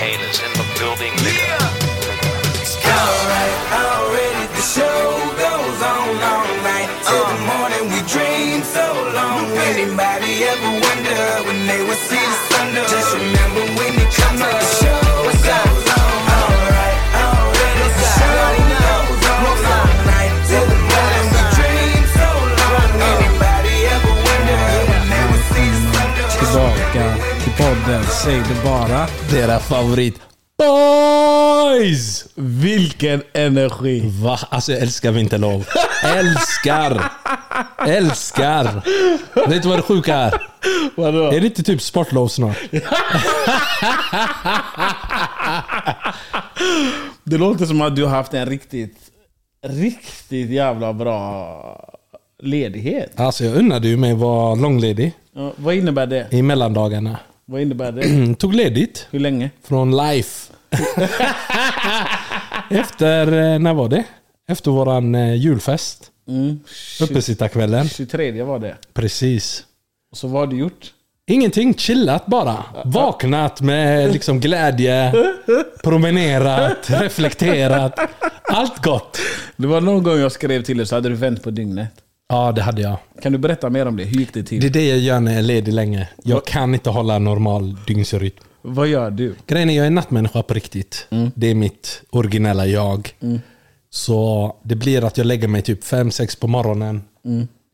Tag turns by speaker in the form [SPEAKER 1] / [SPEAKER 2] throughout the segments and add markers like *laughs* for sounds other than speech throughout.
[SPEAKER 1] haters in the building, nigga.
[SPEAKER 2] Alright, already the show goes on all night. Till the morning we dream so long. Anybody ever wonder when they would see the sun? Just remember when it comes up, the show goes on. Alright, already the show goes on all night. Till the morning we dream so long. Anybody ever wonder when they would see the sun?
[SPEAKER 3] Tillbaka till podden, säg det bara.
[SPEAKER 4] Era favorit Boys!
[SPEAKER 3] Vilken energi!
[SPEAKER 4] Va? Alltså jag älskar vinterlov. Älskar! Älskar! Vet du vad det sjuka är?
[SPEAKER 3] Vadå?
[SPEAKER 4] Är det inte typ sportlov snart?
[SPEAKER 3] Det låter som att du har haft en riktigt, riktigt jävla bra ledighet.
[SPEAKER 4] Alltså jag unnade ju mig att vara långledig
[SPEAKER 3] Ja, Vad innebär det?
[SPEAKER 4] i mellandagarna.
[SPEAKER 3] Vad innebär det?
[SPEAKER 4] Mm, Tog ledigt
[SPEAKER 3] Hur länge?
[SPEAKER 4] från
[SPEAKER 3] *laughs*
[SPEAKER 4] life. Efter, eh, när var det? Efter våran eh, julfest.
[SPEAKER 3] Mm.
[SPEAKER 4] Uppesittarkvällen.
[SPEAKER 3] 23 var det.
[SPEAKER 4] Precis.
[SPEAKER 3] Och så vad har du gjort?
[SPEAKER 4] Ingenting, chillat bara. Vaknat med liksom glädje, promenerat, reflekterat. Allt gott.
[SPEAKER 3] Det var någon gång jag skrev till dig så hade du vänt på dygnet.
[SPEAKER 4] Ja, det hade jag.
[SPEAKER 3] Kan du berätta mer om det? Hur gick det till?
[SPEAKER 4] Det är det jag gör när jag är ledig länge. Jag kan inte hålla en normal dygnsrytm.
[SPEAKER 3] Vad gör du?
[SPEAKER 4] Grejen är, jag är nattmänniska på riktigt. Det är mitt originella jag. Så det blir att jag lägger mig typ 5-6 på morgonen.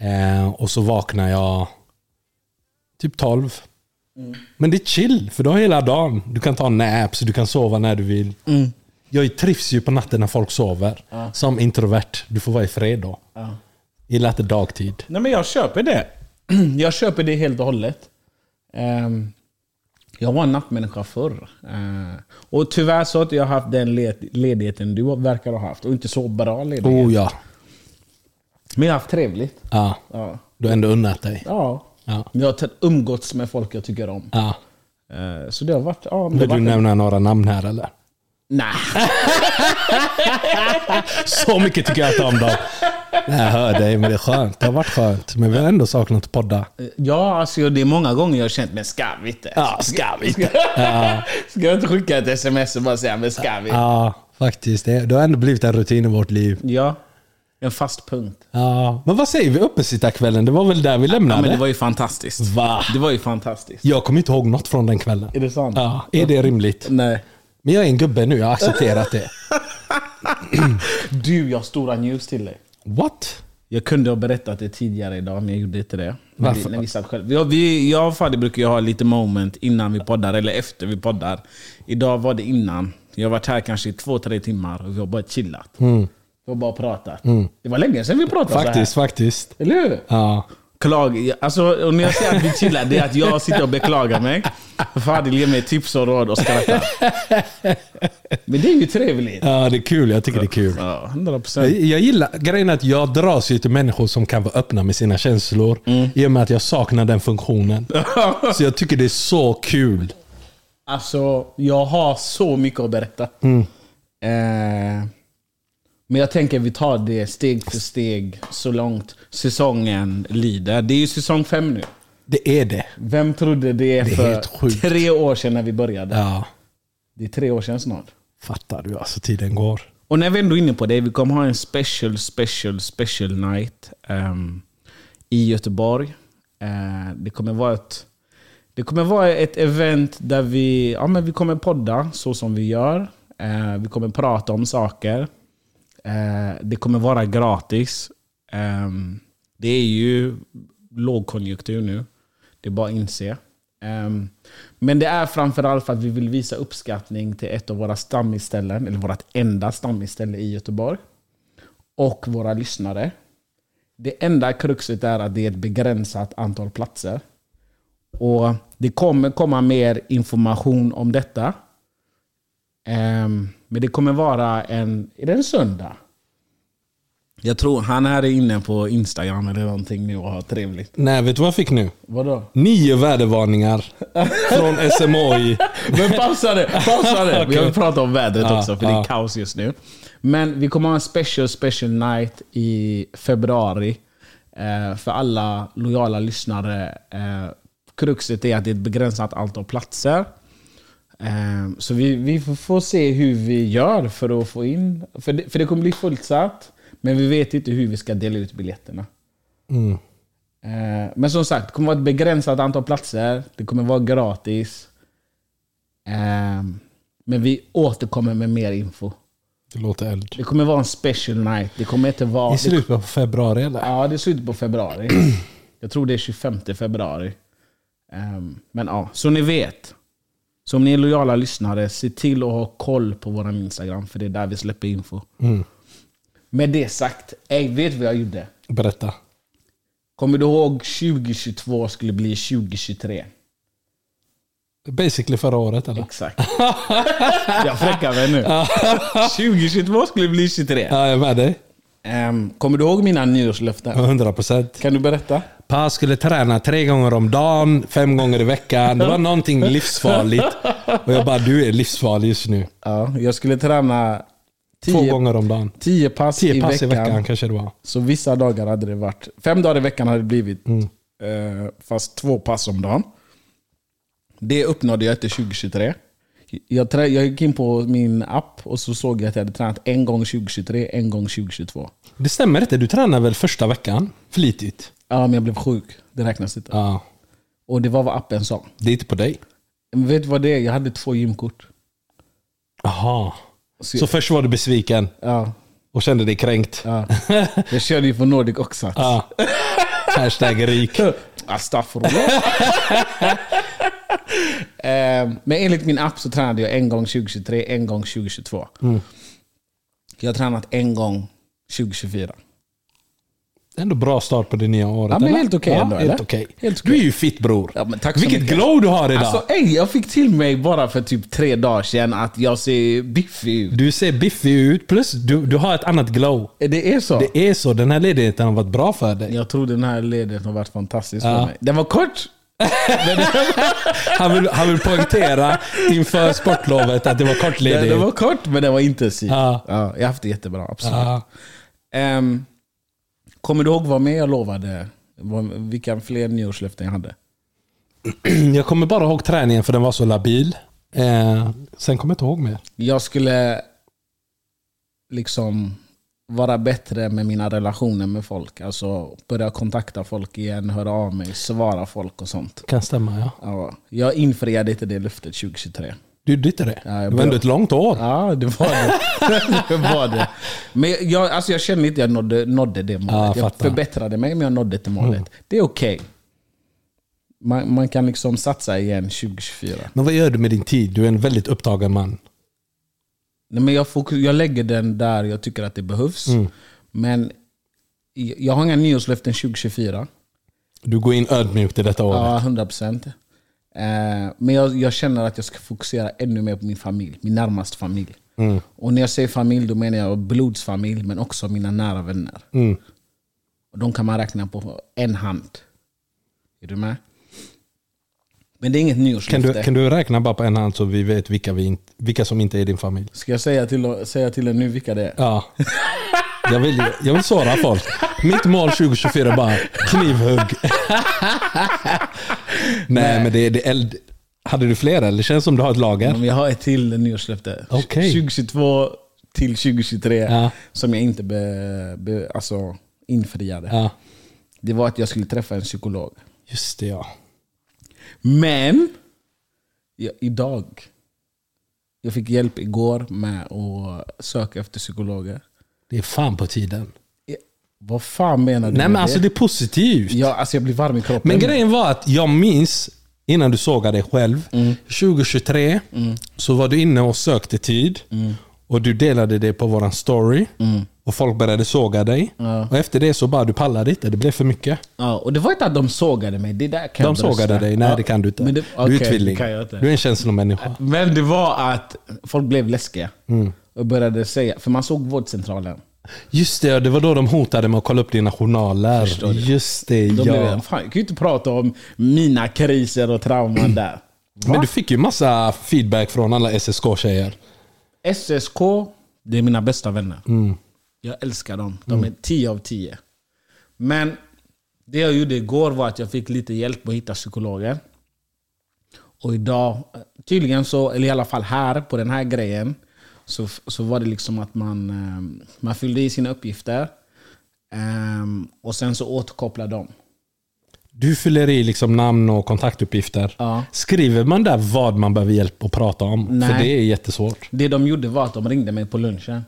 [SPEAKER 4] Eh, och så vaknar jag typ 12. Men det är chill, för du har hela dagen. Du kan ta naps, du kan sova när du vill. Jag trivs ju på natten när folk sover. Som introvert. Du får vara i fred då. Gillar inte dagtid.
[SPEAKER 3] Nej men jag köper det. *clears throat* Jag köper det helt och hållet. Ehm, jag var en nattmänniska förr. Ehm, och tyvärr så har inte jag haft den led- ledigheten du verkar ha haft. Och inte så bra ledighet.
[SPEAKER 4] Oh ja.
[SPEAKER 3] Men jag har haft trevligt.
[SPEAKER 4] ja.
[SPEAKER 3] Ja.
[SPEAKER 4] Du har ändå unnat dig.
[SPEAKER 3] ja.
[SPEAKER 4] Ja.
[SPEAKER 3] Jag har t- umgåtts med folk jag tycker om.
[SPEAKER 4] Ja.
[SPEAKER 3] Ehm, så det har varit... Ja, men det
[SPEAKER 4] Vill
[SPEAKER 3] har
[SPEAKER 4] du
[SPEAKER 3] varit
[SPEAKER 4] nämna några namn här eller?
[SPEAKER 3] nej.
[SPEAKER 4] Så mycket tycker jag inte om dem. Nej, Jag hör dig, men det är skönt. Det har varit skönt. Men vi har ändå saknat att podda.
[SPEAKER 3] Ja, alltså det är många gånger jag har känt, men ska vi inte?
[SPEAKER 4] Ja, ska vi inte?
[SPEAKER 3] Ska jag inte skicka ett sms och bara säga, men ska vi?
[SPEAKER 4] Ja, faktiskt. Det det har ändå blivit en rutin i vårt liv.
[SPEAKER 3] Ja. En fast punkt.
[SPEAKER 4] Ja. Men vad säger vi? Uppesittarkvällen, det var väl där vi
[SPEAKER 3] Ja,
[SPEAKER 4] lämnade?
[SPEAKER 3] men det var ju fantastiskt.
[SPEAKER 4] Va?
[SPEAKER 3] Det var ju fantastiskt.
[SPEAKER 4] Jag kommer inte ihåg något från den kvällen.
[SPEAKER 3] Är det sant?
[SPEAKER 4] Ja, är det rimligt?
[SPEAKER 3] Nej.
[SPEAKER 4] Men jag är en gubbe nu, jag har accepterat det.
[SPEAKER 3] Du, jag har stora news till dig.
[SPEAKER 4] What?
[SPEAKER 3] Jag kunde ha berättat det tidigare idag, men jag gjorde inte det. När vi,
[SPEAKER 4] Varför?
[SPEAKER 3] när vi satt själv. Jag, vi, jag och Fadi brukar ju ha lite moment innan vi poddar, eller efter vi poddar. Idag var det innan. Jag har varit här kanske i två, tre timmar och vi har bara chillat. Vi har bara pratat. Det var länge sedan vi pratade
[SPEAKER 4] Mm. Faktiskt,
[SPEAKER 3] så
[SPEAKER 4] faktiskt.
[SPEAKER 3] här. Eller hur?
[SPEAKER 4] Ja.
[SPEAKER 3] Klag, alltså, och när jag säger att vi chillar, det är att jag sitter och beklagar mig. Fadil ger mig tips och råd och skrattar. Men det är ju trevligt.
[SPEAKER 4] ja, det är kul. Jag tycker det är kul.
[SPEAKER 3] Ja, 100
[SPEAKER 4] Jag,
[SPEAKER 3] procent.
[SPEAKER 4] jag gillar, grejen är att jag dras ju till människor som kan vara öppna med sina känslor. I och med att jag saknar den funktionen. så jag tycker det är så kul.
[SPEAKER 3] Alltså, jag har så mycket att berätta.
[SPEAKER 4] Mm.
[SPEAKER 3] Eh, men jag tänker vi tar det steg för steg så långt säsongen lider. Det är ju säsong fem nu.
[SPEAKER 4] Det är det.
[SPEAKER 3] Vem trodde det
[SPEAKER 4] är helt
[SPEAKER 3] för
[SPEAKER 4] sjukt.
[SPEAKER 3] tre år sedan när vi började?
[SPEAKER 4] Ja,
[SPEAKER 3] Det är tre år sedan snart.
[SPEAKER 4] fattar du? Alltså tiden går.
[SPEAKER 3] Och när vi ändå är inne på det, vi kommer ha en special, special, special night ehm, i Göteborg. Eh, det, kommer vara ett, det kommer vara ett event där vi, ja, men vi kommer podda så som vi gör. Eh, vi kommer prata om saker. Eh, det kommer vara gratis. Ehm, det är ju lågkonjunktur nu. Det är bara att inse. Ehm, men det är framförallt för att vi vill visa uppskattning till ett av våra stammisställen, eller vårt enda stammisställe i Göteborg. Och våra lyssnare. Det enda kruxet är att det är ett begränsat antal platser. Och Det kommer komma mer information om detta. Ehm, men det kommer vara en, är det en söndag? Jag tror han här är inne på Instagram eller någonting nu och har trevligt.
[SPEAKER 4] Nej, vet du vad jag fick nu?
[SPEAKER 3] Vadå?
[SPEAKER 4] Nio vädervarningar från SMHI.
[SPEAKER 3] Men pausa det!
[SPEAKER 4] *laughs*
[SPEAKER 3] Pausa det. Vi
[SPEAKER 4] Okej.
[SPEAKER 3] har pratat om vädret
[SPEAKER 4] Ja,
[SPEAKER 3] också, för det är
[SPEAKER 4] ja.
[SPEAKER 3] kaos just nu. Men vi kommer ha en special, special night i februari. Eh, för alla lojala lyssnare. Eh, kruxet är att det är ett begränsat antal platser. Ehm, Så vi, vi får- får se hur vi gör för att få in... För det, för det kommer bli fullsatt, men vi vet inte hur vi ska dela ut biljetterna.
[SPEAKER 4] Mm.
[SPEAKER 3] Eh, Men som sagt, det kommer vara ett begränsat antal platser. Det kommer vara gratis. Ehm, Men vi återkommer med mer info.
[SPEAKER 4] Det låter eld.
[SPEAKER 3] Det kommer vara en special night. Det kommer inte vara...
[SPEAKER 4] I slutet på februari eller?
[SPEAKER 3] Ja, det är slutet på februari. *clears throat* Jag tror det är 25 februari. Ehm, men ja, så ni vet. Så om ni är lojala lyssnare, se till att ha koll på vår Instagram, för det är där vi släpper info. Med det sagt, ey, vet du vad jag gjorde?
[SPEAKER 4] Berätta.
[SPEAKER 3] Kommer du ihåg 2022 skulle bli 2023?
[SPEAKER 4] Basically förra året eller?
[SPEAKER 3] Exakt. jag fräckar mig nu. 2022 skulle bli 23.
[SPEAKER 4] Ja, jag är med dig.
[SPEAKER 3] Ehm, kommer du ihåg mina nyårslöften?
[SPEAKER 4] 100%.
[SPEAKER 3] Kan du berätta?
[SPEAKER 4] Pa skulle träna tre gånger om dagen, fem gånger i veckan. Det var någonting livsfarligt. Och jag bara, du är livsfarlig just nu.
[SPEAKER 3] Ja, jag skulle träna
[SPEAKER 4] Två
[SPEAKER 3] 10
[SPEAKER 4] gånger om dagen.
[SPEAKER 3] 10 pass,
[SPEAKER 4] Tio
[SPEAKER 3] i,
[SPEAKER 4] pass
[SPEAKER 3] veckan.
[SPEAKER 4] i veckan kanske det var.
[SPEAKER 3] Så vissa dagar hade det varit... Fem dagar i veckan hade det blivit.
[SPEAKER 4] Mm.
[SPEAKER 3] Eh, fast två pass om dagen. Det uppnådde jag inte 2023. Jag, trä, jag gick in på min app och så såg jag att jag hade tränat en gång 2023, en gång 2022.
[SPEAKER 4] Det stämmer inte, du tränar väl första veckan? Flitigt.
[SPEAKER 3] Ja, men jag blev sjuk. Det räknas inte.
[SPEAKER 4] Ja.
[SPEAKER 3] Och det var vad appen sa.
[SPEAKER 4] Det är inte på dig.
[SPEAKER 3] Men vet du vad det är? Jag hade två gymkort.
[SPEAKER 4] Aha.
[SPEAKER 3] Så-
[SPEAKER 4] Så först var du besviken
[SPEAKER 3] Ja,
[SPEAKER 4] och kände dig kränkt.
[SPEAKER 3] ja. Jag körde ju på Nordic också.
[SPEAKER 4] Ja. Hashtag rik. *laughs*
[SPEAKER 3] Astaghfirullah. Ehm, Men enligt min app så tränade jag en gång 2023, en gång 2022.
[SPEAKER 4] Mm.
[SPEAKER 3] Jag har tränat en gång 2024.
[SPEAKER 4] Ändå bra start på det nya året.
[SPEAKER 3] Ja, men
[SPEAKER 4] eller?
[SPEAKER 3] helt okej ändå,
[SPEAKER 4] helt
[SPEAKER 3] eller?
[SPEAKER 4] okej.
[SPEAKER 3] Helt okej.
[SPEAKER 4] Du är ju fit bror.
[SPEAKER 3] Ja, men tack så
[SPEAKER 4] Vilket
[SPEAKER 3] mycket.
[SPEAKER 4] glow du har idag.
[SPEAKER 3] Alltså, ey, jag fick till mig bara för typ tre dagar sedan att jag ser biffig ut.
[SPEAKER 4] Du ser biffig ut, plus du, du har ett annat glow.
[SPEAKER 3] Det är så.
[SPEAKER 4] Det är så, den här ledigheten har varit bra för dig.
[SPEAKER 3] Jag tror den här ledigheten har varit fantastisk
[SPEAKER 4] Ja.
[SPEAKER 3] för mig. Den var kort.
[SPEAKER 4] Han vill, han vill poängtera inför sportlovet att det var kort
[SPEAKER 3] Den,
[SPEAKER 4] ledigt.
[SPEAKER 3] den var kort, men den var intensiv.
[SPEAKER 4] Ja.
[SPEAKER 3] Ja, jag har haft det jättebra, absolut.
[SPEAKER 4] Ja.
[SPEAKER 3] Ehm, kommer du ihåg vad mer jag lovade? Vad- Vilka fler nyårslöften jag hade?
[SPEAKER 4] Jag kommer bara ihåg träningen för den var så labil. Eh, sen kommer jag inte ihåg mer.
[SPEAKER 3] Jag skulle liksom vara bättre med mina relationer med folk. Alltså börja kontakta folk igen, höra av mig, svara folk och sånt.
[SPEAKER 4] Kan stämma ja.
[SPEAKER 3] Ja, jag infriade inte det löftet 2023.
[SPEAKER 4] Du gjorde inte det?
[SPEAKER 3] Ja, jag
[SPEAKER 4] det var ändå ett långt år.
[SPEAKER 3] Ja, det var det. det, *laughs* var det. Men jag, alltså jag känner inte att jag nådde, nådde det
[SPEAKER 4] Ja, jag
[SPEAKER 3] målet. jag
[SPEAKER 4] fattar. Mm.
[SPEAKER 3] förbättrade mig, men jag nådde inte målet. Det är okej. Man, man kan liksom satsa igen 2024.
[SPEAKER 4] Men vad gör du med din tid? Du är en väldigt upptagen man.
[SPEAKER 3] Nej, men jag, fokus, jag lägger den där jag tycker att det behövs.
[SPEAKER 4] Mm.
[SPEAKER 3] Men jag jag har inga nyårslöften 2024.
[SPEAKER 4] Du går in ödmjukt i detta året.
[SPEAKER 3] Ja, 100 procent. Eh, Men jag, jag känner att jag ska fokusera ännu mer på min familj, min närmaste familj.
[SPEAKER 4] Mm.
[SPEAKER 3] Och när jag säger familj, då menar jag blodsfamilj, men också mina nära vänner.
[SPEAKER 4] Mm.
[SPEAKER 3] Och de kan man räkna på en hand. Är du med? Men det är inget
[SPEAKER 4] Kan,
[SPEAKER 3] nyårslöfte.
[SPEAKER 4] du, kan du räkna bara på en hand så vi vet vilka, vi inte, vilka som inte är i din familj?
[SPEAKER 3] Ska jag säga till, säga till er nu vilka det är?
[SPEAKER 4] Ja. Jag vill, jag vill såra folk. Mitt mål 2024 är bara knivhugg. *laughs* Nej, Mm. men det är det är eld. Hade du fler eller? Det känns som du har ett lager.
[SPEAKER 3] Men jag har ett till nyårslöfte.
[SPEAKER 4] Okej.
[SPEAKER 3] 2022 till 2023
[SPEAKER 4] Ja.
[SPEAKER 3] som jag inte be, be, alltså infriade.
[SPEAKER 4] Ja.
[SPEAKER 3] Det var att jag skulle träffa en psykolog.
[SPEAKER 4] Just det ja.
[SPEAKER 3] Men ja, idag. Jag fick hjälp igår med att söka efter psykologer.
[SPEAKER 4] Det är fan på tiden.
[SPEAKER 3] Ja, Vad fan menar du
[SPEAKER 4] Nej
[SPEAKER 3] med
[SPEAKER 4] men alltså det är positivt.
[SPEAKER 3] Ja, alltså jag blir varm i kroppen.
[SPEAKER 4] Men grejen var att jag minns, innan du sågade dig själv, 2023 så var du inne och sökte tid. Och du delade det på våran story. Och folk började såga dig. Och efter det så bara, du pallade inte. Det blev för mycket.
[SPEAKER 3] ja, och det var inte att de sågade mig. Det där kan
[SPEAKER 4] De
[SPEAKER 3] jag brösta.
[SPEAKER 4] sågade dig. Nej
[SPEAKER 3] Ja,
[SPEAKER 4] det kan du inte.
[SPEAKER 3] men
[SPEAKER 4] du
[SPEAKER 3] okej,
[SPEAKER 4] är
[SPEAKER 3] det
[SPEAKER 4] tvilling.
[SPEAKER 3] kan jag inte.
[SPEAKER 4] Du är en känslomänniska.
[SPEAKER 3] Men det var att folk blev läskiga.
[SPEAKER 4] Mm.
[SPEAKER 3] Och började säga, för man såg vårdcentralen.
[SPEAKER 4] Just det, ja, det var då de hotade med att kolla upp dina journaler. Just det,
[SPEAKER 3] Då blev
[SPEAKER 4] ja.
[SPEAKER 3] jag, fan jag kan ju inte prata om mina kriser
[SPEAKER 4] *clears throat*
[SPEAKER 3] och trauman där.
[SPEAKER 4] Men du fick ju massa feedback från alla SSK-tjejer.
[SPEAKER 3] SSK, det är mina bästa vänner. Jag älskar dem. De är 10 av 10. Men det jag gjorde igår var att jag fick lite hjälp med att hitta psykologer. Och idag, tydligen så, eller i alla fall här på den här grejen, så, så var det liksom att man, eh, man fyllde i sina uppgifter ehm, och sen så återkopplar de.
[SPEAKER 4] Du fyller i liksom namn och kontaktuppgifter.
[SPEAKER 3] Ja.
[SPEAKER 4] Skriver man där vad man behöver hjälp att prata om? För
[SPEAKER 3] Nej.
[SPEAKER 4] det är jättesvårt.
[SPEAKER 3] Det de gjorde var att de ringde mig på lunchen.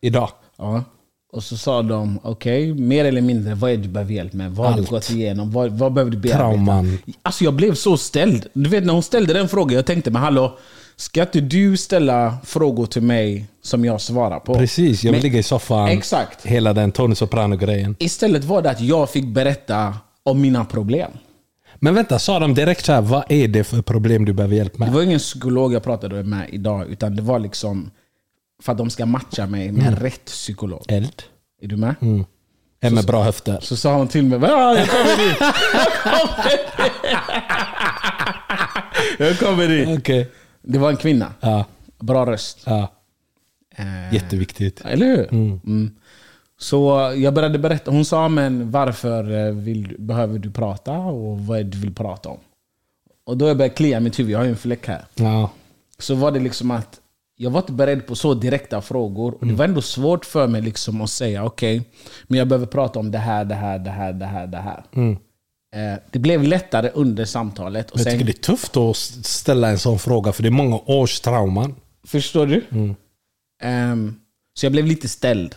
[SPEAKER 4] Idag.
[SPEAKER 3] Ja. Och så sa de, okej, mer eller mindre, vad är det du behöver hjälp med? Vad har du
[SPEAKER 4] Allt.
[SPEAKER 3] gått igenom? Vad, vad behöver du bearbeta?
[SPEAKER 4] Trauman.
[SPEAKER 3] Alltså jag blev så ställd. Du vet när hon ställde den frågan, jag tänkte, men hallå, ska inte du ställa frågor till mig som jag svarar på?
[SPEAKER 4] Precis, jag vill
[SPEAKER 3] Men-
[SPEAKER 4] ligga i soffan.
[SPEAKER 3] Exakt.
[SPEAKER 4] Hela den Tony Soprano-grejen.
[SPEAKER 3] Istället var det att jag fick berätta om mina problem.
[SPEAKER 4] Men vänta, sa de direkt så här, vad är det för problem du behöver hjälp
[SPEAKER 3] Det
[SPEAKER 4] med?
[SPEAKER 3] var ingen psykolog jag pratade med idag, utan det var liksom för att de ska matcha mig med
[SPEAKER 4] Mm.
[SPEAKER 3] rätt psykolog.
[SPEAKER 4] Eld.
[SPEAKER 3] Är du med?
[SPEAKER 4] Mm. En med bra höfter.
[SPEAKER 3] Så sa hon till mig, "Ja, jag kommer dit! Jag kommer dit! Jag kommer dit!
[SPEAKER 4] Okej.
[SPEAKER 3] Det var en kvinna.
[SPEAKER 4] Ja,
[SPEAKER 3] Bra röst.
[SPEAKER 4] ja,
[SPEAKER 3] Eh,
[SPEAKER 4] jätteviktigt.
[SPEAKER 3] Eller hur? Mm. Så eh, jag började berätta. Hon sa, men varför eh, vill, du- behöver du prata och vad är det du vill prata om? Och då jag började klia mitt huvud, jag har ju en fläck här.
[SPEAKER 4] Ja.
[SPEAKER 3] Så var det liksom att jag var inte beredd på så direkta frågor. Och det var ändå svårt för mig liksom att säga, okej, men jag behöver prata om det här, det här, det här, det här, det här. Eh, Det blev lättare under samtalet. Och
[SPEAKER 4] Mm. Jag tycker
[SPEAKER 3] sen,
[SPEAKER 4] det är tufft att s- ställa en sån fråga, för det är många års trauman.
[SPEAKER 3] Förstår du?
[SPEAKER 4] Mm.
[SPEAKER 3] Ehm, så jag blev lite ställd.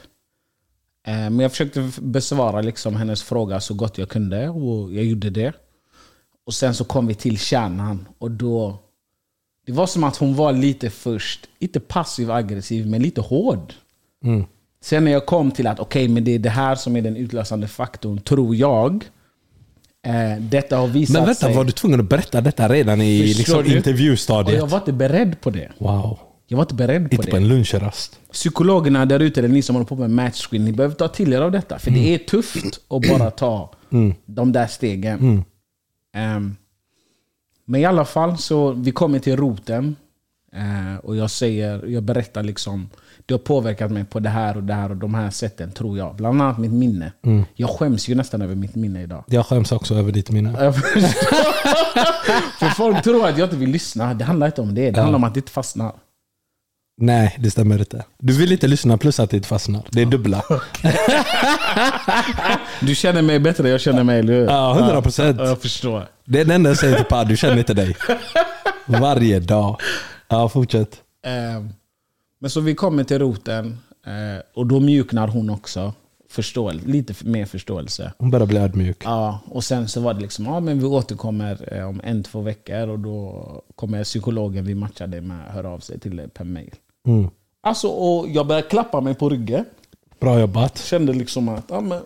[SPEAKER 3] Ehm, men jag försökte f- besvara liksom hennes fråga så gott jag kunde och jag gjorde det. Och sen så kom vi till kärnan och då... Det var som att hon var lite först, inte passiv aggressiv, men lite hård.
[SPEAKER 4] Mm.
[SPEAKER 3] Sen när jag kom till att okej, men det är det här som är den utlösande faktorn, tror jag. Eh, detta har visat
[SPEAKER 4] Men vänta,
[SPEAKER 3] sig.
[SPEAKER 4] var du tvungen att berätta detta redan i
[SPEAKER 3] Förstår
[SPEAKER 4] liksom,
[SPEAKER 3] du? Och
[SPEAKER 4] intervjustadiet?
[SPEAKER 3] jag var inte beredd på det.
[SPEAKER 4] Wow.
[SPEAKER 3] Jag var inte beredd på
[SPEAKER 4] Inte
[SPEAKER 3] det.
[SPEAKER 4] på en lunchrast.
[SPEAKER 3] psykologerna där ute, eller ni som håller på med matchscreen, ni behöver ta till er av detta. För det är tufft att bara ta de där stegen. Ehm, men i alla fall, så vi kommer till roten. eh, och jag, säger, jag berättar liksom, det har påverkat mig på det här och det här och de här sätten, tror jag. Bland annat mitt minne. Jag skäms ju nästan över mitt minne idag. *laughs*
[SPEAKER 4] Jag skäms också över ditt minne.
[SPEAKER 3] Jag förstår. För folk tror att jag inte vill lyssna. Det handlar inte om det. Det handlar om att det inte fastnar.
[SPEAKER 4] Nej, det stämmer inte. Du vill inte lyssna plus att det fastnar. Det är dubbla.
[SPEAKER 3] Du känner mig bättre, jag känner mig, eller hur?
[SPEAKER 4] Ja, 100 procent.
[SPEAKER 3] Ja, jag förstår.
[SPEAKER 4] Det är det enda jag säger till Pa, du känner inte dig. Varje dag. Ja, fortsätt.
[SPEAKER 3] Eh, Men så vi kommer till roten eh, och då mjuknar hon också. Förståel lite f- mer förståelse.
[SPEAKER 4] Hon börjar bli ödmjuk.
[SPEAKER 3] Ja, och sen så var det liksom, ja men vi återkommer eh, om en, två veckor och då kommer psykologen vi matchade med höra av sig till dig per mail.
[SPEAKER 4] Mm.
[SPEAKER 3] Alltså, och jag började klappa mig på ryggen.
[SPEAKER 4] Bra jobbat.
[SPEAKER 3] Kände liksom att, ja men...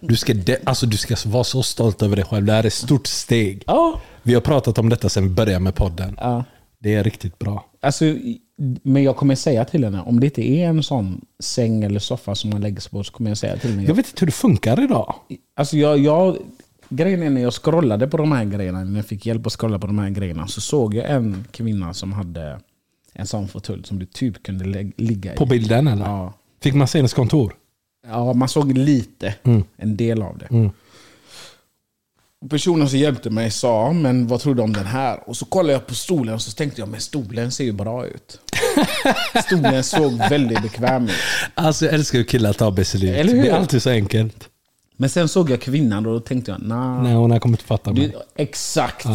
[SPEAKER 4] Du ska, de, alltså, du ska vara så stolt över dig själv. Det här är ett stort steg.
[SPEAKER 3] Ja.
[SPEAKER 4] Vi har pratat om detta sedan vi började med podden.
[SPEAKER 3] ja.
[SPEAKER 4] Det är riktigt bra.
[SPEAKER 3] Alltså, i- men jag kommer säga till henne, om det inte är en sån säng eller soffa som man lägger sig på så kommer jag säga till henne.
[SPEAKER 4] Jag vet inte hur det funkar idag.
[SPEAKER 3] Alltså jag, jag, grejen är när jag scrollade på de här grejerna, när jag fick hjälp att scrolla på de här grejerna, så såg jag en kvinna som hade en sån fåtölj som du typ kunde lä- ligga i.
[SPEAKER 4] På bilden eller?
[SPEAKER 3] Ja.
[SPEAKER 4] Fick man se hennes kontor?
[SPEAKER 3] ja, man såg lite, en del av det. Och Personen som hjälpte mig sa, men vad tror du om den här? Och så kollade jag på stolen och så tänkte jag, men stolen ser ju bra ut. Stolen såg väldigt bekväm ut.
[SPEAKER 4] Alltså jag älskar hur killar tar beslut.
[SPEAKER 3] Eller hur?
[SPEAKER 4] Det är alltid så enkelt.
[SPEAKER 3] Men sen såg jag kvinnan och då tänkte jag, nah,
[SPEAKER 4] Nej, hon har kommit fatta mig.
[SPEAKER 3] Du, exakt.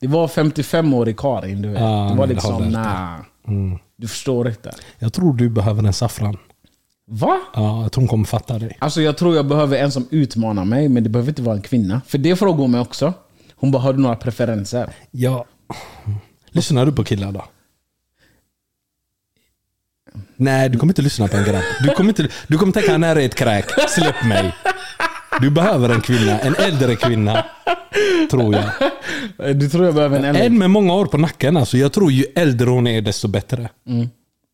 [SPEAKER 3] Det var 55-årig Karin, du vet.
[SPEAKER 4] Ja,
[SPEAKER 3] det
[SPEAKER 4] men det
[SPEAKER 3] var
[SPEAKER 4] håller
[SPEAKER 3] liksom,
[SPEAKER 4] inte. Mm.
[SPEAKER 3] nah. Du förstår inte.
[SPEAKER 4] Jag tror du behöver en saffran.
[SPEAKER 3] Va?
[SPEAKER 4] Ja, jag tror hon kommer fatta dig.
[SPEAKER 3] Alltså jag tror jag behöver en som utmanar mig, men det behöver inte vara en kvinna. För det frågade hon mig också. Hon bara, har du några preferenser?
[SPEAKER 4] Ja. Lyssnar du på killar då? Nej, du kommer inte lyssna på en grabb. Du kommer, inte, du kommer tänka han här är ett kräk. Släpp mig. Du behöver en kvinna. En äldre kvinna. Tror jag.
[SPEAKER 3] Eh, Du tror jag behöver en äldre?
[SPEAKER 4] En med många år på nacken. Alltså, jag tror ju äldre hon är desto bättre.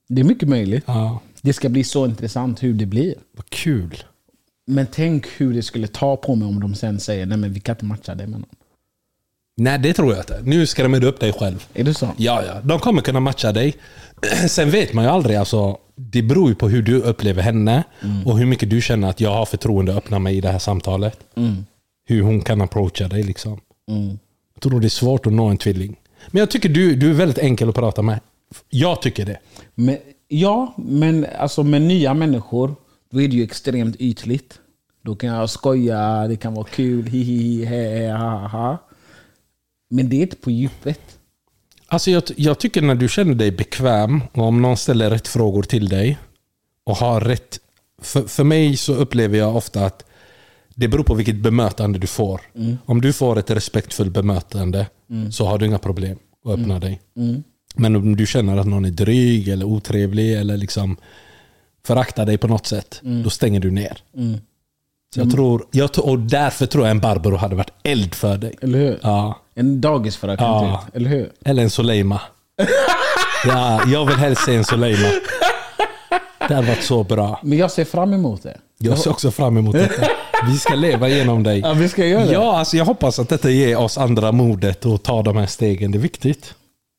[SPEAKER 3] Det är mycket möjligt.
[SPEAKER 4] Ja,
[SPEAKER 3] Det ska bli så intressant hur det blir.
[SPEAKER 4] vad kul.
[SPEAKER 3] Men tänk hur det skulle ta på mig om de sen säger, nej men vi kan inte matcha dig med någon.
[SPEAKER 4] Nej, det tror jag inte. Nu skrämmer du upp dig själv.
[SPEAKER 3] Är det så?
[SPEAKER 4] Ja, ja. De kommer kunna matcha dig. *clears throat* Sen vet man ju aldrig. Alltså, det beror ju på hur du upplever henne och hur mycket du känner att jag har förtroende att öppna mig i det här Mm. samtalet. Hur hon kan approacha dig. Liksom. Jag tror det är svårt att nå en tvilling. Men jag tycker du, du är väldigt enkel att prata med. Jag tycker det.
[SPEAKER 3] Men, ja, men alltså med nya människor, då är det ju extremt ytligt. Då kan jag skoja, det kan vara kul, hihi, he, he, ha, ha, ha. Men det är inte på djupet.
[SPEAKER 4] Alltså jag, jag tycker när du känner dig bekväm och om någon ställer rätt frågor till dig och har rätt... För, för mig så upplever jag ofta att det beror på vilket bemötande du får. Om du får ett respektfullt bemötande så har du inga problem att öppna dig. Men om du känner att någon är dryg eller otrevlig eller liksom föraktar dig på något sätt, då stänger du ner. Så jag tror, jag, tror- och därför tror jag en Barbro hade varit eld för dig.
[SPEAKER 3] Eller hur?
[SPEAKER 4] Ja.
[SPEAKER 3] En dagisfröken,
[SPEAKER 4] Ja.
[SPEAKER 3] typ. eller hur?
[SPEAKER 4] Eller en
[SPEAKER 3] *laughs*
[SPEAKER 4] Soleima. ja, jag vill helst se en Soleima. Det hade varit så bra.
[SPEAKER 3] Men jag ser fram emot det.
[SPEAKER 4] Jag ser också fram emot detta. Vi ska leva genom dig.
[SPEAKER 3] Ja, vi ska göra det.
[SPEAKER 4] Ja, alltså jag hoppas att detta ger oss andra modet att ta de här stegen. Det är viktigt.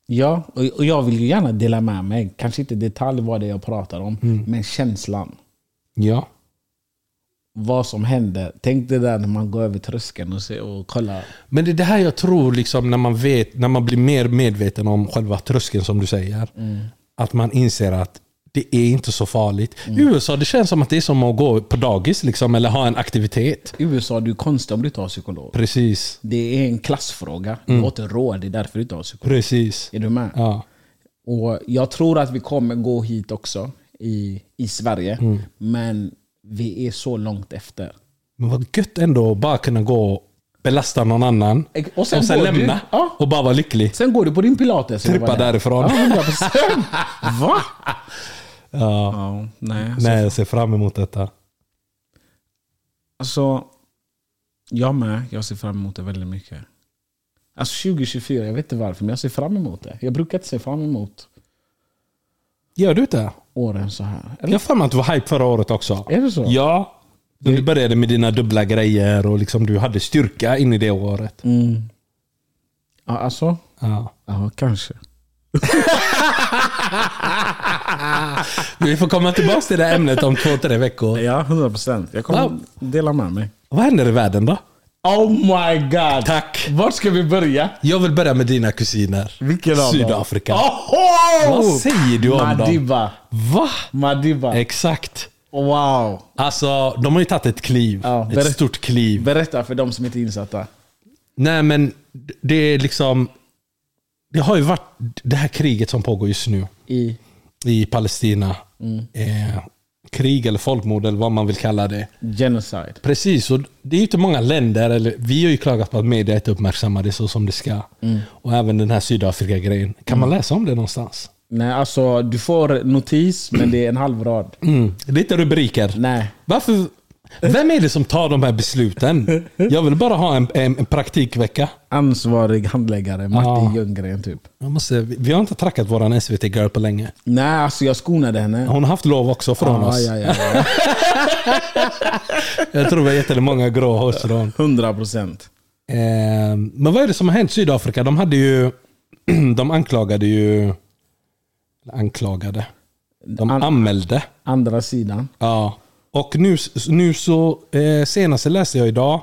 [SPEAKER 3] Ja, och och jag vill ju gärna dela med mig. Kanske inte i detalj vad det är jag pratar om, men känslan.
[SPEAKER 4] Ja.
[SPEAKER 3] Vad som händer. Tänk det där när man går över tröskeln och, ser, och kollar.
[SPEAKER 4] Men det är det här jag tror, liksom, när, man vet, när man blir mer medveten om själva tröskeln som du säger.
[SPEAKER 3] Mm.
[SPEAKER 4] Att man inser att det är inte så farligt.
[SPEAKER 3] Mm.
[SPEAKER 4] I USA det känns som att det är som att gå på dagis liksom, eller ha en aktivitet.
[SPEAKER 3] I USA, du är konstig om du inte har psykolog.
[SPEAKER 4] Precis.
[SPEAKER 3] Det är en klassfråga. Du åt råd, det är därför du inte har psykolog.
[SPEAKER 4] Precis.
[SPEAKER 3] Är du med?
[SPEAKER 4] Mm. Ja.
[SPEAKER 3] Och jag tror att vi kommer gå hit också i, i Sverige.
[SPEAKER 4] Mm.
[SPEAKER 3] Men vi är så långt efter.
[SPEAKER 4] Men vad gött ändå att bara kunna gå och belasta någon annan.
[SPEAKER 3] Ex- och sen går du-
[SPEAKER 4] lämna.
[SPEAKER 3] ja.
[SPEAKER 4] Och bara vara lycklig.
[SPEAKER 3] Sen går du på din pilates. eller
[SPEAKER 4] Trippa
[SPEAKER 3] vad det är.
[SPEAKER 4] därifrån.
[SPEAKER 3] Ja,
[SPEAKER 4] *laughs*
[SPEAKER 3] 100%. Va?
[SPEAKER 4] Ja.
[SPEAKER 3] Ja, nej.
[SPEAKER 4] Nej, jag ser fram emot detta.
[SPEAKER 3] Alltså, jag med. Jag ser fram emot det väldigt mycket. Alltså 2024, jag vet inte varför, men jag ser fram emot det. Jag brukar inte se fram emot
[SPEAKER 4] Gör du inte?
[SPEAKER 3] åren så här.
[SPEAKER 4] Jag har för mig att du var hype förra året också.
[SPEAKER 3] Är det så?
[SPEAKER 4] Ja. Du började med dina dubbla grejer och liksom du hade styrka in i det året.
[SPEAKER 3] Mm. Ja, alltså,
[SPEAKER 4] Ja.
[SPEAKER 3] ja, kanske.
[SPEAKER 4] Vi får komma tillbaka till det här ämnet om två, tre veckor.
[SPEAKER 3] Ja, 100%. Jag
[SPEAKER 4] Wow.
[SPEAKER 3] kommer dela med mig.
[SPEAKER 4] Vad händer i världen då?
[SPEAKER 3] Oh my god!
[SPEAKER 4] Tack.
[SPEAKER 3] Vart ska vi börja?
[SPEAKER 4] Jag vill börja med dina kusiner.
[SPEAKER 3] Vilken av dem?
[SPEAKER 4] Sydafrika.
[SPEAKER 3] Oho!
[SPEAKER 4] Vad säger du om dem?
[SPEAKER 3] Madiba.
[SPEAKER 4] Va?
[SPEAKER 3] Madiba.
[SPEAKER 4] Exakt.
[SPEAKER 3] Wow.
[SPEAKER 4] Alltså, de har ju tagit ett kliv.
[SPEAKER 3] Ja,
[SPEAKER 4] ett
[SPEAKER 3] berätt-
[SPEAKER 4] stort kliv.
[SPEAKER 3] Berätta för de som inte är insatta.
[SPEAKER 4] Nej men, det är liksom... Det har ju varit det här kriget som pågår just nu
[SPEAKER 3] I,
[SPEAKER 4] i Palestina. Eh, krig eller folkmord eller vad man vill kalla det.
[SPEAKER 3] genocide.
[SPEAKER 4] Precis, och det är ju inte många länder, eller vi har ju klagat på att media inte uppmärksammar det så som det ska. Och även den här Sydafrika-grejen. Kan man läsa om det någonstans?
[SPEAKER 3] Nej, alltså du får notis, men det är en halv rad.
[SPEAKER 4] Mm. Lite rubriker.
[SPEAKER 3] Nej.
[SPEAKER 4] Varför? Vem är det som tar de här besluten? Jag vill bara ha en, en, en praktikvecka.
[SPEAKER 3] Ansvarig handläggare, Martin
[SPEAKER 4] Ja.
[SPEAKER 3] Ljunggren typ.
[SPEAKER 4] Jag måste, vi har inte trackat våran SVT-girl på länge.
[SPEAKER 3] Nej, alltså jag skonade henne.
[SPEAKER 4] Hon har haft lov också från
[SPEAKER 3] Ja,
[SPEAKER 4] oss.
[SPEAKER 3] ja, ja, *laughs* ja.
[SPEAKER 4] Jag tror vi har gett henne många grå hårstrån.
[SPEAKER 3] 100 procent.
[SPEAKER 4] Eh, men vad är det som har hänt i Sydafrika? De hade ju... *clears throat* De anklagade ju... eller Anklagade? De
[SPEAKER 3] An-
[SPEAKER 4] anmälde.
[SPEAKER 3] Andra sidan.
[SPEAKER 4] Ja. Och nu, nu så... Eh, senast läste jag idag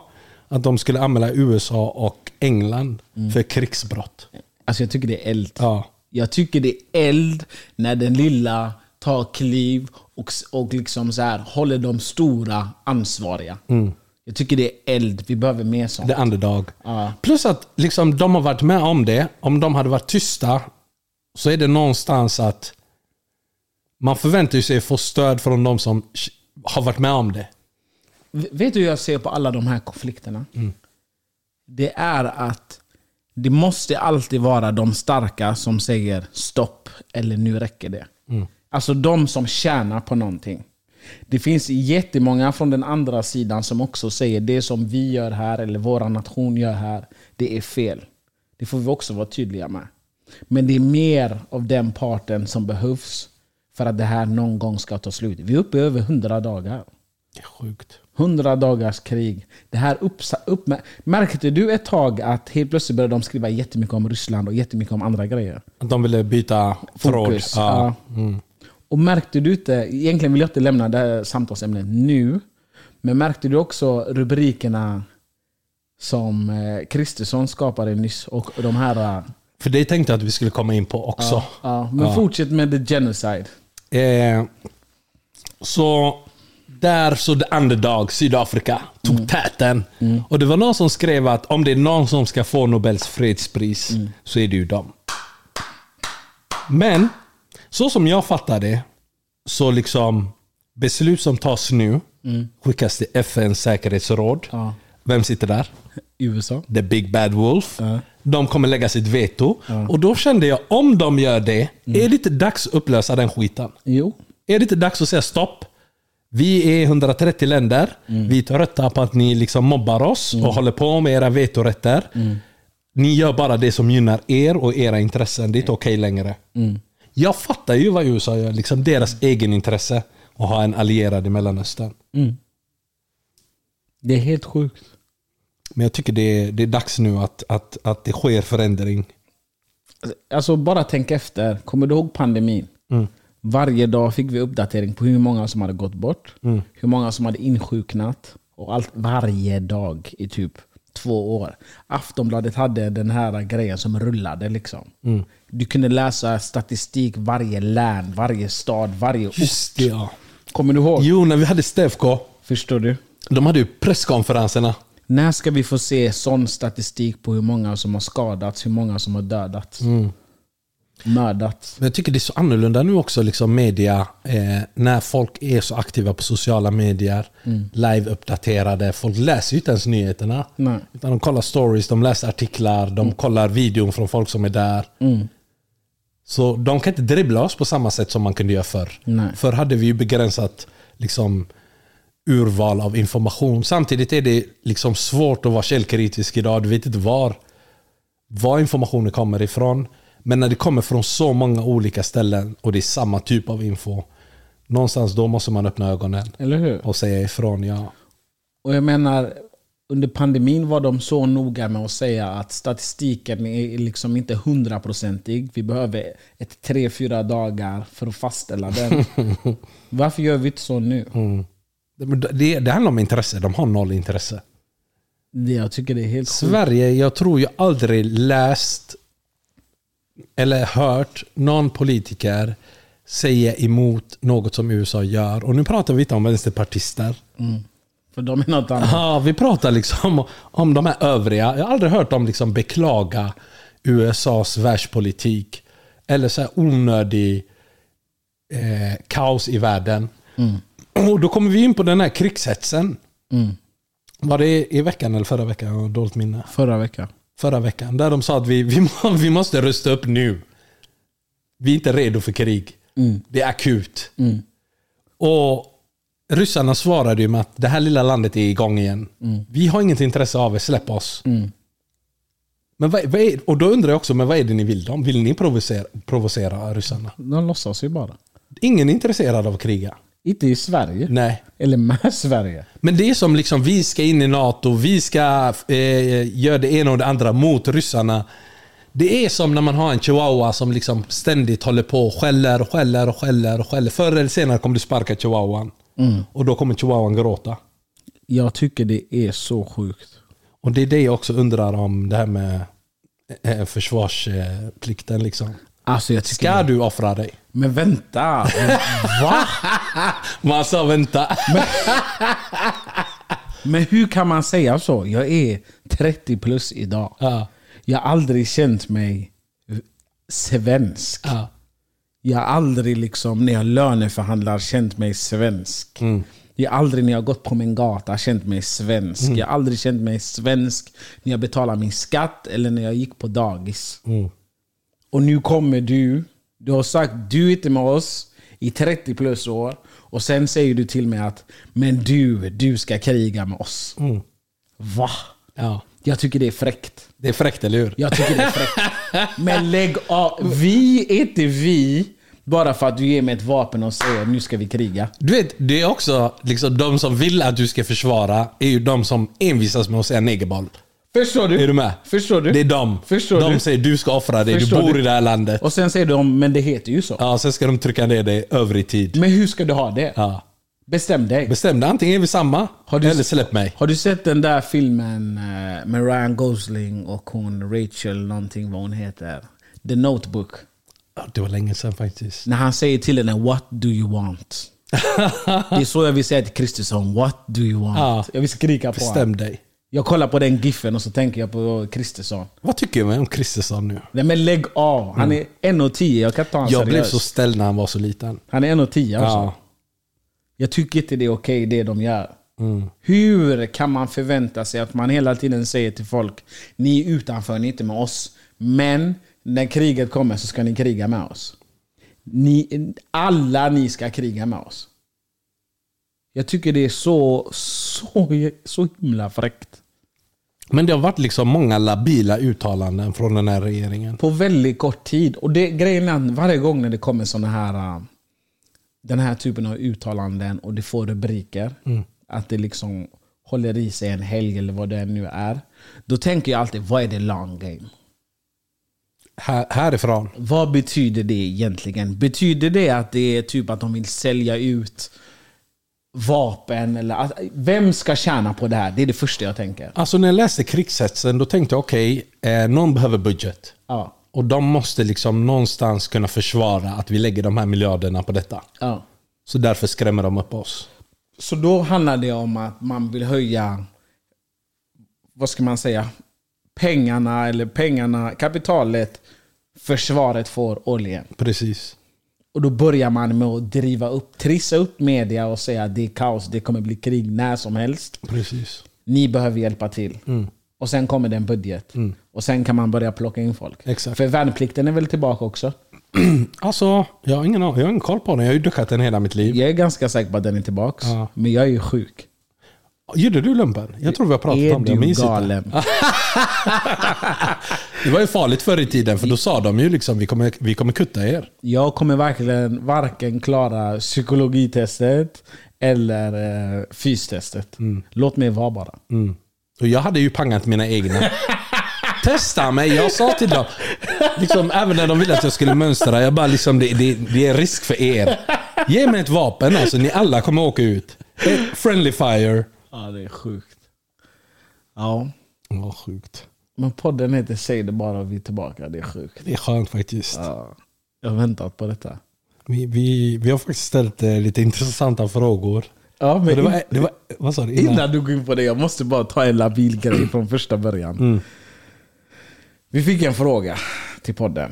[SPEAKER 4] att de skulle anmäla USA och England för krigsbrott.
[SPEAKER 3] Alltså jag tycker det är eld.
[SPEAKER 4] Ja.
[SPEAKER 3] Jag tycker det är eld när den lilla tar kliv och, och liksom så här, håller de stora ansvariga. Jag tycker det är eld. Vi behöver mer sånt.
[SPEAKER 4] The underdog.
[SPEAKER 3] Ja.
[SPEAKER 4] Plus att liksom, de har varit med om det. Om de hade varit tysta så är det någonstans att man förväntar ju sig få stöd från de som har varit med om det.
[SPEAKER 3] V- Vet du hur jag ser på alla de här konflikterna? Det är att det måste alltid vara de starka som säger stopp eller nu räcker det. Alltså de som tjänar på någonting. Det finns jättemånga från den andra sidan som också säger det som vi gör här eller vår nation gör här, det är fel. Det får vi också vara tydliga med. Men det är mer av den parten som behövs för att det här någon gång ska ta slut. Vi är uppe i över 100 dagar.
[SPEAKER 4] Det är sjukt.
[SPEAKER 3] 100 dagars krig. Det här upps- upp, märkte du ett tag att helt plötsligt började de skriva jättemycket om Ryssland och jättemycket om andra grejer?
[SPEAKER 4] Att de ville byta tråd.
[SPEAKER 3] Fokus.
[SPEAKER 4] Ja.
[SPEAKER 3] Ja. Och märkte du inte, egentligen vill jag inte lämna det här samtalsämnet nu, men märkte du också rubrikerna som eh, Kristersson skapade nyss och de här eh,
[SPEAKER 4] För det tänkte jag att vi skulle komma in på också.
[SPEAKER 3] Ja, men fortsätt med the genocide.
[SPEAKER 4] Eh, så där så the underdog, Sydafrika, tog
[SPEAKER 3] Mm.
[SPEAKER 4] täten. Och det var någon som skrev att om det är någon som ska få Nobels fredspris
[SPEAKER 3] Mm.
[SPEAKER 4] så är det ju dem. Men, så som jag fattar det, så liksom beslut som tas nu skickas till FNs säkerhetsråd.
[SPEAKER 3] Mm. Ja.
[SPEAKER 4] Vem sitter där?
[SPEAKER 3] USA.
[SPEAKER 4] The Big Bad Wolf.
[SPEAKER 3] Ja.
[SPEAKER 4] De kommer lägga sitt veto. Och då kände jag, om de gör det,
[SPEAKER 3] Mm.
[SPEAKER 4] är det inte dags att upplösa den skiten?
[SPEAKER 3] Jo.
[SPEAKER 4] Är det inte dags att säga stopp? Vi är 130 länder. Vi är trötta på att ni liksom mobbar oss och håller på med era vetorätter. Ni gör bara det som gynnar er och era intressen. Det är inte okej längre. Jag fattar ju vad USA gör. Liksom deras egen intresse att ha en allierad i Mellanöstern.
[SPEAKER 3] Det är helt sjukt.
[SPEAKER 4] Men jag tycker det är, det är dags nu att, att, att det sker förändring.
[SPEAKER 3] Alltså bara tänk efter. Kommer du ihåg pandemin?
[SPEAKER 4] Mm.
[SPEAKER 3] Varje dag fick vi uppdatering på hur många som hade gått bort,
[SPEAKER 4] Mm.
[SPEAKER 3] hur många som hade insjuknat. Och allt varje dag i typ två år. Aftonbladet hade den här grejen som rullade. liksom.
[SPEAKER 4] Mm.
[SPEAKER 3] Du kunde läsa statistik varje län, varje stad, varje ort.
[SPEAKER 4] Just det, ja.
[SPEAKER 3] Kommer du ihåg?
[SPEAKER 4] Jo, när vi hade Stefko,
[SPEAKER 3] Förstår du?
[SPEAKER 4] de hade ju presskonferenserna.
[SPEAKER 3] När ska vi få se sån statistik på hur många som har skadats, hur många som har dödats?
[SPEAKER 4] Mm.
[SPEAKER 3] Mördats.
[SPEAKER 4] Men jag tycker det är så annorlunda nu också, liksom media, eh, när folk är så aktiva på sociala medier,
[SPEAKER 3] Mm.
[SPEAKER 4] live-uppdaterade. Folk läser ju inte ens nyheterna.
[SPEAKER 3] Nej. Mm.
[SPEAKER 4] Utan de kollar stories, de läser artiklar, de kollar videon från folk som är där. Så de kan inte dribbla oss på samma sätt som man kunde göra förr.
[SPEAKER 3] Nej.
[SPEAKER 4] Förr hade vi ju begränsat liksom, urval av information. Samtidigt är det liksom svårt att vara källkritisk idag. Du vet inte var, var informationen kommer ifrån. Men när det kommer från så många olika ställen och det är samma typ av info. Någonstans då måste man öppna ögonen
[SPEAKER 3] Eller hur?
[SPEAKER 4] och säga ifrån. Ja,
[SPEAKER 3] Och jag menar, under pandemin var de så noga med att säga att statistiken är liksom inte hundraprocentig. Vi behöver ett tre, fyra dagar för att
[SPEAKER 4] *laughs*
[SPEAKER 3] fastställa den. Varför gör vi inte så nu?
[SPEAKER 4] Mm. Men det, det handlar om intresse. De har noll intresse.
[SPEAKER 3] Det, jag tycker det är helt sjukt.
[SPEAKER 4] Sverige, jag tror jag aldrig läst eller hört någon politiker säga emot något som USA gör. Och nu pratar vi inte om vänsterpartister.
[SPEAKER 3] För de är något annat.
[SPEAKER 4] *laughs* Ja, vi pratar liksom om de här övriga. Jag har aldrig hört dem liksom beklaga USAs världspolitik. Eller så här onödig eh, kaos i världen. Och då kommer vi in på den här krigshetsen. Var det i veckan eller förra veckan? Jag har dåligt minne
[SPEAKER 3] Förra veckan.
[SPEAKER 4] förra veckan. Där de sa att vi, vi, må- *laughs* vi måste rusta upp nu. Vi är inte redo för krig. Det är akut. Och Ryssarna svarade ju med att det här lilla landet är igång igen. Vi har inget intresse av er, släpp oss.
[SPEAKER 3] Mm.
[SPEAKER 4] Men vad, vad är, och då undrar jag också, men vad är det ni vill dem? Vill ni provocera, provocera ryssarna?
[SPEAKER 3] De låtsas ju bara.
[SPEAKER 4] Ingen är intresserad av att kriga.
[SPEAKER 3] Inte i Sverige.
[SPEAKER 4] Nej.
[SPEAKER 3] Eller med *laughs* Sverige.
[SPEAKER 4] Men det är som liksom, vi ska in i NATO, vi ska eh, göra det ena och det andra mot ryssarna. Det är som när man har en chihuahua som liksom ständigt håller på och skäller och skäller och skäller. Och skäller. Förr eller senare kommer du sparka chihuahuan. Och då kommer chihuahuan gråta.
[SPEAKER 3] Jag tycker det är så sjukt.
[SPEAKER 4] Och det är det jag också undrar om det här med eh, försvarsplikten. Liksom.
[SPEAKER 3] Alltså jag tycker...
[SPEAKER 4] Ska du offra dig? *laughs*
[SPEAKER 3] Men vänta! Va?
[SPEAKER 4] Man sa vänta. *laughs*
[SPEAKER 3] Men hur kan man säga så? Jag är 30 plus idag.
[SPEAKER 4] Ja.
[SPEAKER 3] Jag har aldrig känt mig svensk.
[SPEAKER 4] Ja.
[SPEAKER 3] Jag har aldrig liksom, när jag löneförhandlar känt mig svensk. Jag har aldrig när jag gått på min gata känt mig svensk. Jag har aldrig känt mig svensk när jag betalar min skatt eller när jag gick på dagis. Och nu kommer du. Du har sagt du är inte med oss i 30 plus år. Och sen säger du till mig att men du, du ska kriga med oss. Va?
[SPEAKER 4] Ja.
[SPEAKER 3] Jag tycker det är fräckt.
[SPEAKER 4] Det är fräckt, eller hur?
[SPEAKER 3] Jag tycker det är fräckt. Men lägg av. Vi är inte vi bara för att du ger mig ett vapen och säger nu ska vi kriga.
[SPEAKER 4] Du vet, det är också liksom, de som vill att du ska försvara är ju de som envisas med att säga negerboll.
[SPEAKER 3] Förstår du?
[SPEAKER 4] Är du med?
[SPEAKER 3] Förstår du?
[SPEAKER 4] Det är de.
[SPEAKER 3] Förstår
[SPEAKER 4] de
[SPEAKER 3] du?
[SPEAKER 4] säger du ska offra dig,
[SPEAKER 3] Förstår
[SPEAKER 4] du bor
[SPEAKER 3] du?
[SPEAKER 4] i det här landet.
[SPEAKER 3] Och sen säger de, men det heter ju så.
[SPEAKER 4] Ja, sen ska de trycka ner dig övrig tid.
[SPEAKER 3] Men hur ska du ha det?
[SPEAKER 4] Ja.
[SPEAKER 3] Bestäm dig.
[SPEAKER 4] Bestämde antingen är vi samma,
[SPEAKER 3] Har du-
[SPEAKER 4] eller släpp mig.
[SPEAKER 3] Har du sett den där filmen eh, med Ryan Gosling och hon Rachel någonting vad hon heter? The Notebook.
[SPEAKER 4] Ja, Det var länge sedan faktiskt.
[SPEAKER 3] När han säger till henne “What do
[SPEAKER 4] *laughs*
[SPEAKER 3] you want?” Det är så jag vill säga till Kristersson. “What do you want?”
[SPEAKER 4] Ja.
[SPEAKER 3] Jag vill skrika på honom.
[SPEAKER 4] Bestäm dig.
[SPEAKER 3] Jag kollar på den giffen och så tänker jag på Kristersson.
[SPEAKER 4] Vad tycker du om Kristersson nu?
[SPEAKER 3] Nej men lägg av! Han är 1,10. Jag kan inte ta honom
[SPEAKER 4] Mm. Jag blev
[SPEAKER 3] seriöst.
[SPEAKER 4] så ställd när han var så liten.
[SPEAKER 3] Han är 1,10 alltså.
[SPEAKER 4] Ja.
[SPEAKER 3] Jag tycker inte det är okej det de gör.
[SPEAKER 4] Mm.
[SPEAKER 3] Hur kan man förvänta sig att man hela tiden säger till folk ni är utanför, ni är inte med oss. Men när kriget kommer så ska ni kriga med oss. Ni, alla ni ska kriga med oss. Jag tycker det är så, så, så himla fräckt.
[SPEAKER 4] Men det har varit liksom många labila uttalanden från den här regeringen.
[SPEAKER 3] På väldigt kort tid. Och det, grejen är att varje gång när det kommer såna här, äh, den här typen av uttalanden och det får rubriker, att det liksom håller i sig en helg eller vad det nu är. Då tänker jag alltid, vad är det long game?
[SPEAKER 4] Här, härifrån.
[SPEAKER 3] Vad betyder det egentligen? Betyder det att det är typ att de vill sälja ut vapen? Eller att, vem ska tjäna på det här? Det är det första jag tänker.
[SPEAKER 4] Alltså när jag läste krigshetsen då tänkte jag okej, eh, någon behöver budget.
[SPEAKER 3] Ja.
[SPEAKER 4] Och de måste liksom någonstans kunna försvara att vi lägger de här miljarderna på detta.
[SPEAKER 3] Ja.
[SPEAKER 4] Så därför skrämmer de upp oss.
[SPEAKER 3] Så då handlar det om att man vill höja, vad ska man säga, pengarna eller pengarna, kapitalet försvaret får årligen.
[SPEAKER 4] Precis.
[SPEAKER 3] Och då börjar man med att driva upp, trissa upp media och säga att det är kaos, det kommer bli krig när som helst.
[SPEAKER 4] Precis.
[SPEAKER 3] Ni behöver hjälpa till.
[SPEAKER 4] Mm.
[SPEAKER 3] Och sen kommer det en budget. Och sen kan man börja plocka in folk.
[SPEAKER 4] Exakt.
[SPEAKER 3] För värnplikten är väl tillbaka också?
[SPEAKER 4] Alltså, jag har ingen, an- jag har ingen koll på den. Jag har ju duckat den hela mitt liv.
[SPEAKER 3] Jag är ganska säker på att den är tillbaka.
[SPEAKER 4] Ja.
[SPEAKER 3] Men jag är ju sjuk.
[SPEAKER 4] Gjorde du lumpen? Jag tror vi har pratat
[SPEAKER 3] är
[SPEAKER 4] om det. jag
[SPEAKER 3] du
[SPEAKER 4] minns inte.
[SPEAKER 3] galen?
[SPEAKER 4] Det var ju farligt förr i tiden för då sa de ju liksom vi kommer, vi kommer kutta er.
[SPEAKER 3] Jag kommer verkligen varken klara psykologitestet eller eh, fystestet.
[SPEAKER 4] Mm.
[SPEAKER 3] Låt mig vara bara.
[SPEAKER 4] Och jag hade ju pangat mina
[SPEAKER 3] *laughs*
[SPEAKER 4] egna. Testa mig, jag sa till dem. Liksom, även när de ville att jag skulle mönstra, jag bara liksom, det, det, det är risk för er. Ge mig ett vapen alltså, ni alla kommer åka ut. Ett friendly fire.
[SPEAKER 3] Ja, det är sjukt. Ja,
[SPEAKER 4] Vad sjukt.
[SPEAKER 3] men podden heter Säg det bara och vi är tillbaka. Det är sjukt.
[SPEAKER 4] Det är skönt faktiskt.
[SPEAKER 3] Ja. Jag har väntat på detta.
[SPEAKER 4] Vi, vi, vi har faktiskt ställt eh, lite intressanta frågor.
[SPEAKER 3] Ja, men
[SPEAKER 4] Och Det var, det var, vad sa du?
[SPEAKER 3] innan. du går in på det, jag måste bara ta en labil grej från första början. Vi fick en fråga till podden.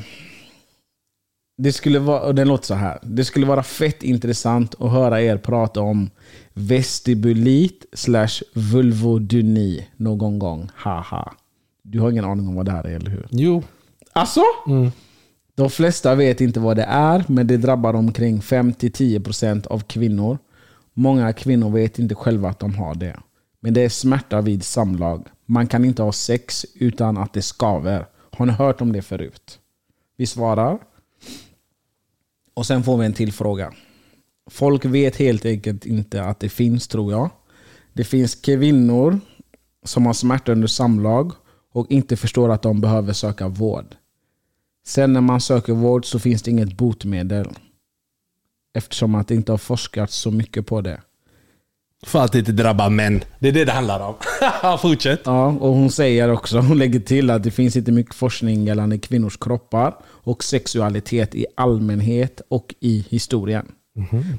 [SPEAKER 3] Det skulle vara, och den låter så här. Det skulle vara fett intressant att höra er prata om vestibulit slash vulvodyni någon gång. Haha. Du har ingen aning om vad det här är, eller hur?
[SPEAKER 4] Jo.
[SPEAKER 3] Alltså? De flesta vet inte vad det är, men det drabbar omkring 5-10% av kvinnor. Många kvinnor vet inte själva att de har det. Men det är smärta vid samlag. Man kan inte ha sex utan att det skaver. Har ni hört om det förut? Vi svarar. Och sen får vi en till fråga. Folk vet helt enkelt inte att det finns tror jag. Det finns kvinnor som har smärta under samlag och inte förstår att de behöver söka vård. Sen när man söker vård så finns det inget botemedel. Eftersom att det inte har forskats så mycket på det.
[SPEAKER 4] För att inte drabba män. Det är det det handlar om.
[SPEAKER 3] *laughs*
[SPEAKER 4] Fortsätt.
[SPEAKER 3] Ja, och hon säger också, hon lägger till att det finns inte mycket forskning gällande kvinnors kroppar och sexualitet i allmänhet och i historien.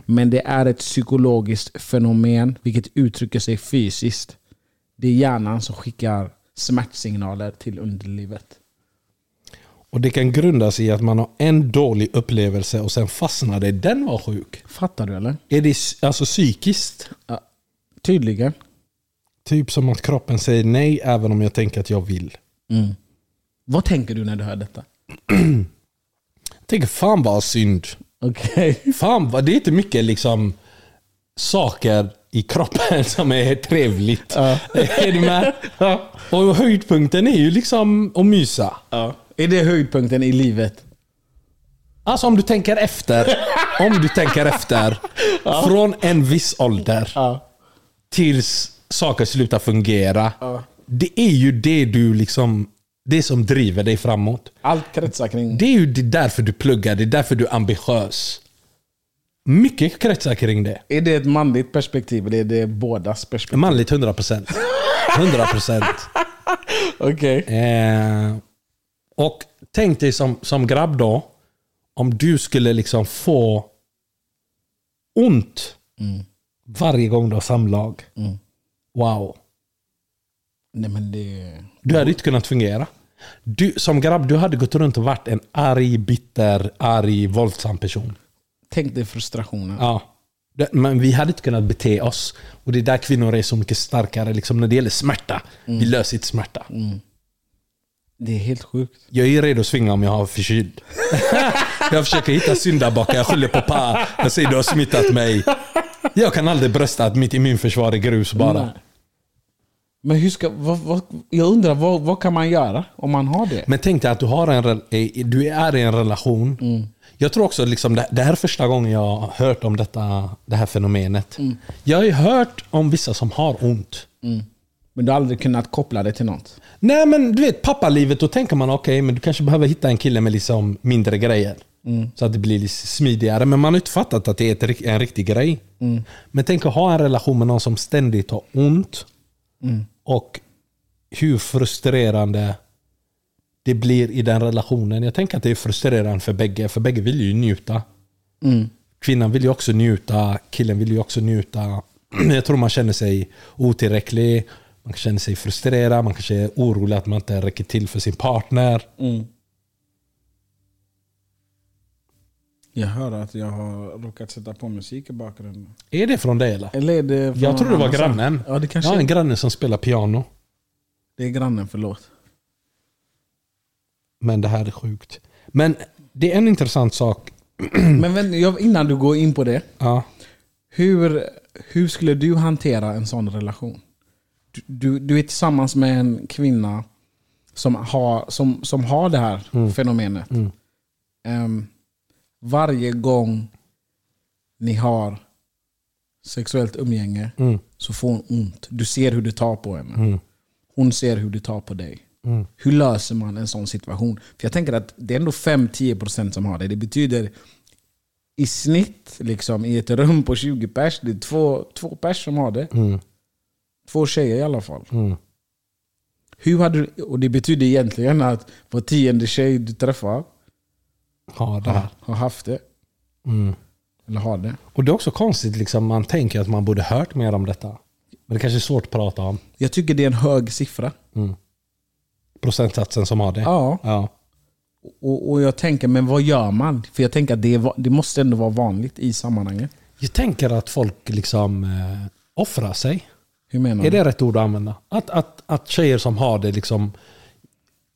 [SPEAKER 3] Men det är ett psykologiskt fenomen vilket uttrycker sig fysiskt. Det är hjärnan som skickar smärtsignaler till underlivet.
[SPEAKER 4] Och det kan grundas i att man har en dålig upplevelse och sen fastnar det. Den var sjuk.
[SPEAKER 3] Fattar du eller?
[SPEAKER 4] Är det s- alltså psykiskt?
[SPEAKER 3] Tydligen.
[SPEAKER 4] Typ som att kroppen säger nej även om jag tänker att jag vill.
[SPEAKER 3] Vad tänker du när du hör detta?
[SPEAKER 4] Tänk fan vad synd.
[SPEAKER 3] Okej.
[SPEAKER 4] Fan vad, det är inte mycket liksom saker i kroppen *laughs* som är trevligt. Är du *laughs* med? Och höjdpunkten är ju liksom att mysa.
[SPEAKER 3] Är det höjdpunkten i livet?
[SPEAKER 4] Alltså om du tänker efter. Om du tänker *laughs* efter. Från en viss ålder. Tills saker slutar fungera. Det är ju det du liksom... Det som driver dig framåt.
[SPEAKER 3] Allt kretsar kring...
[SPEAKER 4] Det är ju det därför du pluggar, det är därför du är ambitiös. Mycket kretsar kring det.
[SPEAKER 3] Är det ett manligt perspektiv eller är det
[SPEAKER 4] *laughs*
[SPEAKER 3] bådas perspektiv?
[SPEAKER 4] Manligt 100%. 100%.
[SPEAKER 3] Okej.
[SPEAKER 4] Eh, och tänk dig som, som grabb då, om du skulle liksom få ont varje gång du har samlag. Wow.
[SPEAKER 3] Nej men det...
[SPEAKER 4] Du hade inte kunnat fungera. Du, som grabb, du hade gått runt och varit en arg, bitter, arg, våldsam person.
[SPEAKER 3] Tänk dig frustrationen.
[SPEAKER 4] Ja. Det- Men vi hade inte kunnat bete oss. Och det är där kvinnor är så mycket starkare liksom, när det gäller smärta. Vi löser inte smärta.
[SPEAKER 3] Det är helt sjukt.
[SPEAKER 4] Jag är ju redo att svinga om jag har förkyld. jag försöker hitta syndabockar, jag skyller på Pa. Jag säger du har smittat mig. Jag kan aldrig brösta att mitt immunförsvar är grus bara.
[SPEAKER 3] Nej. Men hur ska... Vad, vad, jag undrar, vad, vad kan man göra om man har det?
[SPEAKER 4] Men tänk dig att du, har en, rel- eh, du är i en relation. Jag tror också liksom det, det här är första gången jag har hört om detta, det här fenomenet. Jag har ju hört om vissa som har ont.
[SPEAKER 3] Men du har aldrig kunnat koppla det till något?
[SPEAKER 4] Nej men du vet pappalivet, då tänker man okej, men du kanske behöver hitta en kille med liksom mindre grejer. Så att det blir lite smidigare. Men man har inte fattat att det är ett, rik- en riktig grej. Men tänk att ha en relation med någon som ständigt har ont. Och hur frustrerande det blir i den relationen. Jag tänker att det är frustrerande för bägge, för bägge vill ju njuta.
[SPEAKER 3] Mm.
[SPEAKER 4] Kvinnan vill ju också njuta, killen vill ju också njuta. *clears throat* Jag tror man känner sig otillräcklig, man känner sig frustrerad, man kanske är orolig att man inte räcker till för sin partner.
[SPEAKER 3] Jag hör att jag har råkat sätta på musik i bakgrunden.
[SPEAKER 4] Är det från dig eller?
[SPEAKER 3] Eller är det från
[SPEAKER 4] Jag tror det var
[SPEAKER 3] annanstans?
[SPEAKER 4] grannen.
[SPEAKER 3] Ja, det kanske
[SPEAKER 4] Jag har
[SPEAKER 3] är.
[SPEAKER 4] en granne som spelar piano.
[SPEAKER 3] Det är grannen, förlåt.
[SPEAKER 4] Men det här är sjukt. Men det är en intressant sak.
[SPEAKER 3] Mm. Men vänta, jag- innan du går in på det.
[SPEAKER 4] Ja.
[SPEAKER 3] Hur, hur skulle du hantera en sån relation? Du, du, du är tillsammans med en kvinna som har, som, som har det här fenomenet. Ehm, varje gång ni har sexuellt umgänge så får hon ont. Du ser hur du tar på henne. Hon ser hur du tar på dig. Hur löser man en sån situation? För Jag tänker att det är ändå 5-10% som har det. Det betyder i snitt liksom, i ett rum på 20 pers, det är två, två pers som har det.
[SPEAKER 4] Mm.
[SPEAKER 3] Två tjejer i alla fall. Hur hade, du- och det betyder egentligen att var tionde tjej du träffar
[SPEAKER 4] Har det här.
[SPEAKER 3] har haft det.
[SPEAKER 4] Mm.
[SPEAKER 3] Eller har det.
[SPEAKER 4] Och det är också konstigt, liksom, man tänker att man borde hört mer om detta. Men det kanske är svårt att prata om.
[SPEAKER 3] Jag tycker det är en hög siffra.
[SPEAKER 4] Procentsatsen som har det.
[SPEAKER 3] Ja.
[SPEAKER 4] ja.
[SPEAKER 3] Och, och jag tänker, men vad gör man? För jag tänker att det, är va- det måste ändå vara vanligt i sammanhanget.
[SPEAKER 4] Jag tänker att folk liksom eh, offrar sig.
[SPEAKER 3] Hur menar
[SPEAKER 4] Är
[SPEAKER 3] du?
[SPEAKER 4] det rätt ord att använda? Att, att, att tjejer som har det liksom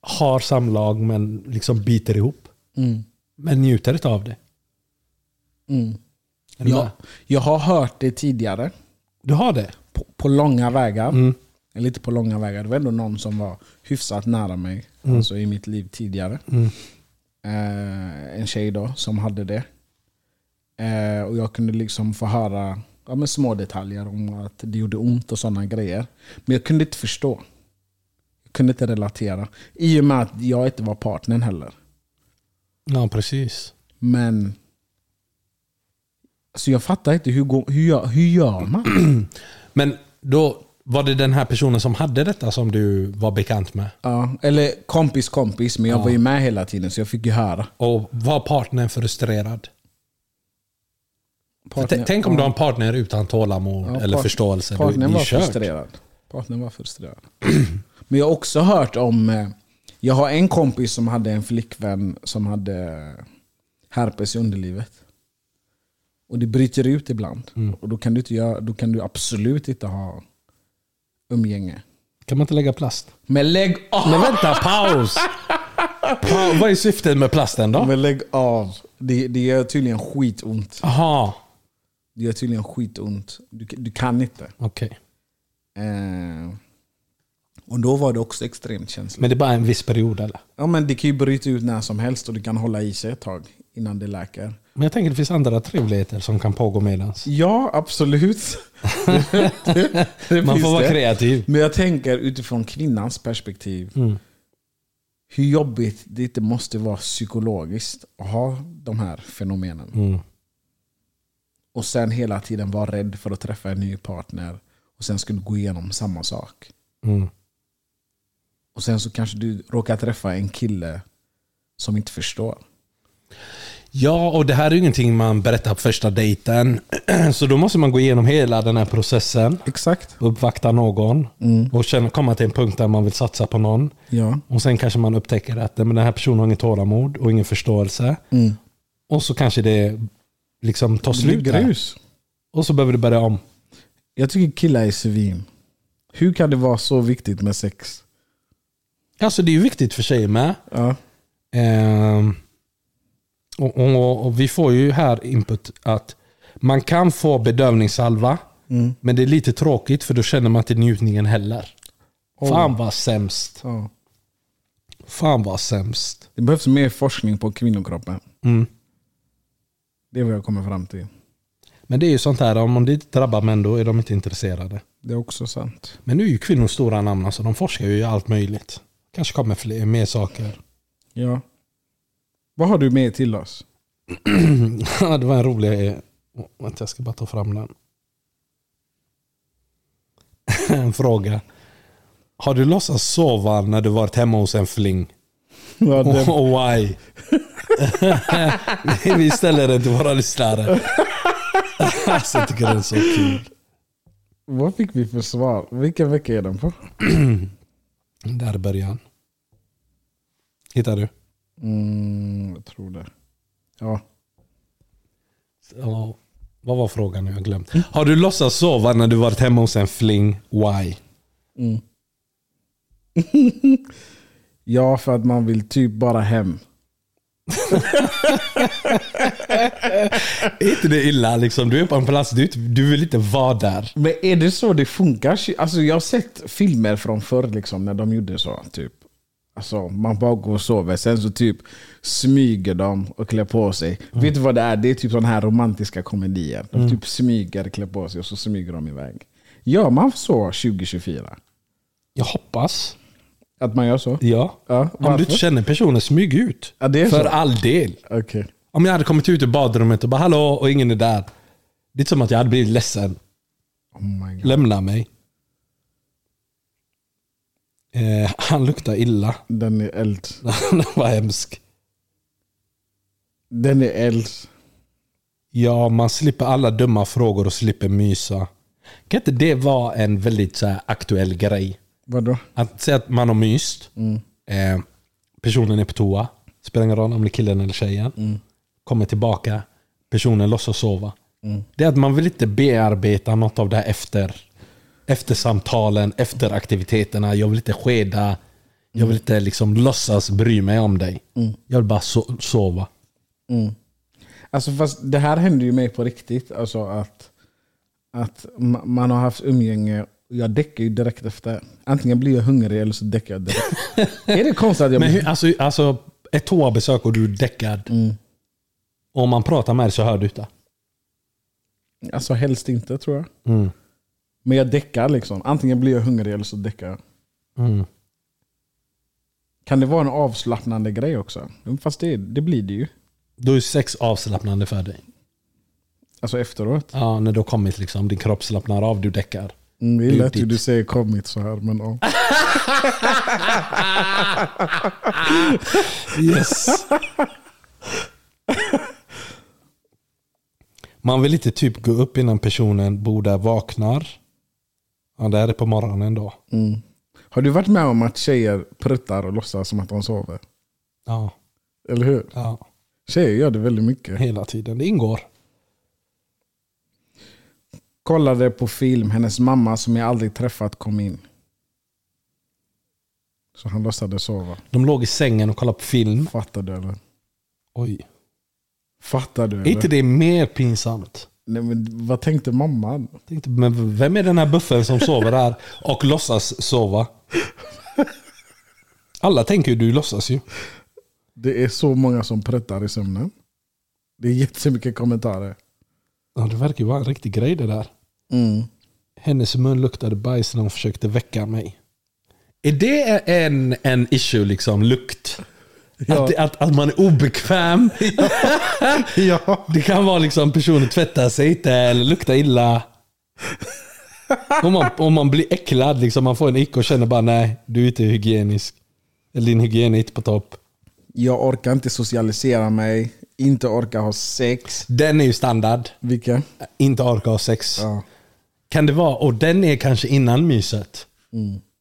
[SPEAKER 4] har samlag men liksom biter ihop.
[SPEAKER 3] Mm.
[SPEAKER 4] Men njuter inte av det. Är du
[SPEAKER 3] Ja,
[SPEAKER 4] med?
[SPEAKER 3] jag har hört det tidigare.
[SPEAKER 4] Du har det?
[SPEAKER 3] på, på långa vägar. Eller inte på långa vägar. Det var ändå någon som var hyfsat nära mig alltså i mitt liv tidigare. Eh, en tjej då som hade det. Eh, och Jag kunde liksom få höra ja, men små detaljer om att det gjorde ont och sådana grejer. Men jag kunde inte förstå. Jag kunde inte relatera. I och med att jag inte var partnern heller.
[SPEAKER 4] Ja, precis.
[SPEAKER 3] Men så jag fattar inte, hur, går, hur, gör, hur gör man?
[SPEAKER 4] Men då var det den här personen som hade detta som du var bekant med?
[SPEAKER 3] Ja, eller kompis kompis, men jag var ju med hela tiden så jag fick ju höra.
[SPEAKER 4] Och var partnern frustrerad?
[SPEAKER 3] Partner-
[SPEAKER 4] T- Tänk om du
[SPEAKER 3] ja,
[SPEAKER 4] har en partner utan tålamod
[SPEAKER 3] ja,
[SPEAKER 4] eller
[SPEAKER 3] part-
[SPEAKER 4] förståelse. Du,
[SPEAKER 3] Partnern
[SPEAKER 4] ni
[SPEAKER 3] var
[SPEAKER 4] är kört.
[SPEAKER 3] frustrerad. Partnern var frustrerad. *clears throat* men jag har också hört om... eh, Jag har en kompis som hade en flickvän som hade eh, herpes i underlivet. Och det bryter ut ibland.
[SPEAKER 4] Mm.
[SPEAKER 3] Och då kan, du inte göra, då kan du absolut inte ha umgänge.
[SPEAKER 4] Kan man inte lägga plast?
[SPEAKER 3] Men lägg av!
[SPEAKER 4] Men vänta,
[SPEAKER 3] *laughs*
[SPEAKER 4] paus! Pa- vad är syftet med plasten då?
[SPEAKER 3] Men lägg av. Det, det gör tydligen skitont.
[SPEAKER 4] Aha,
[SPEAKER 3] Det gör tydligen skitont. Du, du kan inte.
[SPEAKER 4] okej.
[SPEAKER 3] Eh, och då var det också extremt känsligt.
[SPEAKER 4] Men det är bara en viss period eller?
[SPEAKER 3] Ja, men det kan ju bryta ut när som helst och det kan hålla i sig ett tag innan det läker.
[SPEAKER 4] Men jag tänker det finns andra trevligheter som kan pågå medans.
[SPEAKER 3] Ja, absolut. *laughs* Det
[SPEAKER 4] Man
[SPEAKER 3] finns
[SPEAKER 4] får vara
[SPEAKER 3] det.
[SPEAKER 4] kreativ.
[SPEAKER 3] Men jag tänker utifrån kvinnans perspektiv.
[SPEAKER 4] Mm.
[SPEAKER 3] Hur jobbigt det
[SPEAKER 4] Mm.
[SPEAKER 3] inte måste vara psykologiskt att ha de här fenomenen. Och sen hela tiden vara rädd för att träffa en ny partner. Och sen skulle gå igenom samma sak.
[SPEAKER 4] Mm.
[SPEAKER 3] Och sen så kanske du råkar träffa en kille som inte förstår.
[SPEAKER 4] Ja, och det här är ju ingenting man berättar på första dejten. *clears throat* Så då måste man gå igenom hela den här processen.
[SPEAKER 3] Exakt.
[SPEAKER 4] Uppvakta någon och känna, komma till en punkt där man vill satsa på någon.
[SPEAKER 3] Ja.
[SPEAKER 4] Och sen kanske man upptäcker att nej, men den här personen har inget tålamod och ingen förståelse. Och så kanske det liksom tar slut. där. Och så behöver du börja om.
[SPEAKER 3] Jag tycker killar är svin. Hur kan det vara så viktigt med sex?
[SPEAKER 4] Alltså det är ju viktigt för tjejer med.
[SPEAKER 3] Ja.
[SPEAKER 4] Ehm, och, och, och vi får ju här input att man kan få bedövningssalva, men det är lite tråkigt för då känner man inte njutningen heller. Fan vad sämst.
[SPEAKER 3] Så.
[SPEAKER 4] Fan vad sämst.
[SPEAKER 3] Det behövs mer forskning på kvinnokroppen. Det är vad jag kommer fram till.
[SPEAKER 4] Men det är ju sånt här, om det inte drabbar män då är de inte intresserade.
[SPEAKER 3] Det är också sant.
[SPEAKER 4] Men nu är ju kvinnor stora namn, alltså de forskar ju i allt möjligt. Kanske kommer fler, mer saker.
[SPEAKER 3] Ja. Vad har du med till oss?
[SPEAKER 4] *laughs* Ja, det var en rolig... oh, Vänta, jag ska bara ta fram den. *laughs* en fråga. Har du låtsats sova när du varit hemma hos en fling?
[SPEAKER 3] *laughs*
[SPEAKER 4] *laughs*
[SPEAKER 3] Ja,
[SPEAKER 4] Och
[SPEAKER 3] det,
[SPEAKER 4] och why? Vi ställer den till våra lyssnare. *laughs* alltså, jag tycker den är så kul.
[SPEAKER 3] vad fick vi för svar? Vilken vecka är den på?
[SPEAKER 4] Där börjar han. Hittar du?
[SPEAKER 3] Mm, jag tror det. Ja.
[SPEAKER 4] Ja, vad var frågan nu? Jag har glömt. Har du låtsats sova när du varit hemma hos en fling? Why?
[SPEAKER 3] ja, för att man vill typ bara hem.
[SPEAKER 4] Är inte det illa? Liksom? Du är på en plats, du, är inte- du vill inte vara där.
[SPEAKER 3] Men är det så det funkar? Alltså, jag har sett filmer från förr liksom, när de gjorde så. Typ. Alltså, man bara går och sover, sen så typ smyger de och klär på sig. Vet du vad det är? Det är typ sådana här romantiska komedier. De typ smyger, klär på sig och så smyger de iväg. Gör man så 2024?
[SPEAKER 4] Jag hoppas.
[SPEAKER 3] Att man gör så?
[SPEAKER 4] Ja.
[SPEAKER 3] Ja,
[SPEAKER 4] Om du inte
[SPEAKER 3] varför?
[SPEAKER 4] känner personen, smyg ut.
[SPEAKER 3] Ja, det är
[SPEAKER 4] För
[SPEAKER 3] så.
[SPEAKER 4] all del.
[SPEAKER 3] Okej.
[SPEAKER 4] Om jag hade kommit ut ur badrummet och bara hallå och ingen är där. Det är inte som att jag hade blivit ledsen.
[SPEAKER 3] Oh my god.
[SPEAKER 4] Lämna mig. Eh, han luktar illa. *laughs*
[SPEAKER 3] Den är eld.
[SPEAKER 4] Han var hemsk.
[SPEAKER 3] Den är eld.
[SPEAKER 4] Ja, man slipper alla dumma frågor och slipper mysa. Kan inte det vara en väldigt så här, aktuell grej?
[SPEAKER 3] Vadå?
[SPEAKER 4] Att säga att man har myst. Eh, personen är på toa. Spelar ingen roll om det är killen eller tjejen. Kommer tillbaka. Personen låtsas sova. Det är att man vill inte bearbeta något av det här efter, efter samtalen, efter aktiviteterna. Jag vill inte skeda. Jag vill inte liksom låtsas bry mig om dig. Jag vill bara so- sova.
[SPEAKER 3] Alltså fast det här hände ju mig på riktigt. Alltså att, att ma- man har haft umgänge. Jag däckar ju direkt efter. Antingen blir jag hungrig eller så däckar
[SPEAKER 4] *laughs*
[SPEAKER 3] jag direkt. är det konstigt att jag
[SPEAKER 4] Men
[SPEAKER 3] blir...
[SPEAKER 4] hur, alltså, alltså, ett toabesök och du är däckad. Om man pratar med dig så hör du inte.
[SPEAKER 3] Alltså helst inte tror jag.
[SPEAKER 4] Mm.
[SPEAKER 3] Men jag däckar liksom. Antingen blir jag hungrig eller så däckar jag.
[SPEAKER 4] Mm.
[SPEAKER 3] Kan det vara en avslappnande grej också? Jo, Fast det, det blir det ju.
[SPEAKER 4] Då är sex avslappnande för dig.
[SPEAKER 3] Alltså efteråt.
[SPEAKER 4] Ja, när du har kommit liksom. Din kropp slappnar av, du däckar.
[SPEAKER 3] Mm, det är
[SPEAKER 4] Det är
[SPEAKER 3] lätt hur
[SPEAKER 4] ditt.
[SPEAKER 3] du säger kommit så här men ja.
[SPEAKER 4] Yes. *laughs* Man vill inte typ gå upp innan personen bor där, vaknar. Ja, det här är på morgonen då.
[SPEAKER 3] Har du varit med om att tjejer pruttar och låtsas som att de sover?
[SPEAKER 4] Ja,
[SPEAKER 3] Eller hur?
[SPEAKER 4] ja,
[SPEAKER 3] Tjejer gör det väldigt mycket.
[SPEAKER 4] hela tiden. Det ingår.
[SPEAKER 3] Kollade på film, hennes mamma som jag aldrig träffat kom in. Så han låtsades sova.
[SPEAKER 4] De låg i sängen och kollade på film.
[SPEAKER 3] Fattar du eller?
[SPEAKER 4] Oj.
[SPEAKER 3] Fattar du
[SPEAKER 4] Är inte
[SPEAKER 3] eller?
[SPEAKER 4] det mer pinsamt?
[SPEAKER 3] Nej, men vad tänkte mamman?
[SPEAKER 4] Tänkte, men vem är den här buffen som sover här och låtsas sova? Alla tänker ju du låtsas ju.
[SPEAKER 3] Det är så många som pruttar i sömnen. Det är jättemycket kommentarer.
[SPEAKER 4] Ja, det verkar ju vara en riktig grej det där.
[SPEAKER 3] Mm.
[SPEAKER 4] Hennes mun luktade bajs när hon försökte väcka mig. Är det en, en issue liksom? Lukt? Att, det- att, att man är obekväm.
[SPEAKER 3] *laughs* Ja.
[SPEAKER 4] Det kan vara liksom personen tvättar sig inte eller luktar illa. Om man, om man blir äcklad, liksom, man får en ick och känner bara nej, du är inte hygienisk. Eller din hygien är inte på topp.
[SPEAKER 3] Jag orkar inte socialisera mig, inte orkar ha sex.
[SPEAKER 4] Den är ju standard.
[SPEAKER 3] Vilka?
[SPEAKER 4] Inte orka ha sex.
[SPEAKER 3] Ja.
[SPEAKER 4] Kan det vara, och den är kanske innan myset.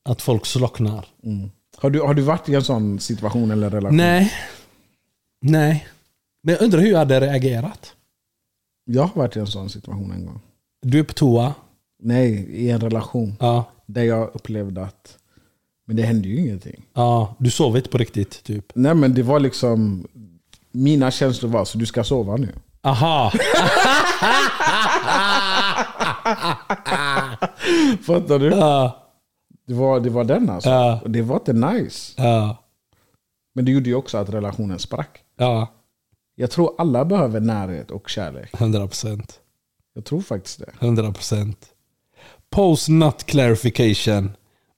[SPEAKER 4] Att folk slocknar.
[SPEAKER 3] Mm. Har, du, har du varit i en sån situation eller relation?
[SPEAKER 4] Nej. Nej. Men jag undrar hur jag hade reagerat.
[SPEAKER 3] Jag har varit i en sån situation en gång.
[SPEAKER 4] Du är på toa.
[SPEAKER 3] Nej, i en relation.
[SPEAKER 4] Ja.
[SPEAKER 3] Där jag upplevde att, men det hände ju ingenting.
[SPEAKER 4] ja. Du sover inte på riktigt, typ.
[SPEAKER 3] Nej men det var liksom, mina känslor var så du ska sova nu.
[SPEAKER 4] Aha.
[SPEAKER 3] Fattar du?
[SPEAKER 4] Ja.
[SPEAKER 3] Det var, det var den alltså.
[SPEAKER 4] Ja.
[SPEAKER 3] Och det var inte nice.
[SPEAKER 4] Ja.
[SPEAKER 3] Men det gjorde ju också att relationen sprack.
[SPEAKER 4] Ja.
[SPEAKER 3] Jag tror alla behöver närhet och kärlek.
[SPEAKER 4] 100 procent.
[SPEAKER 3] Jag tror faktiskt det.
[SPEAKER 4] 100 procent. Post not clarification.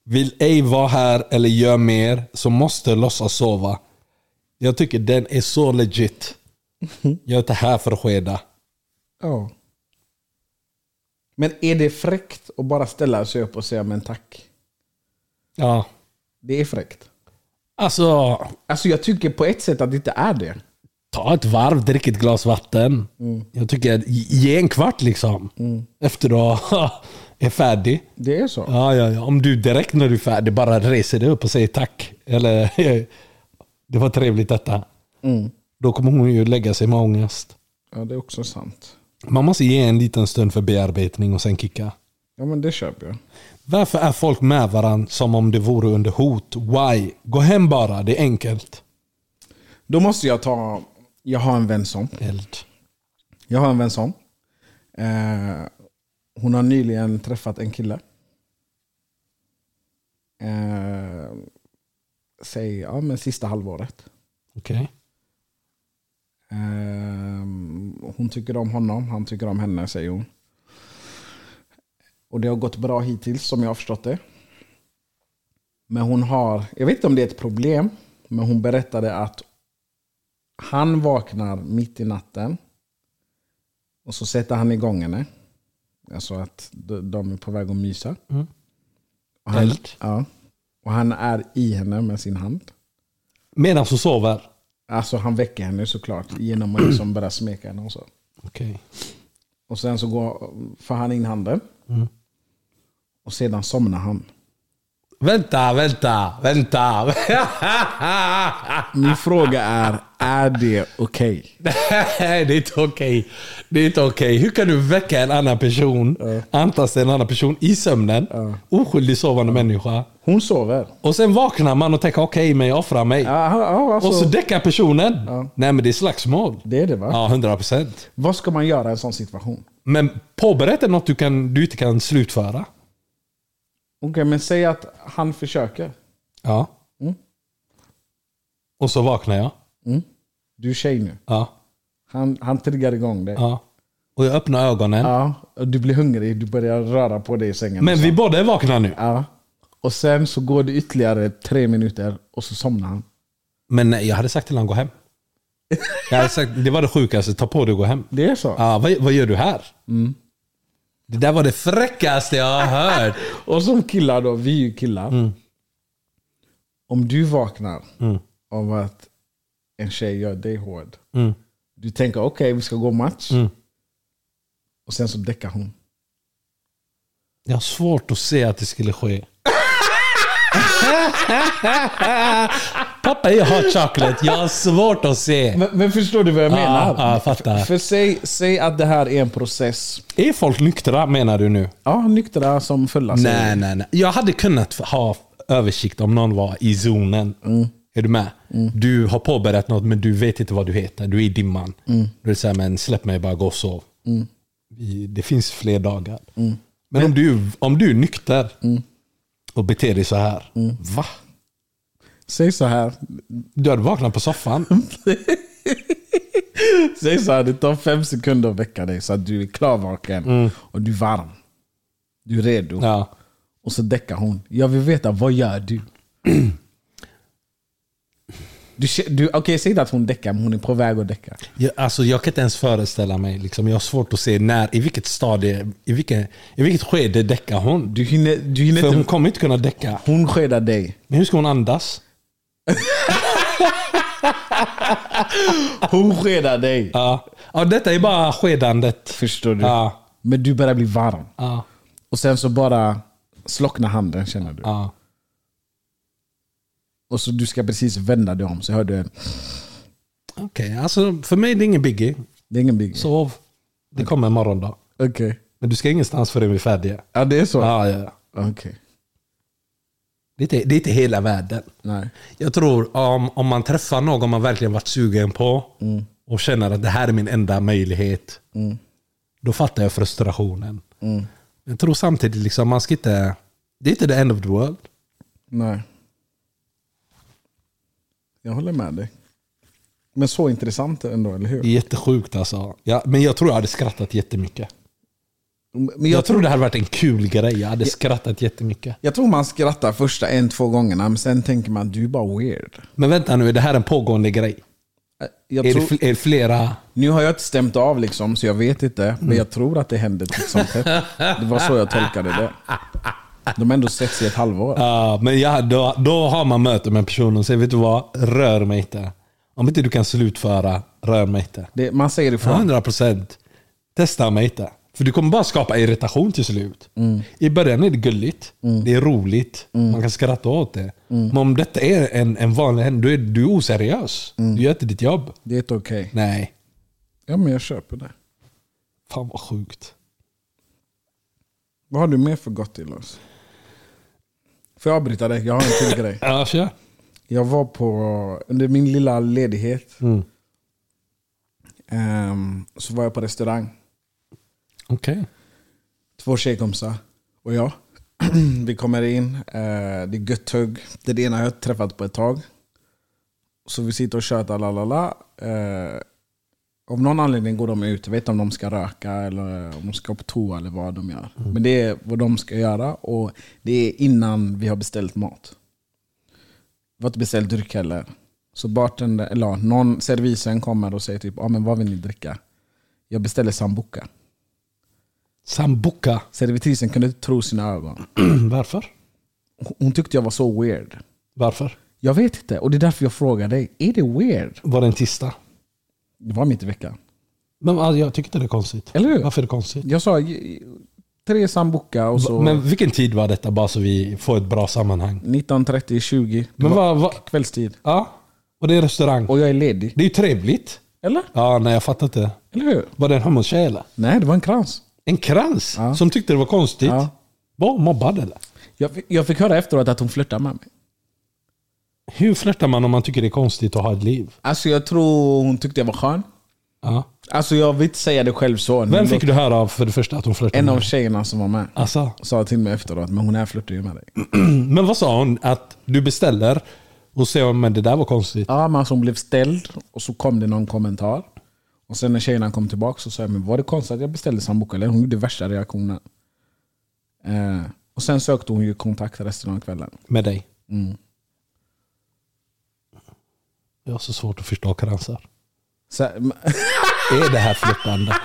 [SPEAKER 4] Vill ej vara här eller gör mer så måste låtsas sova. Jag tycker den är så legit. Jag är inte här för att skeda.
[SPEAKER 3] Ja. Men är det fräckt att bara ställa sig upp och säga men tack?
[SPEAKER 4] Ja.
[SPEAKER 3] Det är fräckt.
[SPEAKER 4] Alltså,
[SPEAKER 3] Alltså jag tycker på ett sätt att det inte är det.
[SPEAKER 4] ta ett varv, drick ett glas vatten. Jag tycker, att ge en kvart liksom. Efter du *laughs* är färdig.
[SPEAKER 3] Det är så.
[SPEAKER 4] Ja, ja, ja. Om du direkt när du är färdig bara reser dig upp och säger tack. Eller *laughs* det var trevligt detta.
[SPEAKER 3] Mm.
[SPEAKER 4] Då kommer hon ju lägga sig med ångest.
[SPEAKER 3] Ja, det är också sant.
[SPEAKER 4] Man måste ge en liten stund för bearbetning och sen kicka.
[SPEAKER 3] Ja men det köper jag.
[SPEAKER 4] Varför är folk med varandra som om det vore under hot? Why? Gå hem bara, det är enkelt.
[SPEAKER 3] Då måste jag ta, jag har en vän som.
[SPEAKER 4] Eld.
[SPEAKER 3] Jag har en vän som. Eh, hon har nyligen träffat en kille. Eh, säg, ja men sista halvåret.
[SPEAKER 4] Okej.
[SPEAKER 3] Eh, hon tycker om honom, han tycker om henne säger hon. Och det har gått bra hittills som jag har förstått det. Men hon har, jag vet inte om det är ett problem, men hon berättade att han vaknar mitt i natten och så sätter han igång henne. Alltså att de de är på väg att mysa.
[SPEAKER 4] Mm.
[SPEAKER 3] Och, han,
[SPEAKER 4] Eld.
[SPEAKER 3] ja, och han är i henne med sin hand.
[SPEAKER 4] Medan hon sover.
[SPEAKER 3] Alltså han väcker henne såklart genom att liksom börja smeka henne och så.
[SPEAKER 4] Okej.
[SPEAKER 3] Och sen så går, får han in handen.
[SPEAKER 4] Mm.
[SPEAKER 3] Och sedan somnar han.
[SPEAKER 4] Vänta, vänta, vänta. *laughs*
[SPEAKER 3] Min fråga är, är det okej?
[SPEAKER 4] Nej, det är inte okej. Det är inte okej. Hur kan du väcka en annan person, antasta en annan person i sömnen, oskyldig sovande människa,
[SPEAKER 3] Hon sover.
[SPEAKER 4] och sen vaknar man och tänker okej, men jag offrar mig.
[SPEAKER 3] Ja, ja, alltså,
[SPEAKER 4] Och så däckar personen.
[SPEAKER 3] Ja.
[SPEAKER 4] Nej, men det är slagsmål.
[SPEAKER 3] det är det va?
[SPEAKER 4] Ja, 100 procent.
[SPEAKER 3] Vad ska man göra i en sån situation?
[SPEAKER 4] Men påberätta något du, kan, du inte kan slutföra.
[SPEAKER 3] Okej, men säg att han försöker.
[SPEAKER 4] Ja.
[SPEAKER 3] Mm.
[SPEAKER 4] Och så vaknar jag.
[SPEAKER 3] Du är tjej nu.
[SPEAKER 4] Ja.
[SPEAKER 3] Han, han triggar igång dig. Ja.
[SPEAKER 4] ja. Och jag öppnar ögonen.
[SPEAKER 3] och du blir hungrig, du börjar röra på dig i sängen.
[SPEAKER 4] Men
[SPEAKER 3] och så.
[SPEAKER 4] vi båda är vakna nu.
[SPEAKER 3] ja. Och sen så går det ytterligare tre minuter och så somnar han.
[SPEAKER 4] Men nej, jag hade sagt till honom gå hem. Jag hade sagt, det var det sjukaste, ta på dig och gå hem.
[SPEAKER 3] Det är så?
[SPEAKER 4] Ja, vad, vad gör du här? Det där var det fräckaste jag har hört.
[SPEAKER 3] Och som killar då, vi är ju killar. Om du vaknar av att en tjej gör dig hård.
[SPEAKER 4] Mm.
[SPEAKER 3] Du tänker okej, vi ska gå match.
[SPEAKER 4] Mm.
[SPEAKER 3] Och sen så däckar hon.
[SPEAKER 4] Jag har svårt att se att det skulle ske. Pappa är hot chocolate. Jag har svårt att se.
[SPEAKER 3] Men, men förstår du vad jag menar?
[SPEAKER 4] ja, jag fattar.
[SPEAKER 3] För säg, säg att det här är en process.
[SPEAKER 4] Är folk nyktra menar du nu?
[SPEAKER 3] Ja, nyktra som fulla. säger
[SPEAKER 4] Nej,
[SPEAKER 3] vi.
[SPEAKER 4] nej, nej. Jag hade kunnat ha översikt om någon var i zonen. Är du med? Du har påbörjat något men du vet inte vad du heter. Du är i dimman. Du är så här, men släpp mig bara, gå och sov. Vi- Det finns fler dagar. Men om du, om du är nykter och beter dig så här. Va?
[SPEAKER 3] Säg så här.
[SPEAKER 4] Du hade vaknat på soffan.
[SPEAKER 3] Säg så här, det tar fem sekunder att väcka dig så att du är klarvaken och du är varm. Du är redo.
[SPEAKER 4] Ja.
[SPEAKER 3] Och så däckar hon. Jag vill veta, vad gör du? Du, kä- du, Okej, säg inte att hon däckar, men hon är på väg att däcka.
[SPEAKER 4] Jag, alltså, jag kan inte ens föreställa mig. Liksom, jag har svårt att se när, i vilket stadie, i, vilken, i vilket skede däckar hon.
[SPEAKER 3] Du hinner, du hinner
[SPEAKER 4] För
[SPEAKER 3] inte...
[SPEAKER 4] hon
[SPEAKER 3] Hon,
[SPEAKER 4] kommer inte kunna däcka.
[SPEAKER 3] skedar dig.
[SPEAKER 4] Men hur ska hon andas?
[SPEAKER 3] Hon skedar dig.
[SPEAKER 4] Ja. ja, detta är bara skedandet.
[SPEAKER 3] Förstår du?
[SPEAKER 4] Ja,
[SPEAKER 3] Men du börjar bli varm.
[SPEAKER 4] ja,
[SPEAKER 3] Och sen så bara slocknar handen känner du.
[SPEAKER 4] ja.
[SPEAKER 3] Och så du ska precis vända dig om så hör du en...
[SPEAKER 4] Okej, alltså för mig är det ingen biggie.
[SPEAKER 3] Det är ingen big.
[SPEAKER 4] Sov. Det kommer imorgon då.
[SPEAKER 3] Okej.
[SPEAKER 4] Men du ska ingenstans förrän vi är färdiga.
[SPEAKER 3] Ja, det är så?
[SPEAKER 4] Ja, ja.
[SPEAKER 3] Okej.
[SPEAKER 4] Det, är inte, det är inte hela världen.
[SPEAKER 3] Nej.
[SPEAKER 4] Jag tror om, om man träffar någon man verkligen varit sugen på och känner att det här är min enda möjlighet. Då fattar jag frustrationen. Jag tror samtidigt liksom man ska inte... Det är inte the end of the world.
[SPEAKER 3] Nej. Jag håller med dig. Men så intressant ändå, eller hur?
[SPEAKER 4] Det är jättesjukt alltså. Ja, men jag tror jag hade skrattat jättemycket.
[SPEAKER 3] Men
[SPEAKER 4] Jag
[SPEAKER 3] jag,
[SPEAKER 4] tror det hade varit en kul grej. Jag hade skrattat jättemycket.
[SPEAKER 3] jag tror man skrattar första en, två gångerna, men sen tänker man du är bara weird.
[SPEAKER 4] Men vänta nu, är det här en pågående grej?
[SPEAKER 3] Jag
[SPEAKER 4] Är det,
[SPEAKER 3] tror,
[SPEAKER 4] fl- är det flera?
[SPEAKER 3] nu har jag inte stämt av, liksom, så jag vet inte.
[SPEAKER 4] Mm.
[SPEAKER 3] Men jag tror att det händer titt som tätt. Det var så jag tolkade det. De har ändå setts i ett halvår.
[SPEAKER 4] Ja, men ja, då, då har man möte med personen och säger, vet du vad? Rör mig inte. Om inte du kan slutföra, rör mig inte.
[SPEAKER 3] Det, man säger ifrån.
[SPEAKER 4] 100 procent. Testa mig inte. För du kommer bara skapa irritation till slut. I början är det gulligt. Det är roligt. Man kan skratta åt det. Men om detta är en, en vanlig händelse, då är du är oseriös. Du gör inte ditt jobb.
[SPEAKER 3] Det är ett okej.
[SPEAKER 4] Nej.
[SPEAKER 3] Ja, men jag köper det.
[SPEAKER 4] Fan vad sjukt.
[SPEAKER 3] Vad har du mer för gott till oss? Får jag avbryta dig? Jag har en till grej.
[SPEAKER 4] Ja, kör.
[SPEAKER 3] Jag var på, under min lilla ledighet, ehm, så var jag på restaurang.
[SPEAKER 4] Okej.
[SPEAKER 3] Två tjejkompisar och jag. *clears throat* Vi kommer in, eh, det är gött tugg. Det är det ena jag har träffat på ett tag. Så vi sitter och tjötar, la la la. Eh, Av någon anledning går de ut, jag vet inte om de ska röka eller om de ska på toa eller vad de gör. Men det är vad de ska göra och det är innan vi har beställt mat. Vi har inte beställt dryck heller. Så bartender, eller ja, någon servisen kommer och säger typ ah, men vad vill ni dricka? Jag beställer sambuca.
[SPEAKER 4] Sambuca. *clears throat*
[SPEAKER 3] Servitrisen kunde inte tro sina ögon.
[SPEAKER 4] Varför?
[SPEAKER 3] Hon tyckte jag var så weird.
[SPEAKER 4] Varför?
[SPEAKER 3] Jag vet inte och det är därför jag frågar dig. Är det weird?
[SPEAKER 4] Var det en tisdag?
[SPEAKER 3] Det var mitt i veckan.
[SPEAKER 4] Men alltså, jag tycker inte det är konstigt.
[SPEAKER 3] Eller hur?
[SPEAKER 4] Varför är det konstigt?
[SPEAKER 3] Jag sa j- tre sambuca och så
[SPEAKER 4] Men vilken tid var detta bara så vi får ett bra sammanhang?
[SPEAKER 3] 19.30-20.
[SPEAKER 4] Men vad, vad,
[SPEAKER 3] Kvällstid.
[SPEAKER 4] ja, och det är restaurang.
[SPEAKER 3] Och jag är ledig.
[SPEAKER 4] Det är ju trevligt.
[SPEAKER 3] Eller?
[SPEAKER 4] Ja, nej jag fattar inte.
[SPEAKER 3] Eller hur?
[SPEAKER 4] Var det en homotjej eller?
[SPEAKER 3] Nej, det var en krans.
[SPEAKER 4] En krans
[SPEAKER 3] Ja.
[SPEAKER 4] som tyckte det var konstigt.
[SPEAKER 3] Ja.
[SPEAKER 4] Var hon mobbad eller?
[SPEAKER 3] Jag, fick- jag fick höra efteråt att hon flörtade med mig.
[SPEAKER 4] Hur flörtar man om man tycker det är konstigt att ha ett liv?
[SPEAKER 3] Alltså jag tror hon tyckte jag var skön.
[SPEAKER 4] Ja.
[SPEAKER 3] Alltså jag vill inte säga det själv så.
[SPEAKER 4] Vem
[SPEAKER 3] men
[SPEAKER 4] fick du höra av för det första att hon flörtade
[SPEAKER 3] En
[SPEAKER 4] med
[SPEAKER 3] av
[SPEAKER 4] dig?
[SPEAKER 3] tjejerna som var med
[SPEAKER 4] Alltså,
[SPEAKER 3] sa till mig efteråt, men hon här flörtar ju med dig.
[SPEAKER 4] Men vad sa hon? Att du beställer och säger men det där var konstigt.
[SPEAKER 3] Ja, men alltså hon blev ställd och så kom det någon kommentar. Och sen när tjejerna kom tillbaka så sa jag, men var det konstigt att jag beställde sambuca? Eller hon gjorde värsta reaktionen. Eh, och sen sökte hon ju kontakt resten av kvällen.
[SPEAKER 4] Med dig. Jag har så svårt att förstå kransar.
[SPEAKER 3] Så, men-
[SPEAKER 4] Är det här flörtande?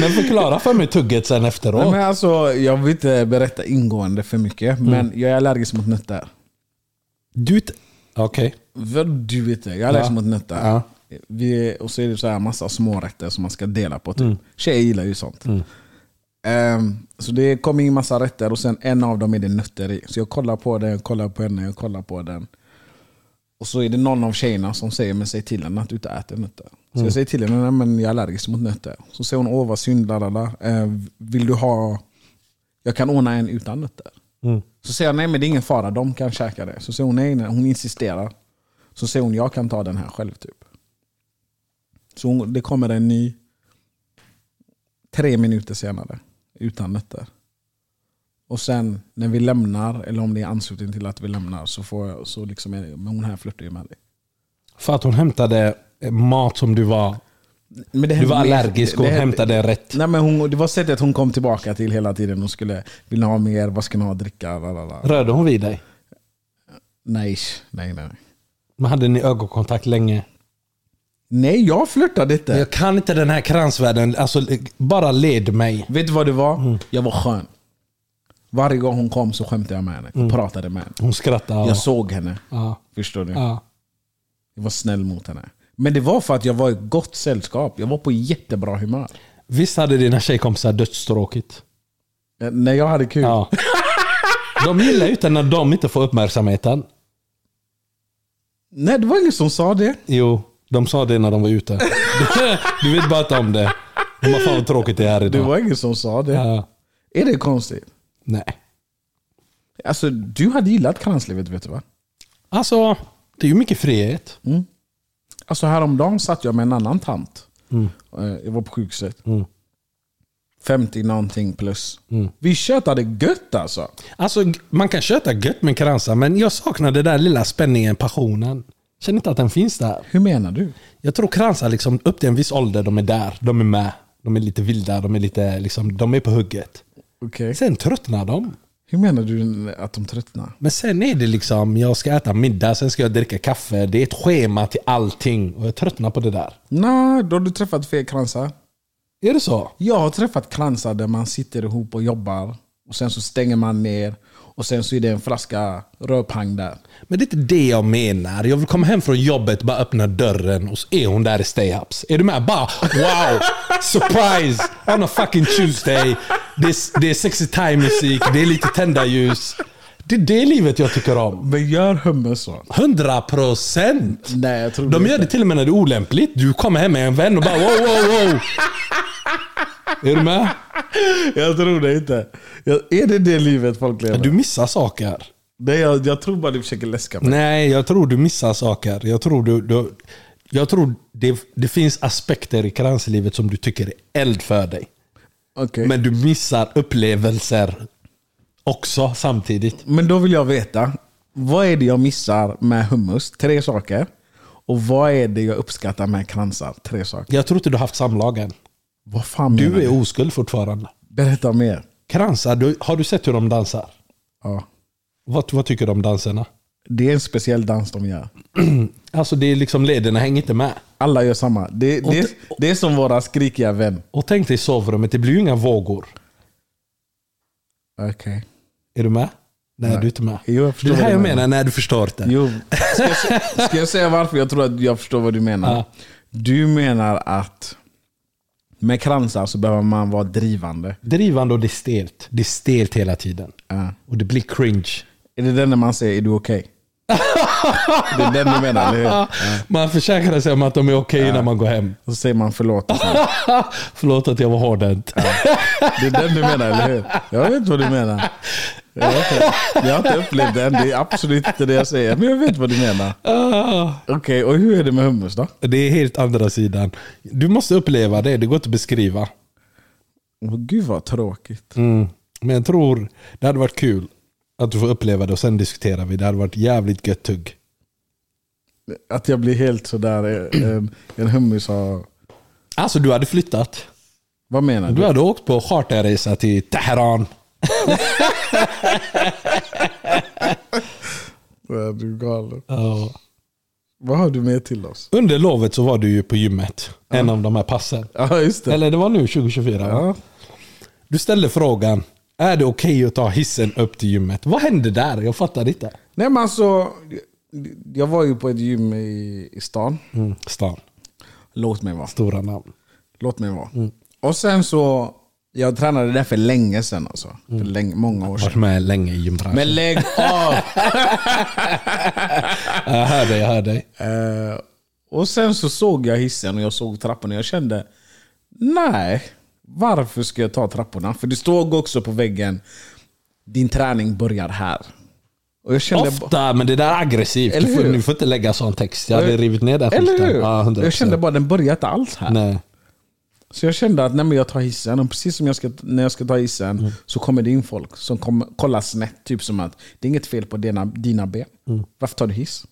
[SPEAKER 4] men förklara för mig tugget sen efteråt.
[SPEAKER 3] Nej, men alltså, jag vill inte berätta ingående för mycket, men jag är allergisk mot nötter.
[SPEAKER 4] Du... t- Okej.
[SPEAKER 3] Vad du vet det, jag är allergisk mot nötter.
[SPEAKER 4] Ja.
[SPEAKER 3] Vi, och så är det så här massa smårätter som man ska dela på. Typ.
[SPEAKER 4] Mm.
[SPEAKER 3] Tjejer gillar ju sånt. Ehm, så det kom in massa rätter och sen en av dem är det nötter i. Så jag kollar på den, jag kollar på henne, jag kollar på den. Och så är det någon av tjejerna som säger men säg till henne att du inte äter nötter. Så
[SPEAKER 4] Mm.
[SPEAKER 3] jag säger till henne nej, men jag är allergisk mot nötter. Så säger hon åh vad synd, lalala. Eh, vill du ha, jag kan ordna en utan nötter. Så säger jag nej men det är ingen fara, de kan käka det. Så säger hon nej, nej. hon insisterar. Så säger hon jag kan ta den här själv typ. Så hon, det kommer en ny tre minuter senare utan nötter. Och sen när vi lämnar, eller om det är anslutning till att vi lämnar, så får jag, så liksom, är det- men hon här flörtar ju med dig.
[SPEAKER 4] För att hon hämtade mat som du var...
[SPEAKER 3] Men det
[SPEAKER 4] Du
[SPEAKER 3] hände
[SPEAKER 4] var
[SPEAKER 3] mer-
[SPEAKER 4] allergisk och
[SPEAKER 3] det- det hände-
[SPEAKER 4] hämtade rätt.
[SPEAKER 3] Nej, men hon, det var sättet hon kom tillbaka till hela tiden. Hon skulle, vill ni ha mer? Vad ska ni ha att dricka? Lalala.
[SPEAKER 4] Rörde hon vid dig?
[SPEAKER 3] Nej, nej, nej.
[SPEAKER 4] Men hade ni ögonkontakt länge?
[SPEAKER 3] Nej, jag flörtade inte.
[SPEAKER 4] Jag kan inte den här kransvärlden. Alltså, bara led mig.
[SPEAKER 3] Vet du vad det var?
[SPEAKER 4] Mm.
[SPEAKER 3] Jag var skön. Varje gång hon kom så skämtade jag med henne. Pratade med henne.
[SPEAKER 4] Hon skrattade.
[SPEAKER 3] Jag såg henne.
[SPEAKER 4] Mm. Ja.
[SPEAKER 3] Förstår du?
[SPEAKER 4] Ja.
[SPEAKER 3] Jag var snäll mot henne. Men det var för att jag var i gott sällskap. Jag var på jättebra humör.
[SPEAKER 4] Visst hade dina tjejkompisar dödstråkigt?
[SPEAKER 3] Eh, När jag hade kul.
[SPEAKER 4] Ja. *laughs* De gillar ju inte när de inte får uppmärksamheten.
[SPEAKER 3] Nej, det var ingen som sa det.
[SPEAKER 4] Jo, de sa det när de var ute. *laughs* Du vet bara inte om det. De bara, fan vad tråkigt det är här
[SPEAKER 3] Det
[SPEAKER 4] idag.
[SPEAKER 3] var ingen som sa det.
[SPEAKER 4] Ja.
[SPEAKER 3] Är det konstigt?
[SPEAKER 4] Nej.
[SPEAKER 3] Alltså, du hade gillat kranslivet vet du va?
[SPEAKER 4] Alltså, det är ju mycket frihet.
[SPEAKER 3] Alltså häromdagen satt jag med en annan tant.
[SPEAKER 4] Mm.
[SPEAKER 3] Eh, Jag var på sjukhuset. 50 någonting plus.
[SPEAKER 4] Mm.
[SPEAKER 3] Vi tjötade gött alltså.
[SPEAKER 4] Alltså, man kan köta gött med kransar, men jag saknar den där lilla spänningen, passionen. Känner inte att den finns där.
[SPEAKER 3] Hur menar du?
[SPEAKER 4] Jag tror kransar liksom, upp till en viss ålder, de är där. De är med. De är lite vilda, de är, lite, liksom, de är på hugget.
[SPEAKER 3] Okej.
[SPEAKER 4] Sen tröttnar de.
[SPEAKER 3] Hur menar du att de tröttnar?
[SPEAKER 4] Men sen är det liksom, jag ska äta middag, sen ska jag dricka kaffe. Det är ett schema till allting. Och jag tröttnar på det där.
[SPEAKER 3] Nej, då har du träffat fel kransar.
[SPEAKER 4] Är det så?
[SPEAKER 3] Jag har träffat kransar där man sitter ihop och jobbar. Och sen så stänger man ner. Och sen så är det en flaska rödpang där.
[SPEAKER 4] Men det är inte det jag menar. Jag vill komma hem från jobbet, bara öppna dörren och så är hon där i stay-ups. Är du med? Bara wow! *laughs* Surprise! On a fucking Tuesday. Det är, det är sexy time-musik, det är lite tända ljus. Det är det livet jag tycker om.
[SPEAKER 3] Men gör hummus så.
[SPEAKER 4] 100 procent!
[SPEAKER 3] Nej, jag tror
[SPEAKER 4] De
[SPEAKER 3] inte.
[SPEAKER 4] gör det till och med när det är olämpligt. Du kommer hem med en vän och bara wow, wow, wow! Är du med?
[SPEAKER 3] Jag tror det inte. Jag, är det det livet folk lever?
[SPEAKER 4] Du missar saker.
[SPEAKER 3] Nej, jag, jag tror bara du försöker läska mig.
[SPEAKER 4] Nej, jag tror du missar saker. Jag tror, du, du, jag tror det, det finns aspekter i kranslivet som du tycker är eld för dig.
[SPEAKER 3] Okej.
[SPEAKER 4] Men du missar upplevelser också samtidigt.
[SPEAKER 3] Men då vill jag veta, vad är det jag missar med hummus? Tre saker. Och vad är det jag uppskattar med kransar? Tre saker.
[SPEAKER 4] Jag tror inte du har haft samlagen.
[SPEAKER 3] Vad fan menar
[SPEAKER 4] Du
[SPEAKER 3] du?
[SPEAKER 4] är oskuld fortfarande.
[SPEAKER 3] Berätta mer.
[SPEAKER 4] Kransar, du, har du sett hur de dansar?
[SPEAKER 3] Ja.
[SPEAKER 4] Vad, vad tycker du om danserna?
[SPEAKER 3] Det är en speciell dans de gör.
[SPEAKER 4] Alltså det är liksom lederna hänger inte med.
[SPEAKER 3] Alla gör samma. Det,
[SPEAKER 4] Och
[SPEAKER 3] det,
[SPEAKER 4] det-
[SPEAKER 3] det är som våra skrikiga vän.
[SPEAKER 4] Och tänk dig i sovrummet, det blir ju inga vågor.
[SPEAKER 3] Okej.
[SPEAKER 4] Är du med? Nej, du är inte med.
[SPEAKER 3] Jo, jag
[SPEAKER 4] det
[SPEAKER 3] förstår
[SPEAKER 4] är det
[SPEAKER 3] vad
[SPEAKER 4] här
[SPEAKER 3] du
[SPEAKER 4] jag
[SPEAKER 3] menar.
[SPEAKER 4] menar, när du förstår det.
[SPEAKER 3] Jo. Ska jag, sä- ska jag säga varför jag tror att jag förstår vad du menar?
[SPEAKER 4] Ja.
[SPEAKER 3] Du menar att med kransar så behöver man vara drivande.
[SPEAKER 4] drivande och det är stelt. Det är stelt hela tiden.
[SPEAKER 3] Ja.
[SPEAKER 4] Och det blir cringe.
[SPEAKER 3] Är det den när man säger är du okej?
[SPEAKER 4] *laughs*
[SPEAKER 3] det är den du menar, eller hur? Ja.
[SPEAKER 4] Man försäkrar sig om att de är okej när man går hem.
[SPEAKER 3] Och så säger man förlåt. och sånt.
[SPEAKER 4] Förlåt att jag var hårdhänt.
[SPEAKER 3] Det är den du menar, eller hur? Jag vet vad du menar. Jag, vet inte. jag har inte upplevt den. Det är absolut inte det jag säger. Men jag vet vad du menar.
[SPEAKER 4] Ah.
[SPEAKER 3] Okej, och hur är det med hummus då?
[SPEAKER 4] Det är helt andra sidan. Du måste uppleva det, det går inte att beskriva.
[SPEAKER 3] Åh, gud vad tråkigt.
[SPEAKER 4] Mm. Men jag tror det hade varit kul att du får uppleva det och sen diskuterar vi. Det hade varit jävligt gött tugg.
[SPEAKER 3] Att jag blir helt sådär, eh, en, en hummus har...
[SPEAKER 4] Alltså du hade flyttat.
[SPEAKER 3] Vad menar
[SPEAKER 4] Du
[SPEAKER 3] du?
[SPEAKER 4] hade åkt på charterresa till Teheran.
[SPEAKER 3] Ja, Du är galen.
[SPEAKER 4] Ja.
[SPEAKER 3] Vad har du med till oss? *laughs*
[SPEAKER 4] Under lovet så var du ju på gymmet. En av de här passen.
[SPEAKER 3] Ja, just det.
[SPEAKER 4] Eller det var nu 2024 va?
[SPEAKER 3] Ja.
[SPEAKER 4] Du ställde frågan, är det okej att ta hissen upp till gymmet? Vad hände där? Jag fattar inte.
[SPEAKER 3] Nej men alltså, jag var ju på ett gym i, i stan.
[SPEAKER 4] Stan,
[SPEAKER 3] Låt mig vara.
[SPEAKER 4] Mm. stora namn.
[SPEAKER 3] Låt mig vara.
[SPEAKER 4] Mm.
[SPEAKER 3] Och sen så, jag tränade där för länge sedan alltså. För
[SPEAKER 4] Mm.
[SPEAKER 3] länge, många år sedan.
[SPEAKER 4] Varit med länge i gymbranschen.
[SPEAKER 3] Men lägg av!
[SPEAKER 4] Jag hör dig, jag hör dig.
[SPEAKER 3] Eh, och sen så såg jag hissen och jag såg trapporna och jag kände, nej, varför ska jag ta trapporna? För det stod också på väggen, din träning börjar här. Och jag kände,
[SPEAKER 4] Ofta, men det där är aggressivt.
[SPEAKER 3] Eller
[SPEAKER 4] Du får,
[SPEAKER 3] hur?
[SPEAKER 4] ni får inte lägga sån text. Jag hade rivit ner den
[SPEAKER 3] eller
[SPEAKER 4] skiten.
[SPEAKER 3] hur?
[SPEAKER 4] Ja, 100%.
[SPEAKER 3] jag kände bara, den börjar inte alls här.
[SPEAKER 4] Nej.
[SPEAKER 3] Så jag kände att nej, men jag tar hissen och precis som jag ska, när jag ska ta hissen så kommer det in folk som kommer, kollar snett. Typ som att det är inget fel på dina, dina ben. Varför tar du hiss?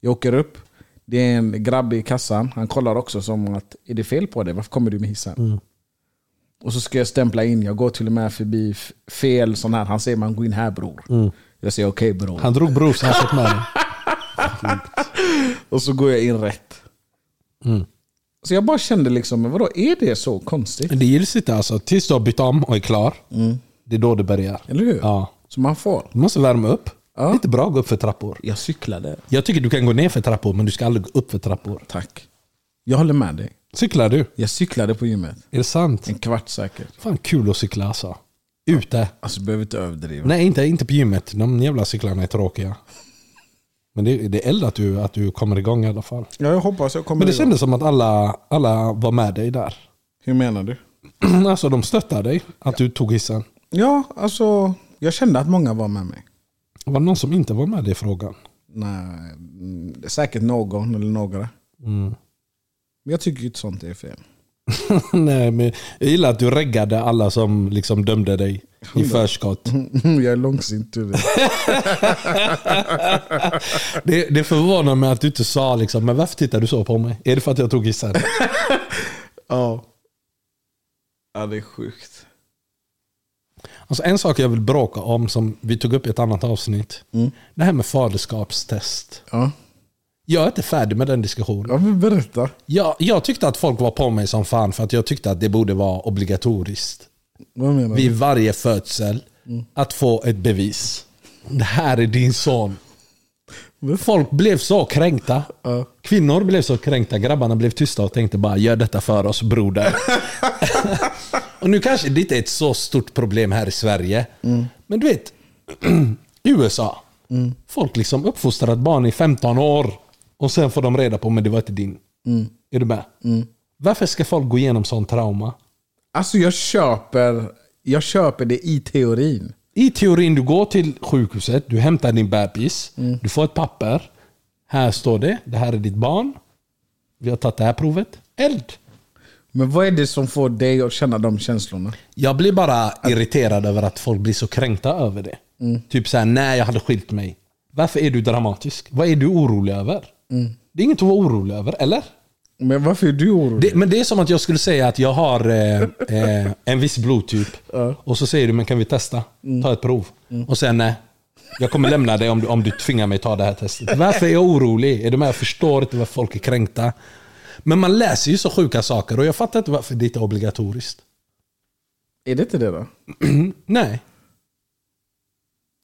[SPEAKER 3] Jag åker upp. Det är en grabb i kassan. Han kollar också som att är det fel på dig? Varför kommer du med hissen? Och så ska jag stämpla in. Jag går till och med förbi f- fel sån här. Han säger man går in här bror. Jag säger okej bror.
[SPEAKER 4] Han drog brorsan sitt med dig.
[SPEAKER 3] och så går jag in rätt. Så jag bara kände liksom, men vadå, är det så konstigt?
[SPEAKER 4] Men Det gills inte alltså. Tills du har bytt om och är klar. Det är då det börjar.
[SPEAKER 3] Mm. Eller hur?
[SPEAKER 4] Ja.
[SPEAKER 3] Så man får.
[SPEAKER 4] Du måste värma upp.
[SPEAKER 3] Ja.
[SPEAKER 4] Det är inte bra att gå upp för trappor.
[SPEAKER 3] Jag cyklade.
[SPEAKER 4] Jag tycker du kan gå ner för trappor, men du ska aldrig gå upp för trappor.
[SPEAKER 3] Tack. Jag håller med dig.
[SPEAKER 4] Cyklar du?
[SPEAKER 3] Jag cyklade på gymmet.
[SPEAKER 4] Är det sant?
[SPEAKER 3] En kvart säkert.
[SPEAKER 4] Fan kul att cykla alltså. Ute.
[SPEAKER 3] Alltså behöver inte överdriva.
[SPEAKER 4] Nej, inte, inte på gymmet. De jävla cyklarna är tråkiga. Men det, det är eld att du, att du kommer igång i alla fall.
[SPEAKER 3] Ja, jag hoppas jag kommer
[SPEAKER 4] Men det
[SPEAKER 3] igång.
[SPEAKER 4] kändes som att alla, alla var med dig där. *clears throat*
[SPEAKER 3] Hur menar du?
[SPEAKER 4] alltså de stöttade dig, att du tog hissen.
[SPEAKER 3] Ja, alltså jag kände att många var med mig.
[SPEAKER 4] Var det någon som inte var med dig i frågan? *laughs*
[SPEAKER 3] Nej, mm, säkert någon eller några. Men jag tycker ju inte sånt är fel. *laughs*
[SPEAKER 4] Nej, men jag gillar att du reggade alla som liksom dömde dig i förskott.
[SPEAKER 3] jag är långsint. tror jag.
[SPEAKER 4] Det, det förvånar mig att du inte sa liksom, men varför tittar du så på mig? Är det för att jag tog hissen?
[SPEAKER 3] ja. ja, det är sjukt.
[SPEAKER 4] Alltså en sak jag vill bråka om som vi tog upp i ett annat avsnitt. Det här med faderskapstest.
[SPEAKER 3] Ja.
[SPEAKER 4] Jag är inte färdig med den diskussionen.
[SPEAKER 3] ja, men berätta.
[SPEAKER 4] Jag, jag tyckte att folk var på mig som fan för att jag tyckte att det borde vara obligatoriskt.
[SPEAKER 3] Vad menar du?
[SPEAKER 4] Vid varje födsel, att få ett bevis. Det här är din son. Folk blev så kränkta. Kvinnor blev så kränkta, grabbarna blev tysta och tänkte bara gör detta för oss broder. och nu kanske det inte är ett så stort problem här i Sverige. Men du vet, *clears throat* i USA. Folk liksom uppfostrar ett barn i 15 år och sen får de reda på men det var inte din. Är du med? Varför ska folk gå igenom sån trauma?
[SPEAKER 3] Alltså jag köper, jag köper det i teorin.
[SPEAKER 4] I teorin, du går till sjukhuset, du hämtar din bebis, du får ett papper. Här står det, det här är ditt barn. Vi har tagit det här provet. Eld!
[SPEAKER 3] Men vad är det som får dig att känna de känslorna?
[SPEAKER 4] Jag blir bara irriterad över att folk blir så kränkta över det. Typ såhär, nej jag hade skilt mig. Varför är du dramatisk? Vad är du orolig över? Det är inget att vara orolig över, eller?
[SPEAKER 3] Men varför är du orolig?
[SPEAKER 4] Det, men det är som att jag skulle säga att jag har eh, eh, en viss blodtyp. Och så säger du, men kan vi testa? Ta ett prov. Och sen nej. Jag kommer lämna dig om du, om du tvingar mig ta det här testet. Varför är jag orolig? Är du med? Jag förstår inte varför folk är kränkta. Men man läser ju så sjuka saker och jag fattar inte varför det inte är obligatoriskt.
[SPEAKER 3] Är det inte det då?
[SPEAKER 4] Nej.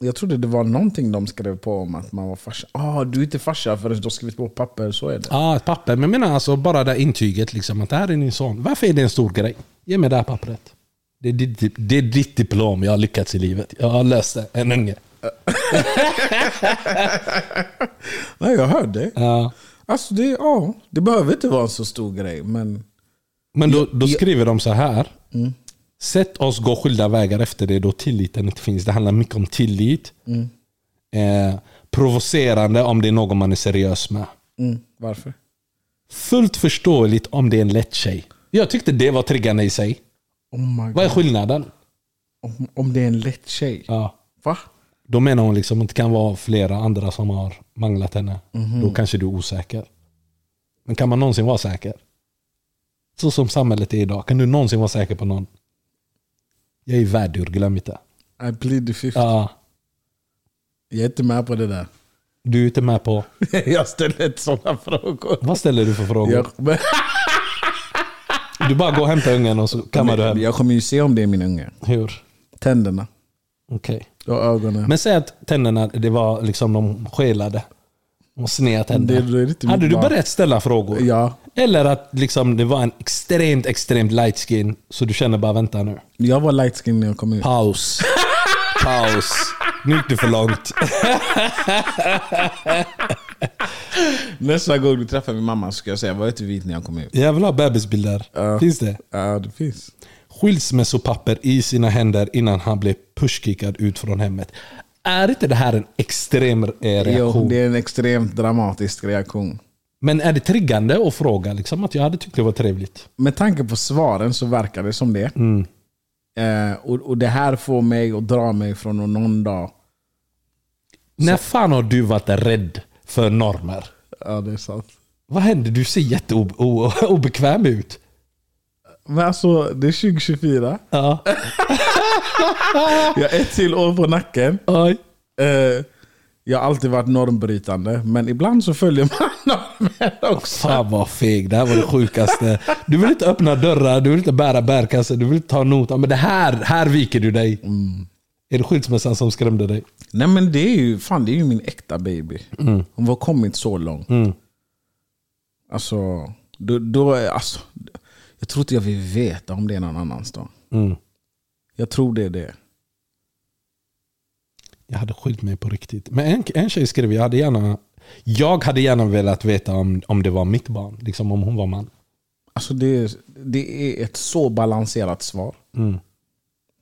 [SPEAKER 3] Jag trodde det var någonting de skrev på om att man var farsa. Ah, du är inte farsa förrän du har skrivit på papper, så är det.
[SPEAKER 4] Ja, ett papper. Men jag menar alltså bara det här intyget. Liksom, att det här är din son. Varför är det en stor grej? Ge mig det här pappret. Det är ditt, det är ditt diplom. Jag har lyckats i livet. Jag har löst det. En unge.
[SPEAKER 3] Nej, jag hörde.
[SPEAKER 4] Ja.
[SPEAKER 3] Alltså det, ja, det behöver inte vara en så stor grej, men
[SPEAKER 4] Men då, då skriver de så här. Sätt oss gå skilda vägar efter det då tilliten inte finns. Det handlar mycket om tillit. Eh, provocerande om det är någon man är seriös med.
[SPEAKER 3] mm, varför?
[SPEAKER 4] Fullt förståeligt om det är en lätt tjej. Jag tyckte det var triggande i sig.
[SPEAKER 3] Oh my
[SPEAKER 4] Vad är
[SPEAKER 3] God.
[SPEAKER 4] skillnaden?
[SPEAKER 3] Om, om det är en lätt tjej.
[SPEAKER 4] Ja.
[SPEAKER 3] Va?
[SPEAKER 4] Då menar hon liksom att det kan vara flera andra som har manglat henne. Då kanske du är osäker. Men kan man någonsin vara säker? Så som samhället är idag. Kan du någonsin vara säker på någon? Jag är värdur, glöm inte.
[SPEAKER 3] I plead the fifth.
[SPEAKER 4] Ja,
[SPEAKER 3] Jag är inte med på det där. *laughs*
[SPEAKER 4] du är inte med på...
[SPEAKER 3] jag ställer inte sådana frågor.
[SPEAKER 4] Vad ställer du för frågor?
[SPEAKER 3] Jag, men,
[SPEAKER 4] Du bara går och hämtar ungen och så kammar du hem.
[SPEAKER 3] *laughs* jag kommer ju se om det är min unge.
[SPEAKER 4] Hur?
[SPEAKER 3] Tänderna
[SPEAKER 4] Okej.
[SPEAKER 3] och ögonen.
[SPEAKER 4] Men säg att tänderna, det var liksom de skelade. Och sneda tänder.
[SPEAKER 3] Det- det är inte mitt
[SPEAKER 4] Hade du
[SPEAKER 3] barn.
[SPEAKER 4] börjat ställa frågor?
[SPEAKER 3] Ja.
[SPEAKER 4] Eller att liksom det var en extremt, extremt light skin. Så du känner bara, vänta nu.
[SPEAKER 3] Jag var light skin när jag kom ut.
[SPEAKER 4] Paus. Paus. Nu gick det för långt.
[SPEAKER 3] Nästa gång du träffar min mamma ska jag säga, var inte vit när jag kom ut.
[SPEAKER 4] Jag vill ha bebisbilder. Finns det?
[SPEAKER 3] Ja, det finns.
[SPEAKER 4] Skilsmässopapper i sina händer innan han blev pushkickad ut från hemmet. Är inte det här en extrem eh, reaktion?
[SPEAKER 3] Jo, det är en extremt dramatisk reaktion.
[SPEAKER 4] Men är det triggande att fråga? Liksom, att jag hade tyckt det var trevligt.
[SPEAKER 3] Med tanke på svaren så verkar det som det. Eh, och, och det här får mig att dra mig från att någon dag.
[SPEAKER 4] När fan har du varit rädd för normer?
[SPEAKER 3] Ja, det är sant.
[SPEAKER 4] Vad händer? Du ser jätteobekväm ut.
[SPEAKER 3] Men alltså, det är 2024.
[SPEAKER 4] Ja.
[SPEAKER 3] Jag har ett till år på nacken.
[SPEAKER 4] Oj.
[SPEAKER 3] Eh, Jag har alltid varit normbrytande, men ibland så följer man *laughs* normen också.
[SPEAKER 4] Fan vad feg, det här var det sjukaste. Du vill inte öppna dörrar, du vill inte bära bärkassar, du vill inte ta notan. Men det här, här viker du dig.
[SPEAKER 3] Mm.
[SPEAKER 4] Är det skilsmässan som skrämde dig?
[SPEAKER 3] Nej men det är ju, fan, det är ju min äkta baby. Hon har kommit så långt. Alltså, då, då, är- alltså, jag tror inte jag vill veta om det är någon annans då. Jag tror det är det.
[SPEAKER 4] Jag hade skilt mig på riktigt. Men en, en tjej skrev, jag hade gärna, jag hade gärna velat veta om, om det var mitt barn. Liksom om hon var man.
[SPEAKER 3] Alltså det, är- det är ett så balanserat svar.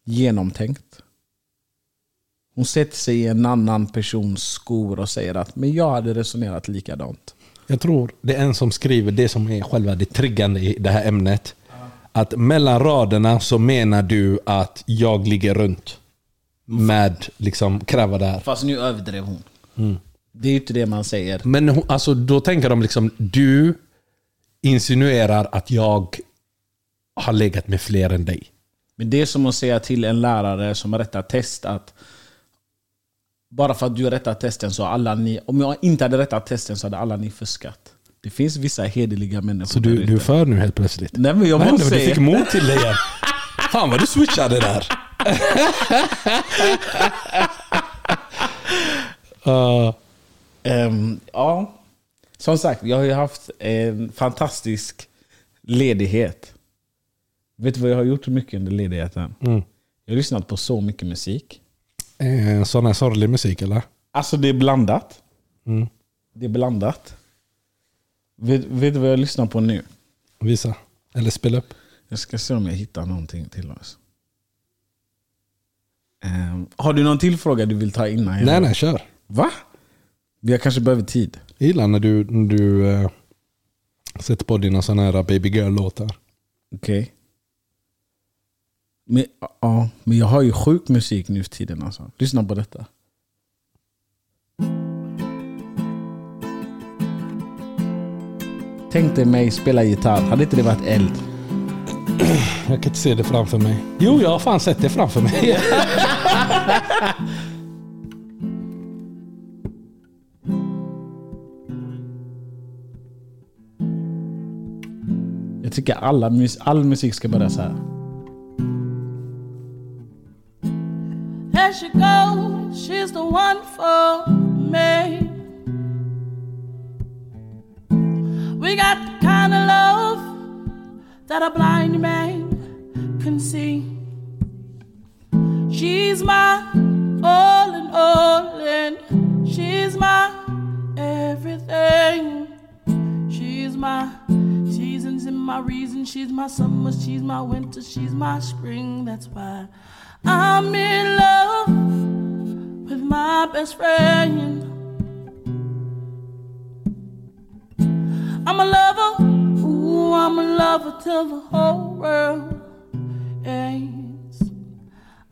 [SPEAKER 3] Genomtänkt. Hon sätter sig i en annan persons skor och säger att men jag hade resonerat likadant.
[SPEAKER 4] Jag tror det är en som skriver det som är själva det triggande i det här ämnet. Att mellan raderna så menar du att jag ligger runt med liksom kräva det här.
[SPEAKER 3] Fast nu överdrev hon. Det är ju inte det man säger.
[SPEAKER 4] Men hon- alltså, då tänker de liksom, du insinuerar att jag har legat med fler än dig.
[SPEAKER 3] Men det är som att säga till en lärare som har rättat test att bara för att du har rättat testen så har alla ni, om jag inte hade rättat testen så hade alla ni fuskat. Det finns vissa hederliga människor
[SPEAKER 4] Så
[SPEAKER 3] där
[SPEAKER 4] du, du är
[SPEAKER 3] ute.
[SPEAKER 4] för nu helt plötsligt?
[SPEAKER 3] Nej men jag
[SPEAKER 4] Vad hände?
[SPEAKER 3] måste
[SPEAKER 4] Du
[SPEAKER 3] säga.
[SPEAKER 4] fick mod till dig igen. Fan vad du switchade där. uh,
[SPEAKER 3] Ehm, ja. Som sagt, jag har ju haft en fantastisk ledighet. Vet du vad jag har gjort mycket under ledigheten?
[SPEAKER 4] Mm.
[SPEAKER 3] Jag har lyssnat på så mycket musik.
[SPEAKER 4] eh, sån här sorglig musik eller?
[SPEAKER 3] Alltså det är blandat.
[SPEAKER 4] Mm.
[SPEAKER 3] Det är blandat. Vet, vet du vad jag lyssnar på nu?
[SPEAKER 4] Visa. Eller spela upp.
[SPEAKER 3] Jag ska se om jag hittar någonting till oss. Ehm, har du någon till fråga du vill ta innan? jag-
[SPEAKER 4] Nej nej, kör.
[SPEAKER 3] Va? Jag kanske behöver tid.
[SPEAKER 4] Jag gillar när du, när du eh, sätter på dina såna här baby girl-låtar.
[SPEAKER 3] Okej. Men, ja, men jag har ju sjuk musik nu för tiden alltså. Lyssna på detta. Tänk dig mig spela gitarr. Hade inte det varit eld?
[SPEAKER 4] Jag kan inte se det framför mig. Jo, jag har fan sett det framför mig. *laughs*
[SPEAKER 3] Jag tycker alla, mus- all musik ska börja så här.
[SPEAKER 5] There she goes, she's the one for me. We got the kind of love that a blind man can see. She's my all in all, and she's my everything. She's my seasons and my reason. She's my summer. She's my winter. She's my spring. That's why I'm in love with my best friend. I'm a lover. Ooh, I'm a lover till the whole world ends.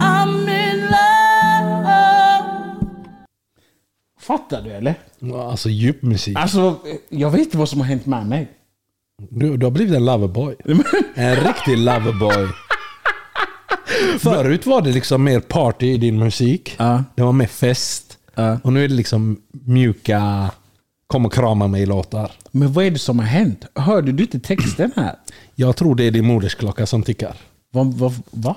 [SPEAKER 5] I'm in love.
[SPEAKER 3] Fattar du eller?
[SPEAKER 4] Alltså djup musik.
[SPEAKER 3] Alltså, jag vet inte vad som har hänt med mig.
[SPEAKER 4] Du, du har blivit en
[SPEAKER 3] *laughs*
[SPEAKER 4] loverboy. En riktig loverboy. Förut var det liksom mer party i din musik.
[SPEAKER 3] Ja.
[SPEAKER 4] Det var mer fest.
[SPEAKER 3] Ja.
[SPEAKER 4] Och nu är det liksom mjuka, kom och krama mig-låtar.
[SPEAKER 3] Men vad är det som har hänt? Hörde du inte texten här?
[SPEAKER 4] Jag tror det är din modersklocka som tickar.
[SPEAKER 3] Vad, vad, va?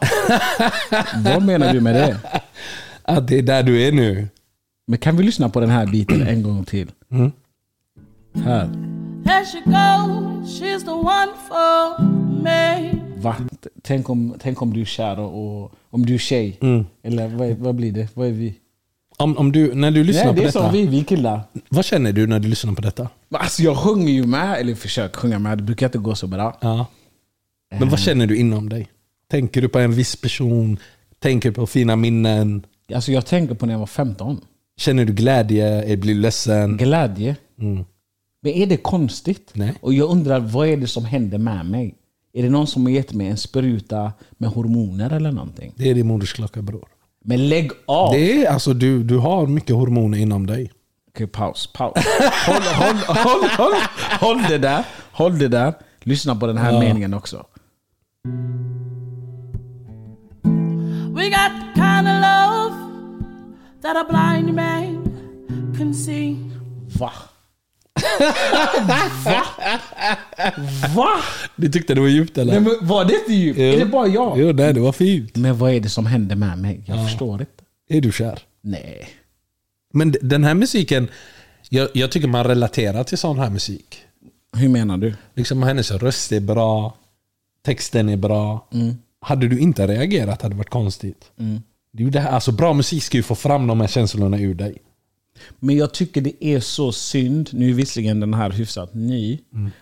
[SPEAKER 3] vad menar du med det?
[SPEAKER 4] Att det är där du är nu.
[SPEAKER 3] Men kan vi lyssna på den här biten en gång till?
[SPEAKER 4] Mm.
[SPEAKER 3] Här.
[SPEAKER 5] There she goes, she's the one for me.
[SPEAKER 3] Va? T- Tänk om, tänk om du är kär och, och om du är tjej.
[SPEAKER 4] Mm.
[SPEAKER 3] Eller vad, är- vad blir det? Vad är vi?
[SPEAKER 4] Om, om du, när du lyssnar
[SPEAKER 3] Nej,
[SPEAKER 4] på
[SPEAKER 3] det är
[SPEAKER 4] detta,
[SPEAKER 3] som vi, vi killar.
[SPEAKER 4] vad känner du när du lyssnar på detta?
[SPEAKER 3] Men Alltså jag sjunger ju med, eller försöker sjunga med. Det brukar inte gå så bra.
[SPEAKER 4] Ja. Men
[SPEAKER 3] Eh.
[SPEAKER 4] vad känner du inom dig? Tänker du på en viss person? Tänker du på fina minnen?
[SPEAKER 3] Alltså jag tänker på när jag var 15.
[SPEAKER 4] Känner du glädje? Blir du ledsen?
[SPEAKER 3] Glädje. Men är det konstigt?
[SPEAKER 4] Nej.
[SPEAKER 3] Och jag undrar, vad är det som händer med mig? Är det någon som har gett mig en spruta med hormoner eller någonting?
[SPEAKER 4] Det är din modersklocka bror.
[SPEAKER 3] Men lägg av!
[SPEAKER 4] Det är, alltså, du, du har mycket hormoner inom dig.
[SPEAKER 3] Okej, paus. paus. *laughs* Håll, håll, håll, håll, håll det där. Håll det där. Lyssna på den här meningen också.
[SPEAKER 5] We got the kind of love that a blind man can see.
[SPEAKER 3] Va? Va? Va?
[SPEAKER 4] Du tyckte det var djupt eller?
[SPEAKER 3] Nej, men var det inte djupt?
[SPEAKER 4] Jo.
[SPEAKER 3] Är det bara jag?
[SPEAKER 4] Jo, nej det var fint.
[SPEAKER 3] Men vad är det som händer med mig? Jag förstår inte.
[SPEAKER 4] Är du kär?
[SPEAKER 3] Nej.
[SPEAKER 4] Men d- den här musiken, jag, jag tycker man relaterar till sån här musik.
[SPEAKER 3] Hur menar du?
[SPEAKER 4] Liksom hennes röst är bra, texten är bra.
[SPEAKER 3] Mm.
[SPEAKER 4] Hade du inte reagerat hade det varit konstigt. Det är ju det här, alltså bra musik ska ju få fram de här känslorna ur dig.
[SPEAKER 3] Men jag tycker det är så synd. Nu är visserligen den här hyfsat ny.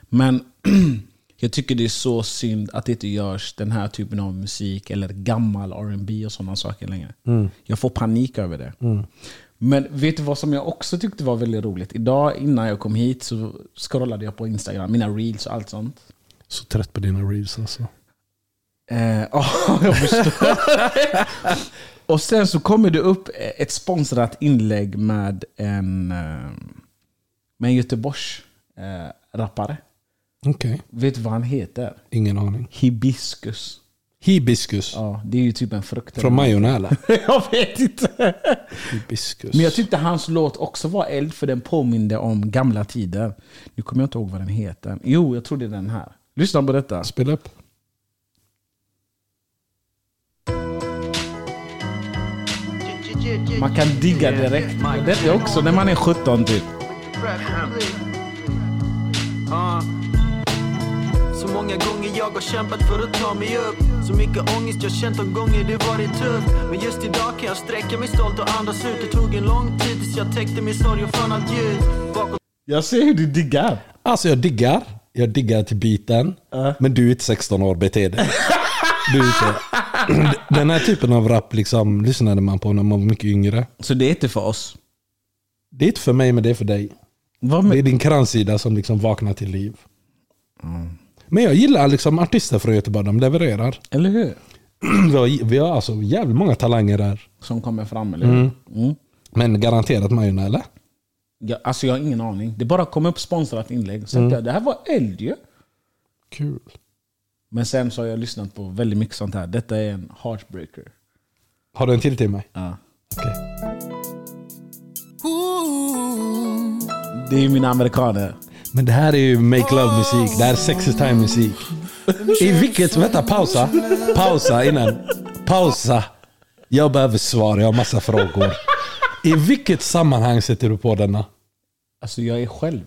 [SPEAKER 3] Men *clears throat* jag tycker det är så synd att det inte görs den här typen av musik eller gammal R&B och sådana saker längre. Jag får panik över det. Men vet du vad som jag också tyckte var väldigt roligt? Idag innan jag kom hit så scrollade jag på Instagram, mina reels och allt sånt.
[SPEAKER 4] Så trött på dina reels alltså.
[SPEAKER 3] Eh, *laughs* Ja, jag förstår. och sen så kommer det upp ett sponsrat inlägg med en, eh, med en Göteborgs eh, rappare.
[SPEAKER 4] Okej,
[SPEAKER 3] Vet du vad han heter?
[SPEAKER 4] ingen aning.
[SPEAKER 3] Hibiskus.
[SPEAKER 4] Hibiskus.
[SPEAKER 3] Ja, det är ju typ en frukt. *laughs*
[SPEAKER 4] Från Majorna eller?
[SPEAKER 3] jag vet inte.
[SPEAKER 4] Hibiskus.
[SPEAKER 3] Men jag tyckte hans låt också var eld för den påminde om gamla tider. Nu kommer jag inte ihåg vad den heter. Jo, jag tror det är den här. Lyssna på detta.
[SPEAKER 4] Spela upp.
[SPEAKER 3] Man kan digga direkt. Och Det är också när man är 17 typ.
[SPEAKER 6] Så många gånger jag har kämpat för att ta mig upp Så mycket ångest jag känt de gånger det varit tufft Men just idag kan jag sträcka mig stolt och andas ut Det tog en lång tid tills jag täckte min sorg och fann allt ljus Bakom
[SPEAKER 3] Jag ser hur du diggar.
[SPEAKER 4] Alltså jag diggar. Jag diggar till biten. Men du är inte 16 år, bete dig. Du är inte. *clears throat* Den här typen av rap liksom, lyssnade man på när man var mycket yngre.
[SPEAKER 3] Så det är inte för oss.
[SPEAKER 4] Det är inte för mig, men det är för dig.
[SPEAKER 3] Vad
[SPEAKER 4] Det är
[SPEAKER 3] med?
[SPEAKER 4] din kransida som liksom vaknar till liv. Men jag gillar liksom artister från Göteborg, de levererar. *clears throat*
[SPEAKER 3] Eller hur?
[SPEAKER 4] Vi har, vi har alltså jävligt många talanger där.
[SPEAKER 3] Som kommer fram, eller hur? Mm.
[SPEAKER 4] Men garanterat Majorna eller?
[SPEAKER 3] Jag, alltså jag har ingen aning. Det bara kom upp sponsrat inlägg. Så tänkte jag, det här var eld ju.
[SPEAKER 4] Kul.
[SPEAKER 3] Men sen så har jag lyssnat på väldigt mycket sånt här. Detta är en heartbreaker.
[SPEAKER 4] Har du en till till mig?
[SPEAKER 3] Ja.
[SPEAKER 4] Okej.
[SPEAKER 3] Det är ju mina amerikaner.
[SPEAKER 4] Men det här är ju make love musik. Det här är sexy time musik. I vilket... Vänta, pausa. Pausa innan. Pausa. Jag behöver svar, jag har massa frågor. I vilket sammanhang sätter du på denna?
[SPEAKER 3] Alltså jag är själv.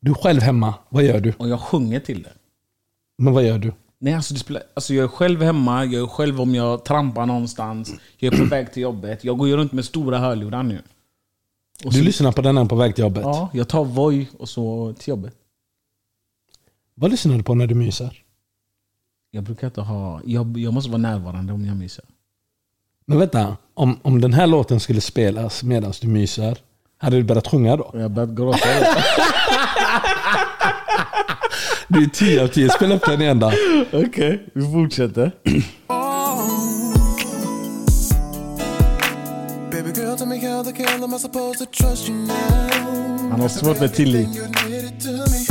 [SPEAKER 4] Du är själv hemma, vad gör du?
[SPEAKER 3] Och jag sjunger till det.
[SPEAKER 4] Men vad gör du?
[SPEAKER 3] Nej, alltså, det spelar, alltså jag är själv hemma, jag är själv om jag trampar någonstans. Jag *clears throat* är på väg till jobbet. Jag går ju runt med stora hörlurar nu. Och
[SPEAKER 4] Du
[SPEAKER 3] så,
[SPEAKER 4] lyssnar på denna på väg till jobbet.
[SPEAKER 3] ja, jag tar Voi och så till jobbet.
[SPEAKER 4] Vad lyssnar du på när du myser?
[SPEAKER 3] Jag brukar inte ha... Jag, jag måste vara närvarande om jag myser.
[SPEAKER 4] Men vänta, om, om den här låten skulle spelas medan du myser, hade du börjat sjunga då?
[SPEAKER 3] Och jag börjat gråta.
[SPEAKER 4] Du är 10 av 10, spela upp den igen då.
[SPEAKER 3] *laughs* Okej, vi fortsätter.
[SPEAKER 7] Baby girl, tell me how the hell am I supposed to trust you now?
[SPEAKER 3] Han har svårt med tillit.
[SPEAKER 7] You admitted to me.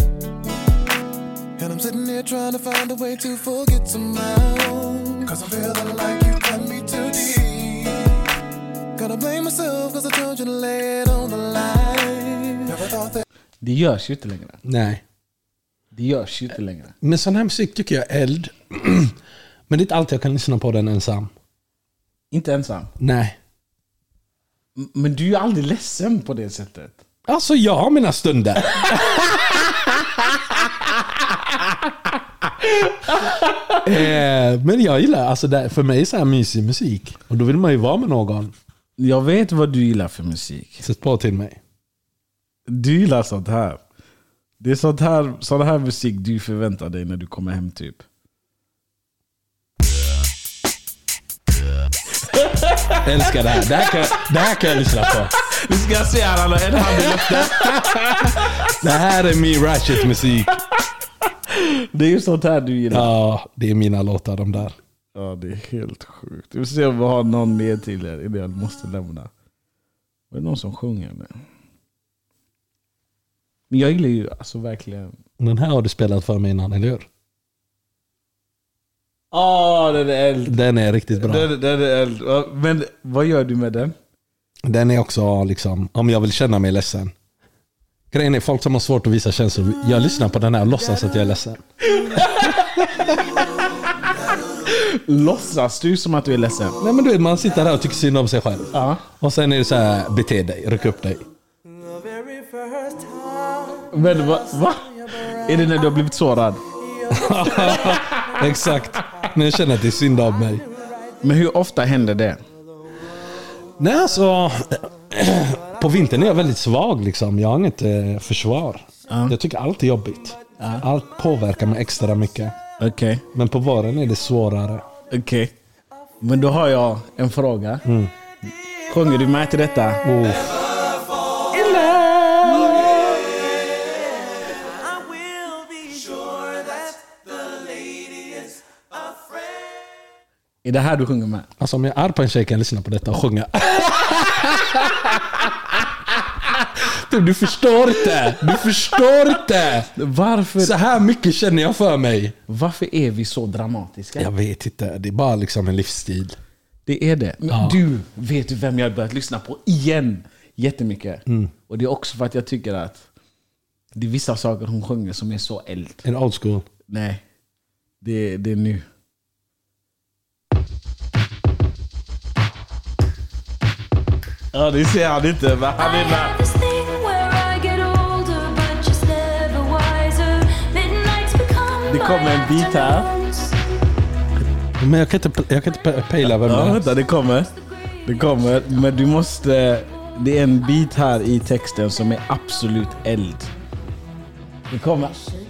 [SPEAKER 7] And I'm sitting here trying to find a way to forget somehow. Cause I'm feeling like you cut me too deep. Gotta blame myself cause I told you to lay it on the line. Never thought that.
[SPEAKER 3] Det görs ju inte längre.
[SPEAKER 4] Nej.
[SPEAKER 3] Det görs ju inte längre.
[SPEAKER 4] Men sån här musik tycker jag är eld. *clears throat* Men det är inte alltid jag kan lyssna på den ensam.
[SPEAKER 3] Inte ensam.
[SPEAKER 4] Nej.
[SPEAKER 3] M- Men du är ju aldrig ledsen på det sättet.
[SPEAKER 4] Alltså jag har mina stunder. *laughs* eh, men jag gillar, alltså det, för mig är så här mysig musik. Och då vill man ju vara med någon.
[SPEAKER 3] Jag vet vad du gillar för musik.
[SPEAKER 4] Sätt på till mig.
[SPEAKER 3] Du gillar sånt här. Det är sånt här, sån här musik du förväntar dig när du kommer hem typ.
[SPEAKER 4] Jag älskar det här. Det här kan, det här kan jag lyssna på.
[SPEAKER 3] Vi ska se här, han har en hand i luften.
[SPEAKER 4] Det här är min Ratchet-musik.
[SPEAKER 3] Det är ju sånt här du gillar.
[SPEAKER 4] Ja, det är mina låtar de där.
[SPEAKER 3] Ja, det är helt sjukt. Vi får se om vi har någon mer till här innan jag måste lämna. Var det någon som sjunger eller? Men jag gillar ju alltså verkligen...
[SPEAKER 4] Den här har du spelat för mig innan, eller hur?
[SPEAKER 3] Åh, den är eld!
[SPEAKER 4] Den är riktigt bra.
[SPEAKER 3] Den, den är eld. Ja, Men vad gör du med den?
[SPEAKER 4] Den är också liksom, om jag vill känna mig ledsen. Grejen är folk som har svårt att visa känslor, jag lyssnar på den här och låtsas att jag är ledsen.
[SPEAKER 3] Låtsas du som att du är ledsen?
[SPEAKER 4] Nej men du vet, man sitter där och tycker synd om sig själv.
[SPEAKER 3] Ja.
[SPEAKER 4] Och sen är det så här, bete dig, ryck upp dig.
[SPEAKER 3] Men va? va? Är det när du har blivit sårad?
[SPEAKER 4] Exakt. När jag känner att det är synd om mig.
[SPEAKER 3] Men hur ofta händer det?
[SPEAKER 4] Nej alltså, *clears throat* på vintern är jag väldigt svag liksom. Jag har inget eh, försvar. Jag tycker allt är jobbigt. Allt påverkar mig extra mycket.
[SPEAKER 3] Okej,
[SPEAKER 4] Men på våren är det svårare.
[SPEAKER 3] okej. Men då har jag en fråga. Sjunger du med till detta?
[SPEAKER 4] Oh,
[SPEAKER 3] Är det här du sjunger med?
[SPEAKER 4] alltså om jag är arg på en tjej kan jag lyssna på detta och sjunga. Du, du förstår inte! Du förstår inte!
[SPEAKER 3] Varför,
[SPEAKER 4] Så här mycket känner jag för mig.
[SPEAKER 3] varför är vi så dramatiska?
[SPEAKER 4] Jag vet inte, det är bara liksom en livsstil.
[SPEAKER 3] Det är det. Men Du, vet du vem jag har börjat lyssna på igen? Jättemycket. Och det är också för att jag tycker att det är vissa saker hon sjunger som är så eld.
[SPEAKER 4] En old school.
[SPEAKER 3] Nej, det, det är nu. Ja, det ser han inte. Men han är med.
[SPEAKER 8] Det kommer en bit här.
[SPEAKER 4] Men jag kan inte, jag kan inte pe- pejla vem det
[SPEAKER 3] Ja,
[SPEAKER 4] är.
[SPEAKER 3] vänta, det kommer. Det kommer. Men du måste... Det är en bit här i texten som är absolut eld. Det kommer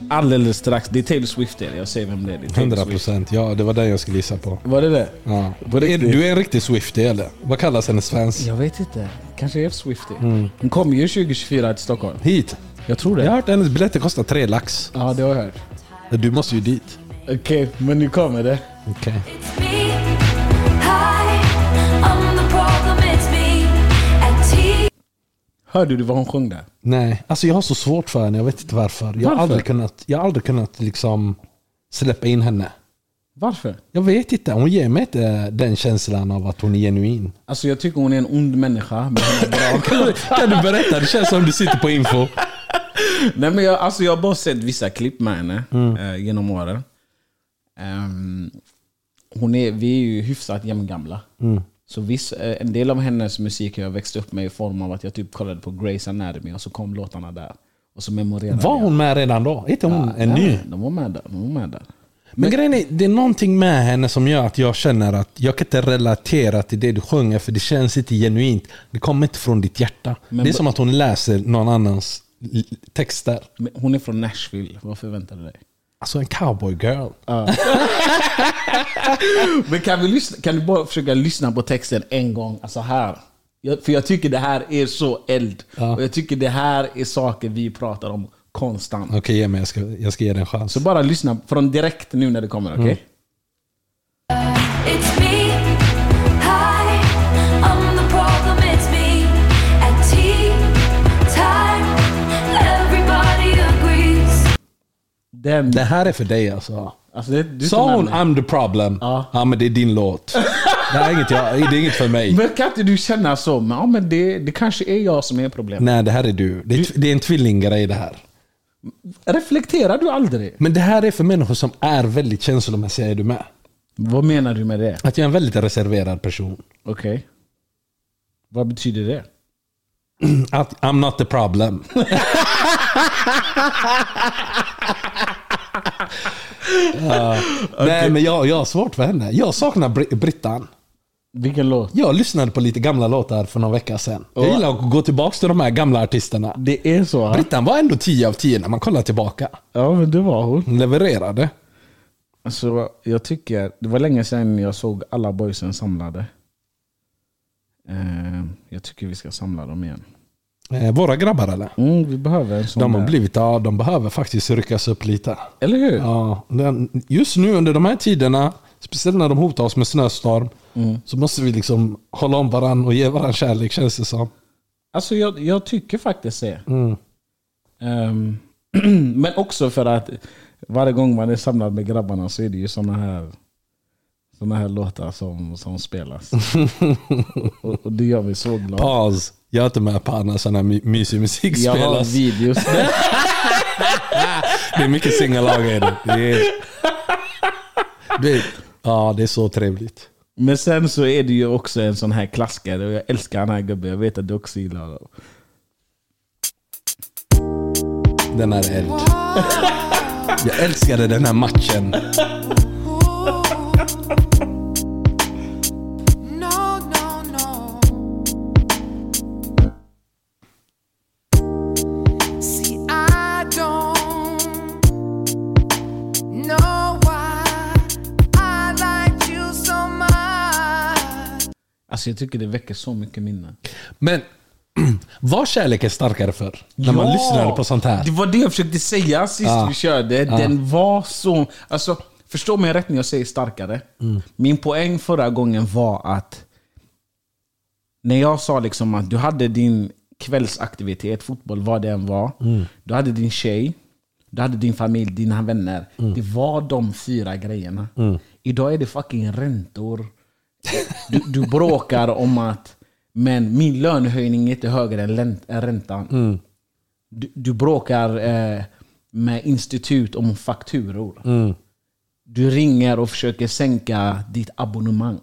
[SPEAKER 3] alldeles strax. Det är Taylor Swift. det är det. Jag säger vem det är. Det är Taylor
[SPEAKER 4] 100
[SPEAKER 3] Swift.
[SPEAKER 4] procent. Ja, det var den jag skulle gissa på.
[SPEAKER 3] Var det det?
[SPEAKER 4] Ja.
[SPEAKER 3] På
[SPEAKER 4] Är,
[SPEAKER 3] riktigt?
[SPEAKER 4] du är en riktig Swiftie eller? Vad kallas hennes fans?
[SPEAKER 3] Jag vet inte. Kanske är Swifty. Hon kommer ju 2024 till Stockholm.
[SPEAKER 4] Hit.
[SPEAKER 3] Jag tror det.
[SPEAKER 4] Jag har hört hennes biljetter kostar tre lax.
[SPEAKER 3] Ja, det har jag hört.
[SPEAKER 4] Du måste ju dit.
[SPEAKER 3] Okej, men nu kommer det.
[SPEAKER 4] Okej.
[SPEAKER 3] Hörde du vad hon sjöng där?
[SPEAKER 4] Nej, alltså jag har så svårt för henne. Jag vet inte varför. Jag har
[SPEAKER 3] Varför?
[SPEAKER 4] aldrig kunnat, jag har aldrig kunnat liksom släppa in henne.
[SPEAKER 3] Varför?
[SPEAKER 4] Jag vet inte. Hon ger mig inte den känslan av att hon är genuin.
[SPEAKER 3] Alltså jag tycker hon är en ond människa. Men hon är *laughs* bra.
[SPEAKER 4] Kan du, kan du berätta? Det känns som du sitter på info.
[SPEAKER 3] Nej, men jag, alltså, jag har bara sett vissa klipp med henne
[SPEAKER 4] Mm.
[SPEAKER 3] eh, genom åren. Ehm, hon är, vi är ju hyfsat jämngamla.
[SPEAKER 4] Mm.
[SPEAKER 3] Så viss, eh, en del av hennes musik har jag växt upp med i form av att jag typ kollade på Grey's Anatomy och så kom låtarna där. Och så memorerade
[SPEAKER 4] Var
[SPEAKER 3] jag.
[SPEAKER 4] hon med redan då? Är inte hon en ny?
[SPEAKER 3] Ja, de var med där. De var med där.
[SPEAKER 4] Men grejen är, det är någonting med henne som gör att jag känner att jag kan inte relatera till det du sjunger för det känns inte genuint. Det kommer inte från ditt hjärta. det är som att hon läser någon annans l- texter.
[SPEAKER 3] Men hon är från Nashville. Vad förväntar du dig?
[SPEAKER 4] Alltså en cowboy girl.
[SPEAKER 3] Men kan, vi lyssna, kan du bara försöka lyssna på texten en gång, alltså här? Jag, för jag tycker det här är så eld. Och jag tycker det här är saker vi pratar om konstant.
[SPEAKER 4] Okej, ge mig. Jag ska, jag ska ge den en chans.
[SPEAKER 3] Så bara lyssna från direkt nu när det kommer, okej?
[SPEAKER 4] Mm.
[SPEAKER 3] Den...
[SPEAKER 4] det här är för dig alltså.
[SPEAKER 3] Alltså, det, du
[SPEAKER 4] Sa
[SPEAKER 3] tar
[SPEAKER 4] hon
[SPEAKER 3] med mig.
[SPEAKER 4] I'm the problem?
[SPEAKER 3] Ja.
[SPEAKER 4] ja men det är din
[SPEAKER 3] *laughs*
[SPEAKER 4] låt. Det, här är inget jag, det är inget för mig.
[SPEAKER 3] Men kan inte du känna så? Men, ja, men det, det kanske är jag som är problemet.
[SPEAKER 4] Nej, det här är du. Det är, tv- det är en tvillinggrej det här.
[SPEAKER 3] Reflekterar du aldrig?
[SPEAKER 4] Men det här är för människor som är väldigt känslomässiga, är du med?
[SPEAKER 3] Vad menar du med det?
[SPEAKER 4] Att jag är en väldigt reserverad person.
[SPEAKER 3] Okej. Vad betyder det?
[SPEAKER 4] Att I'm not the
[SPEAKER 3] *laughs*
[SPEAKER 4] problem. Ja. Nej men jag, jag har svårt för henne. Jag saknar Br- Brittan.
[SPEAKER 3] Vilken låt?
[SPEAKER 4] Jag lyssnade på lite gamla låtar för någon vecka sedan. Jag gillar att gå tillbaka till de här gamla artisterna.
[SPEAKER 3] Det är så? va?
[SPEAKER 4] Brittan var ändå 10 av 10 när man kollar tillbaka.
[SPEAKER 3] Ja, men det var hon.
[SPEAKER 4] Hon levererade.
[SPEAKER 3] Alltså, jag tycker, det var länge sedan jag såg alla boysen samlade. Eh, jag tycker vi ska samla dem igen.
[SPEAKER 4] Eh, Våra grabbar eller?
[SPEAKER 3] Mm, vi behöver en sån
[SPEAKER 4] De har
[SPEAKER 3] där.
[SPEAKER 4] blivit, ja de behöver faktiskt ryckas upp lite.
[SPEAKER 3] Eller hur?
[SPEAKER 4] Ja, den, just nu under de här tiderna, speciellt när de hotar oss med snöstorm, så måste vi liksom hålla om varandra och ge varandra kärlek känns det som.
[SPEAKER 3] Alltså jag, jag tycker faktiskt det. Ehm, *clears throat* men också för att varje gång man är samlad med grabbarna så är det ju såna här sådana här låtar som, som spelas. och, och det gör mig så glad.
[SPEAKER 4] Paus. Jag är inte med på annars sån här my- mysig musik
[SPEAKER 3] Jag har
[SPEAKER 4] spelas.
[SPEAKER 3] videos.
[SPEAKER 4] Det är mycket singalag i det. det är... Du vet, ja, det är så trevligt.
[SPEAKER 3] Men sen så är det ju också en sån här klassiker och jag älskar den här gubben. Jag vet att du också gillar honom.
[SPEAKER 4] Den här är eld. Jag älskade den här matchen.
[SPEAKER 3] Alltså jag tycker det väcker så mycket minnen.
[SPEAKER 4] Men *clears throat* var kärleken starkare för När man
[SPEAKER 3] Ja!
[SPEAKER 4] lyssnade på sånt här.
[SPEAKER 3] Det var det jag försökte säga sist
[SPEAKER 4] Ja.
[SPEAKER 3] vi körde. Den var så... Alltså, förstå mig rätt när jag säger starkare.
[SPEAKER 4] Mm.
[SPEAKER 3] Min poäng förra gången var att när jag sa liksom att du hade din kvällsaktivitet, fotboll, vad det än var.
[SPEAKER 4] Mm.
[SPEAKER 3] Du hade din tjej, du hade din familj, dina vänner.
[SPEAKER 4] Mm.
[SPEAKER 3] Det var de fyra grejerna. Idag är det fucking räntor. Du, du bråkar om att men min lönehöjning är inte högre än län- än räntan
[SPEAKER 4] Mm.
[SPEAKER 3] du, du bråkar eh, med institut om fakturor. Du ringer och försöker sänka ditt abonnemang.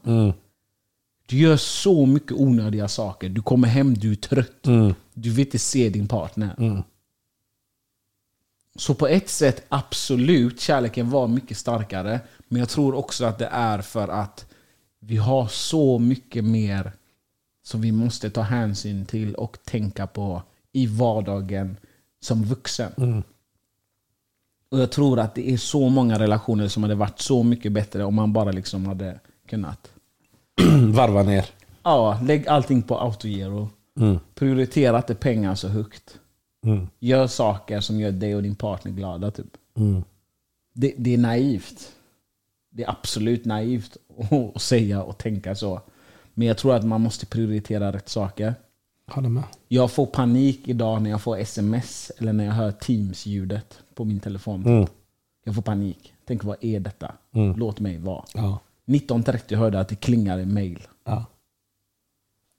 [SPEAKER 3] Du gör så mycket onödiga saker. Du kommer hem, du är trött. Du vill inte se din partner. Så på ett sätt, absolut, kärleken var mycket starkare. Men jag tror också att det är för att vi har så mycket mer som vi måste ta hänsyn till och tänka på i vardagen som vuxen. Och Jag tror att det är så många relationer som hade varit så mycket bättre om man bara liksom hade kunnat
[SPEAKER 4] Varva ner.
[SPEAKER 3] ja, lägg allting på autogiro. Prioritera inte pengar så högt. Gör saker som gör dig och din partner glada. Typ. Det, det är naivt. Det är absolut naivt *laughs* att säga och tänka så. Men jag tror att man måste prioritera rätt saker.
[SPEAKER 4] Håller med.
[SPEAKER 3] Jag får panik idag när jag får sms eller när jag hör Teams-ljudet på min telefon. Jag får panik. Tänk vad är detta? Låt mig vara.
[SPEAKER 4] Ja.
[SPEAKER 3] 19.30 hörde jag att det klingar i mail.
[SPEAKER 4] Ja.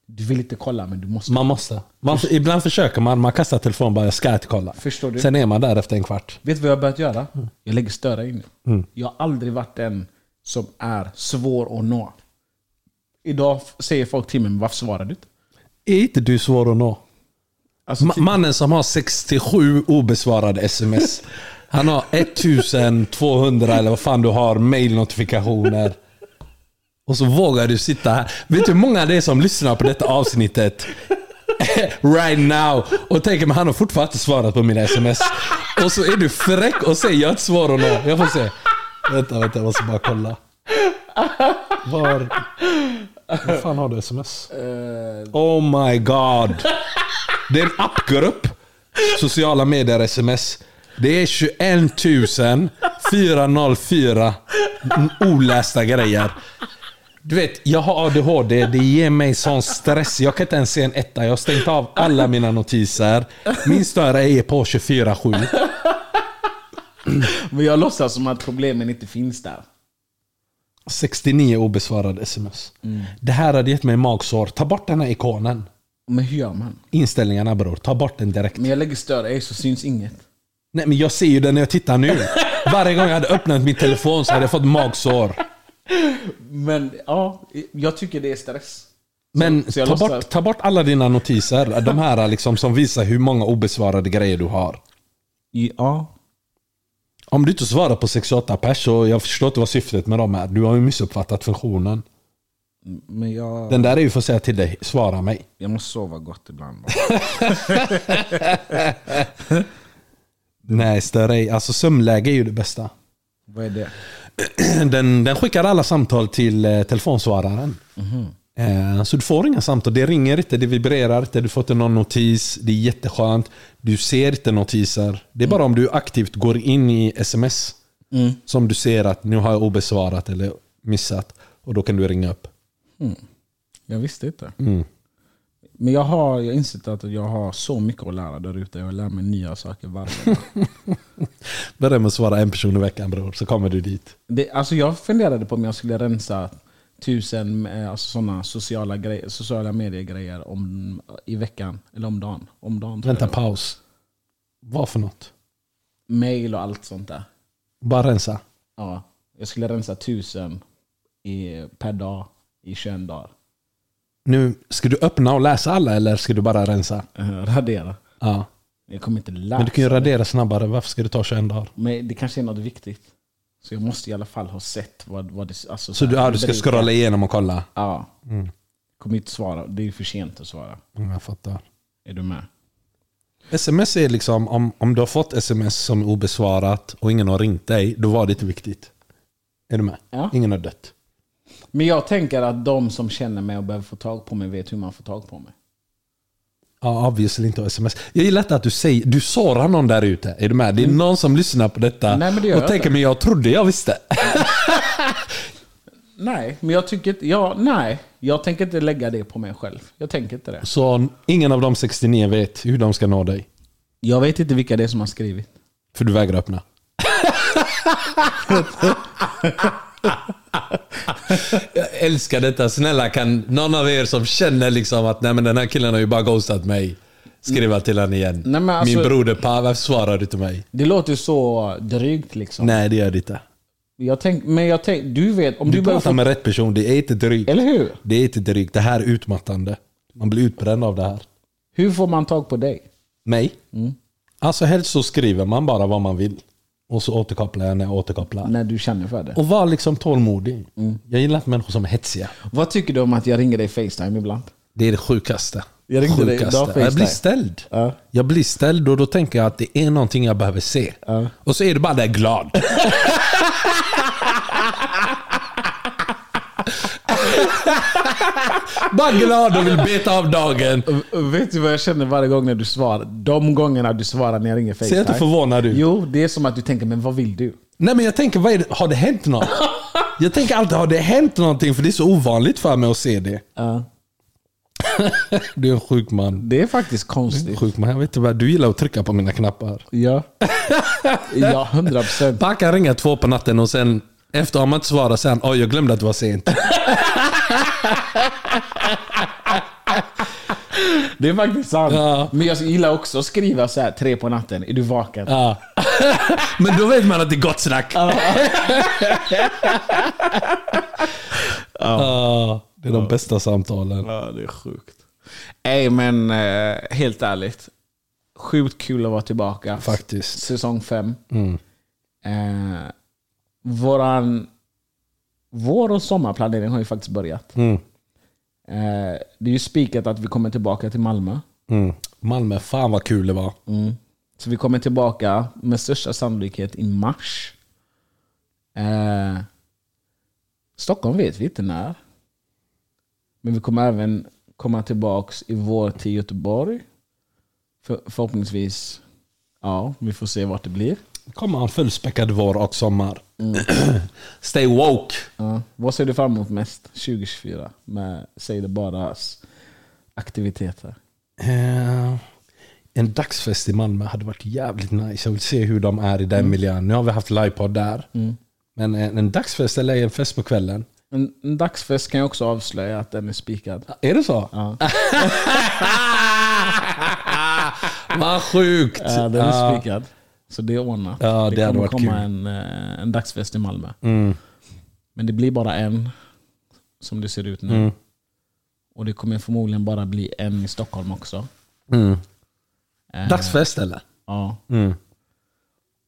[SPEAKER 3] Du vill inte kolla men du måste.
[SPEAKER 4] Man måste. Man, ibland försöker man. Man kastar telefonen bara, jag ska inte kolla.
[SPEAKER 3] Förstår du?
[SPEAKER 4] Sen är man där efter en kvart.
[SPEAKER 3] Vet du vad jag har börjat göra? Jag lägger större in. Jag har aldrig varit den som är svår att nå. Idag f- säger folk till mig, "Men varför svarar du inte?
[SPEAKER 4] Är inte du svår att nå?
[SPEAKER 3] Alltså,
[SPEAKER 4] Ma- mannen som har 67 obesvarade sms. Han har 1200 eller vad fan du har, mailnotifikationer. Och så vågar du sitta här. Vet du hur många det är som lyssnar på detta avsnittet? *laughs* right now. Och tänker men han har fortfarande inte svarat på mina sms. Och så är du fräck och säger jag har inte svarat nå. Jag får se. Vänta, vänta, jag måste bara kolla. Var... Vad fan har du sms? Oh my god. Det är en appgrupp. Sociala medier sms. Det är 21 404 olästa grejer. Du vet, jag har ADHD. Det ger mig sån stress. Jag kan inte ens se en etta. Jag har stängt av alla mina notiser. Min större är på 24-7.
[SPEAKER 3] Men jag låtsas som att problemen inte finns där.
[SPEAKER 4] 69 obesvarade sms. Det här hade gett mig magsår. Ta bort den här ikonen.
[SPEAKER 3] Men hur gör man?
[SPEAKER 4] Inställningarna bror. Ta bort den direkt.
[SPEAKER 3] Men jag lägger större i så syns inget.
[SPEAKER 4] Nej men jag ser ju den när jag tittar nu. Varje gång jag hade öppnat min telefon så hade jag fått magsår.
[SPEAKER 3] Men ja, jag tycker det är stress.
[SPEAKER 4] Men
[SPEAKER 3] så jag
[SPEAKER 4] ta,
[SPEAKER 3] låtsas-
[SPEAKER 4] bort, ta bort alla dina notiser. De här liksom, som visar hur många obesvarade grejer du har.
[SPEAKER 3] Ja.
[SPEAKER 4] Om du inte svarar på 68 pers så jag förstår inte vad syftet med dem är. Du har ju missuppfattat funktionen.
[SPEAKER 3] Men jag,
[SPEAKER 4] Den där är ju för att säga till dig, svara mig.
[SPEAKER 3] jag måste sova gott ibland.
[SPEAKER 4] *laughs*
[SPEAKER 3] bara.
[SPEAKER 4] Nej, stör ej. Alltså sömnläge är ju det bästa.
[SPEAKER 3] Vad är det?
[SPEAKER 4] Den, den skickar alla samtal till eh, telefonsvararen. Eh, så du får inga samtal. Det ringer inte, det vibrerar inte, du får inte någon notis. Det är jätteskönt. Du ser inte notiser. Det är bara om du aktivt går in i sms som du ser att nu har jag obesvarat eller missat. Och då kan du ringa upp. Mm.
[SPEAKER 3] Jag visste inte. Men jag har jag har insett att jag har så mycket att lära där ute. Jag lär mig nya saker varje
[SPEAKER 4] *laughs*
[SPEAKER 3] dag.
[SPEAKER 4] Börja med att svara en person i veckan bror, så kommer du dit.
[SPEAKER 3] Det, alltså jag funderade på om jag skulle rensa tusen eh, alltså sådana sociala, grejer, sociala medier-grejer om- i veckan. Eller om dagen. Om dagen tror
[SPEAKER 4] Vänta,
[SPEAKER 3] jag.
[SPEAKER 4] paus. Vad för något?
[SPEAKER 3] Mail och allt sånt där.
[SPEAKER 4] Bara rensa.
[SPEAKER 3] Ja, jag skulle rensa tusen i, per dag i 21 dagar.
[SPEAKER 4] Nu, ska du öppna och läsa alla eller ska du bara rensa?
[SPEAKER 3] Eh, Radera.
[SPEAKER 4] Ja.
[SPEAKER 3] Jag kommer inte läsa.
[SPEAKER 4] Men du kan ju radera snabbare, varför ska det ta 21 dagar?
[SPEAKER 3] Men det kanske är något viktigt. Så jag måste i alla fall ha sett vad, vad det... Alltså,
[SPEAKER 4] Så du, ja, du ska scrolla Mm. igenom och kolla?
[SPEAKER 3] Ja. Kommer inte svara. Det är för sent att svara.
[SPEAKER 4] Mm, Jag fattar.
[SPEAKER 3] Är du med?
[SPEAKER 4] Sms är liksom, om, om du har fått sms som är obesvarat och ingen har ringt dig, då var det inte viktigt. Är du med?
[SPEAKER 3] Ja.
[SPEAKER 4] Ingen har dött.
[SPEAKER 3] Men jag tänker att de som känner mig och behöver få tag på mig vet hur man får tag på mig.
[SPEAKER 4] Ja, obviously inte sms. Jag gillar inte att du säger, du sårar någon där ute. Är du med? Det är någon som lyssnar på detta
[SPEAKER 3] Mm. Nej, men det gör
[SPEAKER 4] och
[SPEAKER 3] jag
[SPEAKER 4] tänker,
[SPEAKER 3] inte.
[SPEAKER 4] men jag trodde jag visste.
[SPEAKER 3] Nej, men jag tycker inte... Ja, nej. Jag tänker inte lägga det på mig själv. Jag tänker inte det.
[SPEAKER 4] Så ingen av de 69 vet hur de ska nå dig.
[SPEAKER 3] Jag vet inte vilka det är som har skrivit.
[SPEAKER 4] För du vägrar öppna. jag älskar detta. Snälla kan någon av er som känner liksom att nej men den här killen har ju bara ghostat mig. Skriva till honom igen.
[SPEAKER 3] Nej, men alltså-
[SPEAKER 4] Min broder Pa, varför svarar du till mig?
[SPEAKER 3] Det låter så drygt liksom.
[SPEAKER 4] Nej det gör det inte.
[SPEAKER 3] Jag tänk, men jag tänk, du vet, om du,
[SPEAKER 4] Du
[SPEAKER 3] behöver
[SPEAKER 4] pratar
[SPEAKER 3] få...
[SPEAKER 4] med rätt person, det är inte drygt.
[SPEAKER 3] Eller hur?
[SPEAKER 4] Det är inte drygt. Det här är utmattande. Man blir utbränd av det här.
[SPEAKER 3] Hur får man tag på dig?
[SPEAKER 4] Mig?
[SPEAKER 3] Mm.
[SPEAKER 4] Alltså helst så skriver man bara vad man vill. Och så återkopplar jag när jag återkopplar.
[SPEAKER 3] När du känner för det.
[SPEAKER 4] Och var liksom tålmodig.
[SPEAKER 3] Mm.
[SPEAKER 4] Jag gillar inte människor som är hetsiga.
[SPEAKER 3] Vad tycker du om att jag ringer dig Facetime ibland?
[SPEAKER 4] Det är det sjukaste.
[SPEAKER 3] Jag ringde dig idag,
[SPEAKER 4] sjukaste. jag blir
[SPEAKER 3] FaceTime.
[SPEAKER 4] ställd.
[SPEAKER 3] Ja.
[SPEAKER 4] Jag blir ställd och då tänker jag att det är någonting jag behöver se. Och så är du bara där
[SPEAKER 3] *laughs*
[SPEAKER 4] glad. bara glad och vill beta av dagen.
[SPEAKER 3] Vet du vad jag känner varje gång när du svarar? De gångerna du svarar när jag ringer Facetime.
[SPEAKER 4] Ser jag inte förvånad ut?
[SPEAKER 3] Jo, det är som att du tänker, men vad vill du?
[SPEAKER 4] Nej men jag tänker, vad är det? har det hänt något? Jag tänker alltid, har det hänt någonting? För det är så ovanligt för mig att se det. *laughs* du är en sjuk man.
[SPEAKER 3] Det är faktiskt konstigt.
[SPEAKER 4] Sjuk man. Jag vet inte vad, du gillar att trycka på mina knappar.
[SPEAKER 3] Ja. Ja, hundra procent.
[SPEAKER 4] Pack kan ringa två på natten och sen efter har man inte svarat sen, oj jag glömde att det var sent.
[SPEAKER 3] Det är faktiskt
[SPEAKER 4] *laughs*
[SPEAKER 3] sant.
[SPEAKER 4] Ja.
[SPEAKER 3] Men jag gillar också att skriva så här tre på natten. Är du vaken?
[SPEAKER 4] Ja. *laughs* Men då vet man att det är gott snack. *laughs* Ja, Det är de bästa samtalen.
[SPEAKER 3] Ja, det är sjukt. Nej, men eh, helt ärligt. Sjukt kul att vara tillbaka.
[SPEAKER 4] Faktiskt. Mm.
[SPEAKER 3] Säsong fem. Eh, våran, vår och sommarplanering har ju faktiskt börjat.
[SPEAKER 4] Mm.
[SPEAKER 3] Eh, det är ju spikat att vi kommer tillbaka till Malmö.
[SPEAKER 4] Mm. Malmö, fan vad kul det var.
[SPEAKER 3] Mm. Så vi kommer tillbaka med största sannolikhet i mars. Eh, Stockholm vet vi inte när. Men vi kommer även komma tillbaka i vår till Göteborg. För, förhoppningsvis, ja, vi får se vart det blir.
[SPEAKER 4] kommer en fullspäckad vår och sommar.
[SPEAKER 3] Mm.
[SPEAKER 4] *clears throat* Stay woke.
[SPEAKER 3] Ja. Eh, Vad ser du fram emot mest 2024 med Säg det baras aktiviteter?
[SPEAKER 4] Eh, en dagsfest i Malmö hade varit jävligt nice. Jag vill se hur de är i
[SPEAKER 3] Mm.
[SPEAKER 4] den miljön. Nu har vi haft livepodd där. Men eh, en, en dagsfest eller en fest på kvällen.
[SPEAKER 3] En, en dagsfest kan jag också avslöja att den är spikad.
[SPEAKER 4] Är det så?
[SPEAKER 3] Ja.
[SPEAKER 4] *laughs* Vad sjukt!
[SPEAKER 3] Ja, den är
[SPEAKER 4] Ja.
[SPEAKER 3] spikad. Så det är ordnat.
[SPEAKER 4] Ja, det hade
[SPEAKER 3] kommer
[SPEAKER 4] varit
[SPEAKER 3] komma
[SPEAKER 4] kul. Mm.
[SPEAKER 3] En, eh, en dagsfest i Malmö. Men det blir bara en, som det ser ut nu.
[SPEAKER 4] Mm.
[SPEAKER 3] Och det kommer förmodligen bara bli en i Stockholm också. Eh,
[SPEAKER 4] Dagsfest eller?
[SPEAKER 3] Ja.
[SPEAKER 4] Mm.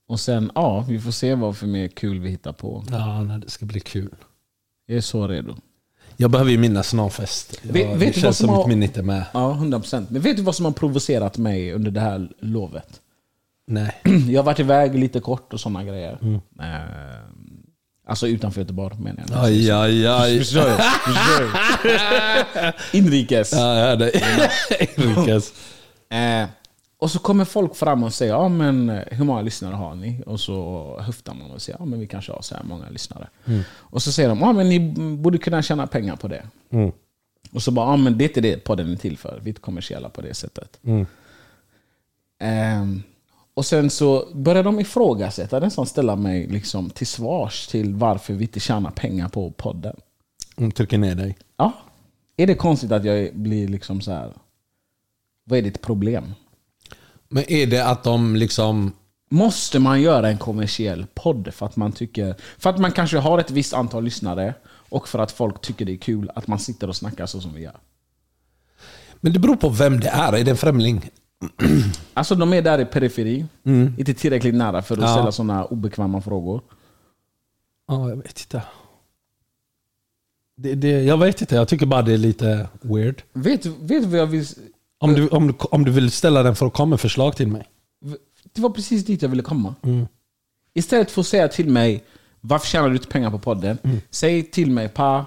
[SPEAKER 3] Och sen, ja, vi får se vad för mer kul vi hittar på.
[SPEAKER 4] Ja, nej, det ska bli kul.
[SPEAKER 3] Jag är så redo.
[SPEAKER 4] Jag behöver ju minnas någon fest. Jag,
[SPEAKER 3] Vet- vet
[SPEAKER 4] det
[SPEAKER 3] du vad
[SPEAKER 4] känns
[SPEAKER 3] som
[SPEAKER 4] som mitt
[SPEAKER 3] har-
[SPEAKER 4] minne inte är med.
[SPEAKER 3] Ja, 100%. Men vet du vad som har provocerat mig under det här lovet? *clears throat*
[SPEAKER 4] *clears throat* Nej.
[SPEAKER 3] Jag har varit iväg lite kort och sådana grejer.
[SPEAKER 4] Mm.
[SPEAKER 3] Eh, alltså utanför Göteborg menar jag.
[SPEAKER 4] Aj, aj, aj.
[SPEAKER 3] Förstår jag? Förstår jag? *laughs* Inrikes.
[SPEAKER 4] Ja, jag hörde. *laughs* Inrikes.
[SPEAKER 3] Eh, och så kommer folk fram och säger ja, men eh, hur många lyssnare har ni? Och så höftar man och säger ja, men vi kanske Mm. Mm. har så här många lyssnare. Och så säger de ja, men ni borde kunna tjäna pengar på det. Och så bara, ah, men det är inte det podden är till för. Vi är inte kommersiella på det sättet. Ehm, och sen så började de ifrågasätta, nästan ställa mig liksom till svars till varför vi inte tjänar pengar på podden.
[SPEAKER 4] De trycker ner dig.
[SPEAKER 3] Ja. Är det konstigt att jag blir liksom så här. Vad är ditt problem?
[SPEAKER 4] Men är det att de liksom...
[SPEAKER 3] Måste man göra en kommersiell podd för att man tycker... För att man kanske har ett visst antal lyssnare och för att folk tycker det är kul att man sitter och snackar så som vi gör.
[SPEAKER 4] Men det beror på vem det är. Är det en främling?
[SPEAKER 3] Alltså de är där i periferi. Inte tillräckligt nära för att
[SPEAKER 4] Ja.
[SPEAKER 3] ställa sådana obekväma frågor.
[SPEAKER 4] Ja, jag vet inte. Det, det, jag vet inte, jag tycker bara det är lite weird.
[SPEAKER 3] Vet, du- vet du vad jag vill...
[SPEAKER 4] Om du, om, du, om du vill ställa den för att komma med förslag till mig.
[SPEAKER 3] Det var precis dit jag ville komma.
[SPEAKER 4] Mm.
[SPEAKER 3] Istället för att säga till mig varför tjänar du inte pengar på podden?
[SPEAKER 4] Mm.
[SPEAKER 3] Säg till mig Pa,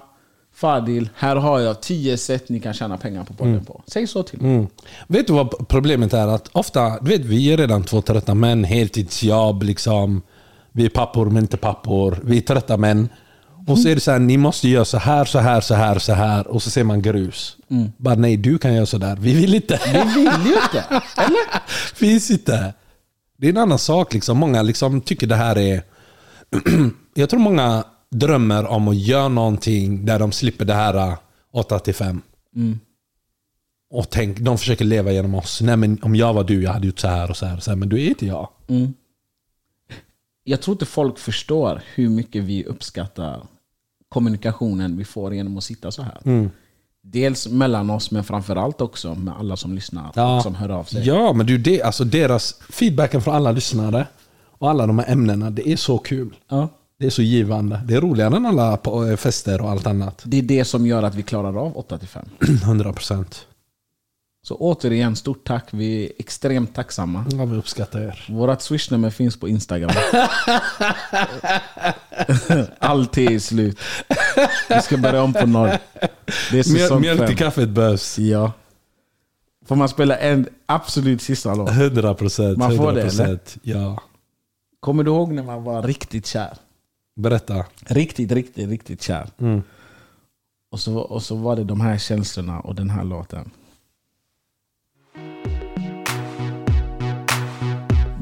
[SPEAKER 3] Fadil, här har jag 10 sätt ni kan tjäna pengar på
[SPEAKER 4] Mm.
[SPEAKER 3] podden på. Säg så till mig.
[SPEAKER 4] Vet du vad problemet är? Att ofta, du vet, vi är redan två trötta män, heltidsjobb, liksom. vi är pappor men inte pappor. Vi är trötta män. Och så är det så här, ni måste göra så här, så här, så här, så här. Och så ser man grus. Bara nej, du kan göra så där. Mm. Vi vill inte.
[SPEAKER 3] Vi vill ju inte.
[SPEAKER 4] Finns inte. Det är en annan sak. Liksom. Många liksom tycker det här är... *clears throat* jag tror många drömmer om att göra någonting där de slipper det här äh, 8 till 5.
[SPEAKER 3] Mm.
[SPEAKER 4] Och tänk, de försöker leva genom oss. Nej men om jag var du, jag hade gjort så här och så här. Och så här men du är inte jag.
[SPEAKER 3] Mm. Jag tror inte folk förstår hur mycket vi uppskattar kommunikationen vi får genom att sitta så här.
[SPEAKER 4] Mm.
[SPEAKER 3] Dels mellan oss, men framförallt också med alla som lyssnar och som hör av sig.
[SPEAKER 4] Ja, men du, det, alltså deras feedbacken från alla lyssnare och alla de här ämnena, det är så kul.
[SPEAKER 3] Ja.
[SPEAKER 4] Det är så givande. Det är roligare än alla på- äh, fester och allt annat. *clears throat*
[SPEAKER 3] Det är det som gör att vi klarar av 8-5.
[SPEAKER 4] 100%.
[SPEAKER 3] Så återigen, stort tack. Vi är extremt tacksamma.
[SPEAKER 4] Ja, vi uppskattar er.
[SPEAKER 3] Vårat swishnummer finns på Instagram. *laughs* Alltid är slut. Vi ska börja om på noll. Det
[SPEAKER 4] Mjöl-
[SPEAKER 3] är säsong
[SPEAKER 4] Mjölk i
[SPEAKER 3] fem.
[SPEAKER 4] kaffet behövs.
[SPEAKER 3] Ja. Får man spela en absolut sista låt?
[SPEAKER 4] 100 procent.
[SPEAKER 3] Man får det, eller?
[SPEAKER 4] Ja.
[SPEAKER 3] Kommer du ihåg när man var riktigt kär?
[SPEAKER 4] Berätta.
[SPEAKER 3] Riktigt, riktigt, riktigt kär. Och, så, och så var det de här känslorna och den här låten.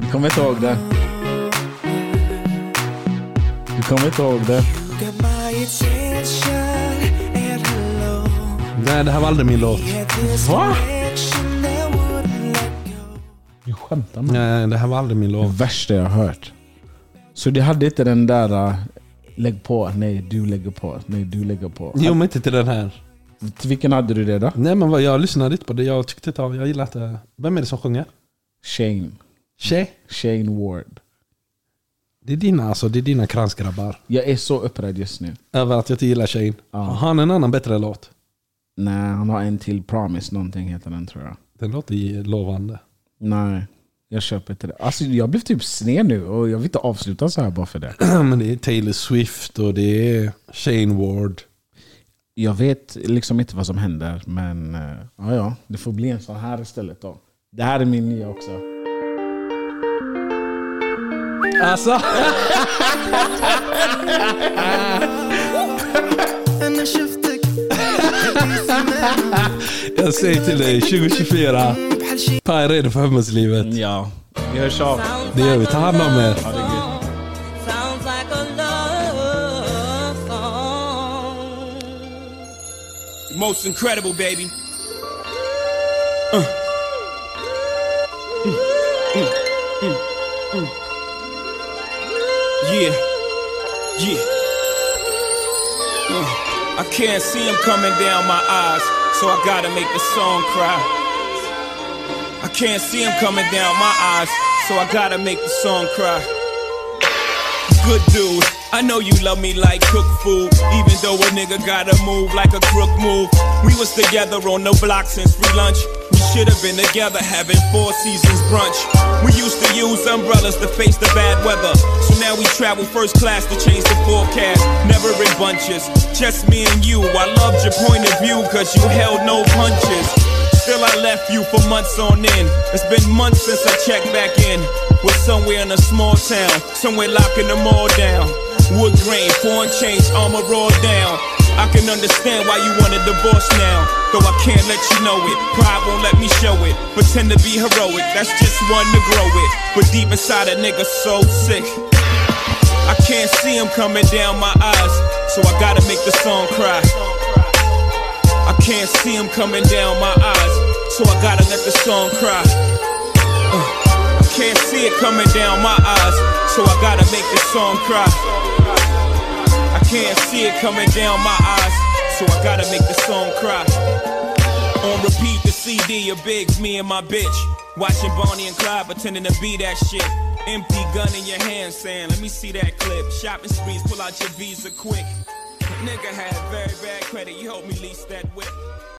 [SPEAKER 3] Du kommer inte ihåg det. Du kommer inte ihåg det.
[SPEAKER 2] Got my attention and hello.
[SPEAKER 4] Nej, det här var aldrig min låt.
[SPEAKER 2] Had this
[SPEAKER 3] Va?
[SPEAKER 2] connection that wouldn't let go.
[SPEAKER 3] Du skämtar med
[SPEAKER 4] Nej, det här var aldrig min låt.
[SPEAKER 3] Det värsta jag har hört. Så du hade inte den där äh, lägg på, nej du lägger på, nej du lägger på.
[SPEAKER 4] Jo, men inte till den här.
[SPEAKER 3] Till Vilken hade du det då?
[SPEAKER 4] Nej, men vad, jag lyssnade inte på det. Jag tyckte inte av. Jag gillade inte. Vem är det som sjunger?
[SPEAKER 3] Shane.
[SPEAKER 4] Tjej.
[SPEAKER 3] Shane Ward.
[SPEAKER 4] Det är dina, alltså, det är dina kransgrabbar.
[SPEAKER 3] Jag är så upprörd just nu.
[SPEAKER 4] Över att jag inte gillar tjejen. Har han en annan bättre låt?
[SPEAKER 3] Nej, han har en till. Promise någonting heter den tror jag.
[SPEAKER 4] Den låter ju lovande. *clears throat*
[SPEAKER 3] Nej, jag köper inte det. Alltså, jag blev typ sned nu och jag vill inte avsluta så här bara för det.
[SPEAKER 4] men det är Taylor Swift och det är Shane Ward.
[SPEAKER 3] Jag vet liksom inte vad som händer, men eh, ja, ja, det får bli en sån här istället då. Det här är min nya också.
[SPEAKER 4] Alltså! jag säger till dig, 2024. Per är redo för hemmeslivet.
[SPEAKER 3] Ja, vi hörs av.
[SPEAKER 4] Det gör vi. Ta hand om er.
[SPEAKER 8] Sounds like a love song.
[SPEAKER 2] Most incredible, baby. Yeah, yeah. Uh, I can't see him coming down my eyes, so I gotta make the song cry. I can't see him coming down my eyes, so I gotta make the song cry good dude. I know you love me like cook food, even though a nigga gotta move like a crook move. We was together on the block since free lunch. We should have been together having four seasons brunch. We used to use umbrellas to face the bad weather, so now we travel first class to change the forecast. Never in bunches, just me and you. I loved your point of view, cause you held no punches. Still, I left you for months on end. It's been months since I checked back in. We're somewhere in a small town, somewhere locking them all down. Wood grain, foreign change, armor all down.
[SPEAKER 6] I can understand why you want a divorce now. Though I can't let you know it. Pride won't let me show it. Pretend to be heroic, that's just one to grow it. But deep inside a nigga so sick. I can't see him coming down my eyes. So I gotta make the song cry. I can't see him coming down my eyes. So I gotta let the song cry. Uh, I can't see it coming down my eyes. So I gotta make the song cry. I can't see it coming down my eyes, so I gotta make the song cry. On repeat, the CD of Biggs, me and my bitch. Watching Bonnie and Clyde pretending to be that shit. Empty gun in your hand saying, let me see that clip. Shopping sprees, pull out your visa quick. Nigga had very bad credit, you helped me lease that whip.